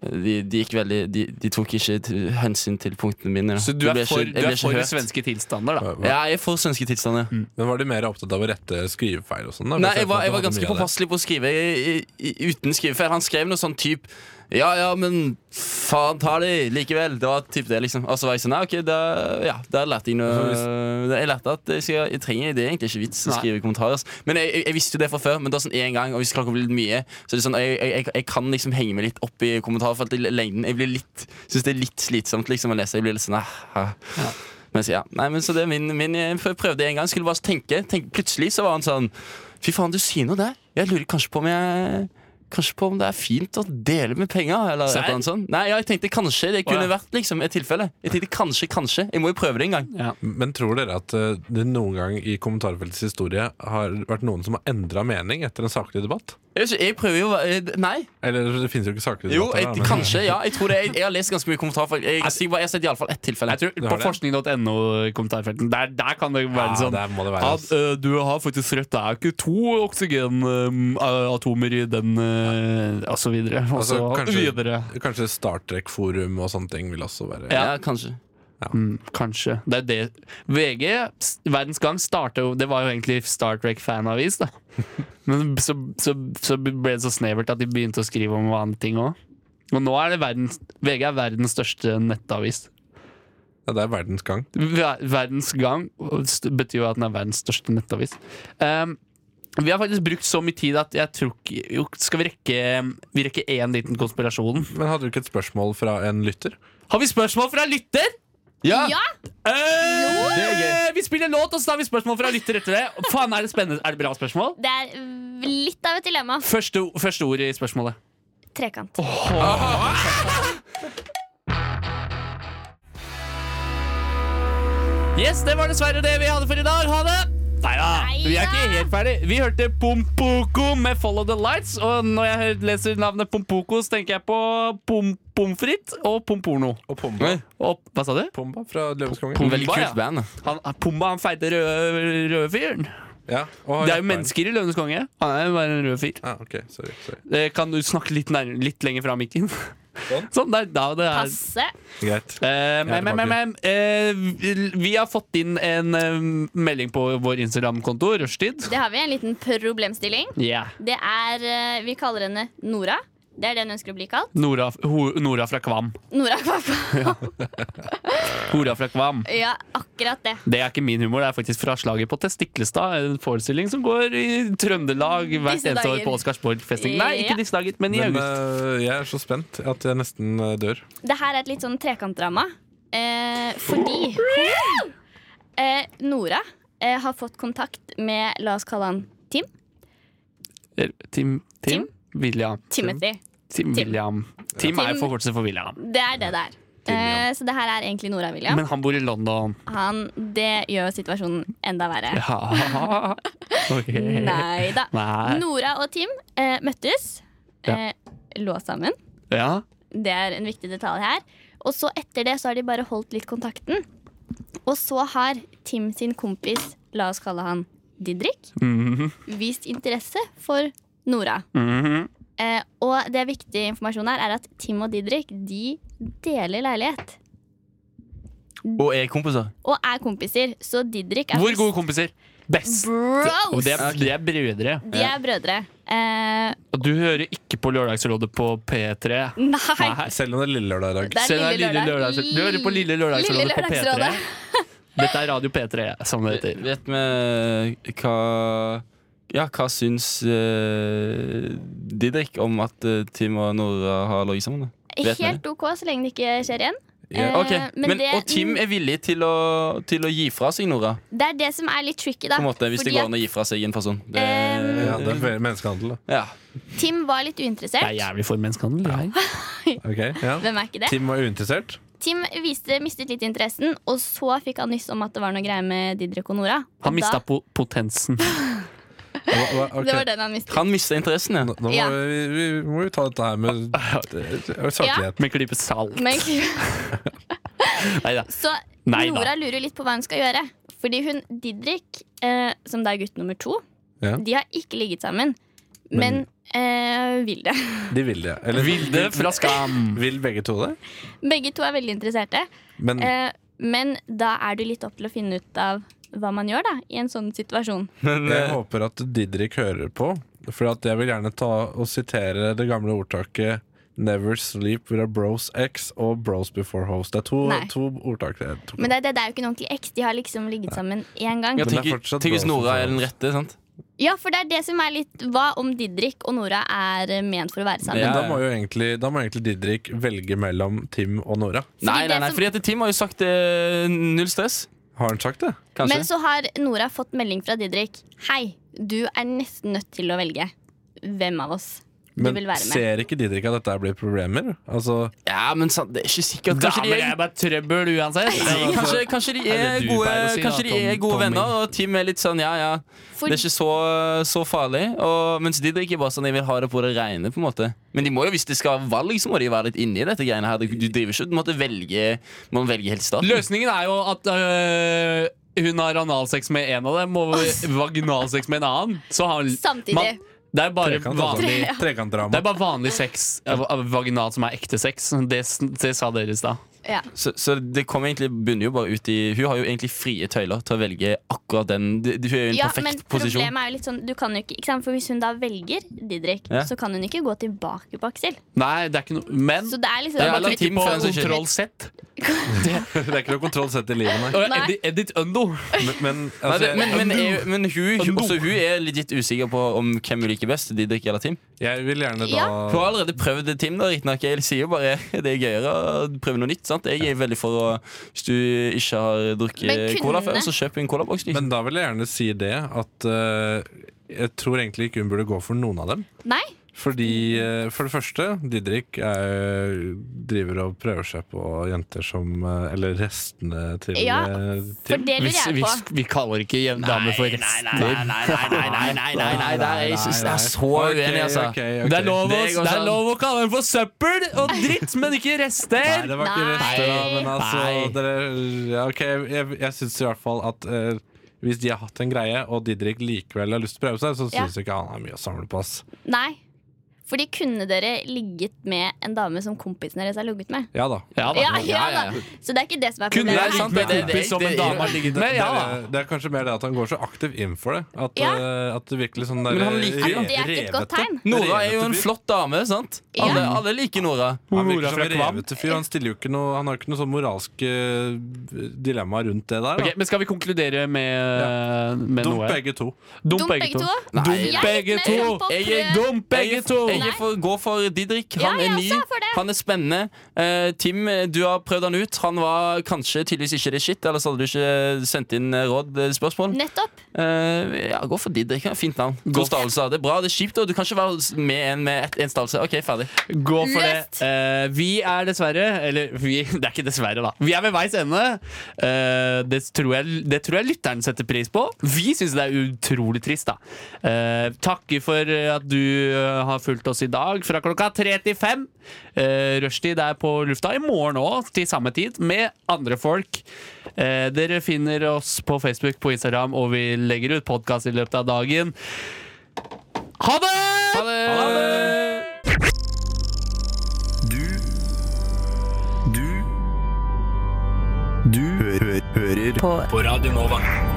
S4: De, de gikk veldig de, de tok ikke til- hensyn til punktene mine. da.
S1: Så du
S4: Det
S1: er
S4: ble ikke-
S1: for,
S4: det
S1: du
S4: ble
S1: er
S4: ikke
S1: for
S4: hørt.
S1: svenske tilstander, da?
S4: Ja, jeg er for svenske tilstander.
S2: Men Var de mer opptatt av å rette skrivefeil? og sånn? da?
S4: Nei,
S2: For
S4: jeg var,
S2: at man
S4: jeg var
S2: hadde
S4: ganske
S2: mye av det.
S4: påpasselig på å skrive i- i- i- uten skrivefeil. Han skrev noe sånn type Ja, ja, men faen ta de likevel. Det var typ det, liksom. Og så var jeg sånn, nei, ok, da, ja, da lærte jeg noe Jeg lærte at jeg, skal, jeg trenger Det er egentlig ikke vits å
S10: Nei.
S4: skrive kommentarer. ass. Men jeg, jeg, jeg visste jo det fra før, men det var sånn én gang, og hvis klokka blir litt mye, så er det sånn Jeg, jeg, jeg, jeg kan liksom henge meg litt opp i kommentarfeltet i lengden. Jeg blir litt, synes det er litt slitsomt liksom å lese. Jeg blir litt sånn ah, ah. Men så, ja. Nei, men så det er min, min Jeg prøvde en gang, skulle bare tenke. tenke. Plutselig så var han sånn Fy faen, du sier noe der. Jeg lurer kanskje på om jeg Kanskje på om det er fint å dele med penger? Eller et
S1: Serr?
S4: eller annet sånt. Nei, ja, jeg tenkte kanskje det
S1: Å,
S4: kunne
S1: ja.
S4: vært liksom, et tilfelle. Jeg tenkte kanskje, kanskje. Jeg må jo prøve det en gang.
S2: Men tror dere at eh, det noen gang i kommentarfeltets historie har vært noen som har endra mening etter en saklig debatt?
S4: Jeg, vet ikke, jeg prøver jo eh, Nei.
S2: Eller det finnes jo ikke saklige
S4: Jo,
S2: debatter.
S4: jeg, kanskje. Ja, jeg tror det. Jeg, jeg har lest ganske mye kommentarfelt. Jeg, er sikker på- jeg har sett iallfall ett tilfelle.
S1: Jeg tror På forskning.no-kommentarfelten der, der kan det være
S4: Ja,
S1: sånn
S4: der må det være,
S1: at eh, du har faktisk rett, det er ikke to oksygenatomer i den, eh, og så videre. Og
S2: Altså,
S1: så
S2: kanskje,
S1: videre.
S2: kanskje Star Trek-forum og sånne ting vil også være
S1: Ja. Ja,
S4: kanskje.
S1: Mm, kanskje. Det er det VG, s- Verdens Gang, starta jo Det var jo egentlig Star Trek-fanavis, da. Men så, så, så ble det så snevert at de begynte å skrive om andre ting òg. Og nå er det verdens VG er verdens største nettavis.
S2: Ja, det er Verdens Gang.
S1: Ver- Verdens Gang og st- betyr jo at den er verdens største nettavis. Um, vi har faktisk brukt så mye tid at jeg tror ikke jo, Skal vi rekke Vi rekker én liten konspirasjon?
S2: Men hadde du ikke et spørsmål fra en lytter?
S1: Har vi spørsmål fra lytter?
S4: Ja!
S1: Eh,
S5: Det er
S1: vi spiller låt, og så har vi spørsmål fra lytter etter det. Faen, er det spennende? Er det bra spørsmål?
S5: Det er mm, litt av et dilemma.
S1: Første, o- første ord i spørsmålet.
S5: Trekant.
S1: Yes, det var dessverre det vi hadde for i dag. Ha det! Nei da, vi er ikke helt ferdig. Vi hørte Pompoko med 'Follow the Lights'. Og når jeg leser navnet Pompoko, så tenker jeg på pom pommes frites og pomporno.
S2: Og Pomba.
S1: Og, hva sa du?
S2: Pomba fra Løvenskongen.
S1: Pomba, ja. Han, Pomba, han feite røde, røde fyren.
S2: Ja, og har
S1: Det er jo
S2: hjertebarn.
S1: mennesker i Løvenes konge. Han er jo bare en rød fyr.
S2: Ja, ok, sorry, sorry.
S1: Eh, Kan du snakke litt, nærmere, litt lenger fra mikken? Sånn. der, da, det er.
S5: Passe.
S2: Greit.
S1: Eh, men, men, men, men, eh, vi- vi har fått inn en eh, melding på vår Instagram-konto, Rushtid.
S5: Det har vi en liten problemstilling.
S1: Ja.
S5: Det er eh, Vi kaller henne Nora. Det er det hun ønsker å bli kalt.
S1: Nora, ho, Nora fra Kvam.
S5: Nora Kvappa.
S1: Hora fra Kvam.
S5: Ja, akkurat det.
S1: Det er ikke min humor, det er faktisk fra slaget på Testiklestad. En forestilling som går i Trøndelag hvert
S5: Disse
S1: eneste år
S5: dager.
S1: på Oscarsborg-festing. Nei,
S5: Ja.
S1: ikke disse dager, men i
S2: Men,
S1: august.
S2: eh, jeg er så spent at jeg nesten eh, dør.
S5: Det her er et litt sånn trekantdrama. Eh, fordi eh, Nora eh, har fått kontakt med, la oss kalle han Tim.
S1: Tim, Tim, Tim? William.
S5: Timothy.
S1: Tim, William. Tim er
S5: Tim.
S1: jo forkortelse for William.
S5: Det er det det er. Eh, så det her er egentlig Nora William.
S1: Men han bor i London.
S5: Han, det gjør situasjonen enda verre.
S1: Ja. Ok.
S5: Nei da.
S1: Nei.
S5: Nora og Tim eh, møttes.
S1: Ja.
S5: Eh, lå sammen.
S1: Ja.
S5: Det er en viktig detalj her. Og så etter det så har de bare holdt litt kontakten. Og så har Tim sin kompis, la oss kalle han Didrik,
S1: Mhm.
S5: vist interesse for Nora.
S1: Mhm.
S5: Eh, og det viktige informasjonen her er at Tim og Didrik de deler leilighet.
S4: Og er kompiser.
S5: Og er kompiser. Så Didrik er
S1: Hvor gode kompiser? Best.
S5: Bros!
S1: Og det er, det er brødre.
S5: De er brødre. Eh,
S1: Og du hører ikke på Lørdagsrådet på P3.
S5: nei.
S2: Selv om det er lille lørdag i dag.
S5: Det er
S1: Selv om
S5: Lille
S1: det er lille
S5: Lørdag.
S1: lørdagsrådet. Du hører på Lille Lørdagsrådet,
S5: Lille
S1: på P3. Dette er Radio P3, som det heter.
S4: Vet vi eh, hva Ja, hva syns eh, Didrik om at eh, Tim og Nora har ligget sammen? da? Vet vi det?
S5: Helt OK så lenge det ikke skjer igjen. Eh,
S4: Ok, men,
S5: det,
S4: Og Tim er villig til å, til å gi fra seg Nora.
S5: det er det som er litt tricky, da.
S4: På en måte, hvis det
S5: Ah, Fordi at Eh,
S4: går an å gi fra seg en person. Det,
S5: Em,
S2: Ja, det er menneskehandel, da.
S4: Ja.
S5: Tim var litt uinteressert.
S1: jævlig for menneskehandel.
S2: Ok, ja.
S5: Hvem er ikke det?
S2: Tim var uinteressert.
S5: Tim viste, mistet litt interessen, og så fikk han nyss om at det var noe greier med Didrik og Nora.
S1: Han
S5: Og
S1: mista
S5: da,
S1: po potensen.
S5: Det var den han mistet.
S4: Han mista interessen, ja.
S2: Nå må
S5: Ja.
S2: vi, vi må jo ta dette her med med saklighet.
S1: Med klype salt.
S5: Men,
S1: Nei da.
S5: så
S1: Nei da.
S5: Nora lurer litt på hva hun skal gjøre. Fordi hun Didrik, eh, som da er gutt nummer to,
S2: Ja.
S5: de har ikke ligget sammen. Men, eh, vil det.
S2: De vil det. Eller
S1: Vilde fra Skam.
S2: Vil begge to det?
S5: Begge to er veldig interesserte.
S4: Mm.
S2: Men
S5: Eh, men da er du litt opp til å finne ut av hva man gjør da, i en sånn situasjon.
S2: jeg
S4: eh,
S2: håper at Didrik hører på, for at jeg vil gjerne ta og sitere det gamle ordtaket Never Sleep With A Bros X og Bros Before Host. Det er to,
S5: Nei.
S2: to ordtak der. To.
S5: Men det, det, det er jo ikke en ordentlig X. De har liksom ligget sammen én gang.
S4: Ja,
S2: Men det er
S4: tenk,
S2: fortsatt
S4: tenk hvis
S2: bra
S4: Nora
S2: for
S4: er den rette, sant?
S5: Ja, for det er det som er litt Hva om Didrik og Nora er eh, ment for å være sammen?
S2: Men da må jo egentlig, da må egentlig Didrik velge mellom Tim og Nora.
S4: Nei, nei, nei, fordi at Tim har jo sagt eh, null stress.
S2: Har han sagt det?
S4: Kanskje.
S5: Men så har Nora fått melding fra Didrik. Hei, du er nesten nødt til å velge. Hvem av oss du
S2: Men
S5: vil være med?
S2: ser ikke Didrik at dette blir problemer? Altså,
S4: Ja, men sant, det er ikke sikkert Kanskje de
S1: Damer
S4: er
S1: er bare trøbbel uansett.
S4: Kanskje, kanskje de er,
S1: altså, det du
S4: gode,
S1: pleier å si, da,
S4: kanskje de er
S1: Tom-
S4: gode
S1: Tommy?
S4: venner, og Tim er litt sånn ja, ja.
S5: For-
S4: Det er ikke så, så farlig. Og, mens de drikker bare sånn de vil ha det på det rene. på en måte Men de må jo, hvis de skal ha valg, så må de være litt inni dette greiene her. Du driver ikke du måtte velge, må velge helt i starten.
S1: Løsningen er jo at øh, hun har analsex med en av dem og vaginalsex med en annen. Så har
S5: Samtidig.
S1: det er bare
S2: Trekant, altså.
S1: vanlig
S2: Tre- Trekantdrama.
S1: Det er bare vanlig sex øh, øh, vaginalt som er ekte sex. Det, s- det sa dere i stad.
S5: Ja.
S4: Så, så det kommer egentlig bunner jo bare ut i Hun har jo egentlig frie tøyler til å velge akkurat den. Du- Hun er jo i en
S5: Ja, men
S4: perfekt posisjon.
S5: problemet er jo litt sånn du kan jo ikke, ikke sant? For Hvis hun da velger Didrik,
S4: Ja.
S5: så kan hun ikke gå tilbake på Aksel.
S1: Nei, det er ikke noe Men
S5: Så det er liksom
S1: det er
S4: Ja,
S1: bare å trykke
S4: eller Tim,
S1: på
S4: for den som ikke-
S1: kontroll Z.
S2: det er ikke noe kontroll sett i livet, nei.
S1: Og
S5: Nei.
S1: edit, edit undo.
S2: Men, men,
S4: Nei,
S2: altså,
S4: det, men, men, er, men hun,
S1: Undo.
S4: også, hun er litt usikker på om hvem hun liker best. Didrik eller Tim.
S2: jeg vil gjerne da
S5: Ja.
S4: Hun har allerede prøvd det, Tim. da, riktignok. Jeg sier jo bare det er gøyere å prøve noe nytt. sant? Jeg er veldig for å Hvis du ikke har
S5: Men
S4: drukket
S5: kunne-
S4: cola før, så kjøp en colaboks. Liksom.
S2: Men da vil jeg gjerne si det at eh, jeg tror egentlig ikke hun burde gå for noen av dem.
S5: Nei,
S2: Fordi, eh, for det første, Didrik er, driver og prøver seg på jenter som eh, Eller restene til
S5: Ja,
S2: eh,
S5: for
S2: Tim.
S5: det lurer
S1: Hvis,
S5: jeg på.
S1: hvis vi kaller ikke jen- damer for rester.
S4: nei, nei, nei, nei, nei, nei, nei, det er- jeg synes det er så
S2: Ok,
S4: uenig, altså.
S2: ok, ok.
S1: Det er, lov å,
S4: Det går
S1: det er
S4: sånn.
S1: lov å kalle dem for søppel og dritt, men ikke
S2: Nei,
S1: rester!
S2: det var ikke
S5: Nei.
S2: rester, da, men altså
S1: Nei.
S2: dere, ja, ok, Jeg, jeg syns i hvert fall at eh, hvis de har hatt en greie, og Didrik likevel har lyst til å prøve seg, så
S5: Ja.
S2: syns ikke han har mye å samle på. ass
S5: nei. Fordi kunne dere ligget med en dame som kompisen deres har ligget med?
S2: Ja da.
S1: Ja, da.
S5: Ah, Ja, ja da. Så det er ikke det som er
S1: Kunne
S5: problemet.
S1: jeg
S5: her.
S1: ligget med en
S4: Det- det-
S1: kompis som
S4: det-
S1: en dame har ligget
S2: Det,
S1: med? Ja
S2: det,
S1: da.
S2: er, det er kanskje mer det at han går så aktivt inn for det. At,
S5: Ja.
S2: eh, at det virkelig sånn der,
S4: Men han liker
S5: jo- Det er ikke et godt
S2: revete.
S5: tegn.
S4: Nora er jo
S2: Revete
S4: en
S2: fyr.
S4: flott dame, sant?
S5: Ja.
S4: Alle, alle liker Nora.
S2: Han
S1: Nora
S2: virker som
S1: fra
S2: en
S1: Kvam.
S2: revete fyr. Han, stiller jo ikke noe, han har jo ikke noe sånn moralske eh, dilemma rundt det der. da.
S1: Ok, men skal vi konkludere med, med
S2: Dump
S1: noe?
S2: begge to.
S1: Dump
S5: Dum begge to.
S4: Nei.
S1: Dump
S4: Jeg
S5: er
S1: begge
S5: litt
S1: to!
S5: mer på
S4: Jeg er-
S5: prøv.
S1: Dump begge to!
S4: Jeg er for, går for Didrik.
S5: Ja,
S4: Han
S5: jeg også
S4: er
S5: er for
S4: ny,
S5: det.
S4: han er spennende. Eh, Tim, du har prøvd han ut. Han var kanskje tydeligvis ikke det shit, ellers hadde du ikke sendt inn eh, råd, eh, spørsmål.
S5: Nettopp.
S4: Eh, ja, gå for Didrik. ja, Fint navn.
S1: for-
S4: God stavelse. Det er bra, det er kjipt. Og du kan ikke være med en med ett- en stavelse. Ok, ferdig.
S1: Gå for
S5: Løft!
S1: det. Eh, vi er dessverre Eller vi, det er ikke dessverre, da. Vi er ved veis ende. Eh, det, tror jeg, det tror jeg lytteren setter pris på. Vi syns det er utrolig trist, da. Eh, takker for eh, at du eh, har fulgt oss i dag fra klokka tre til fem. Uh, Rushtid er på lufta i morgen òg, til samme tid, med andre folk. Eh, dere finner oss på Facebook, på Instagram, og vi legger ut podkast i løpet av dagen. Ha det! Ha det! Ha det!
S10: Du Du Du hø hø hører på. på Radio Nova.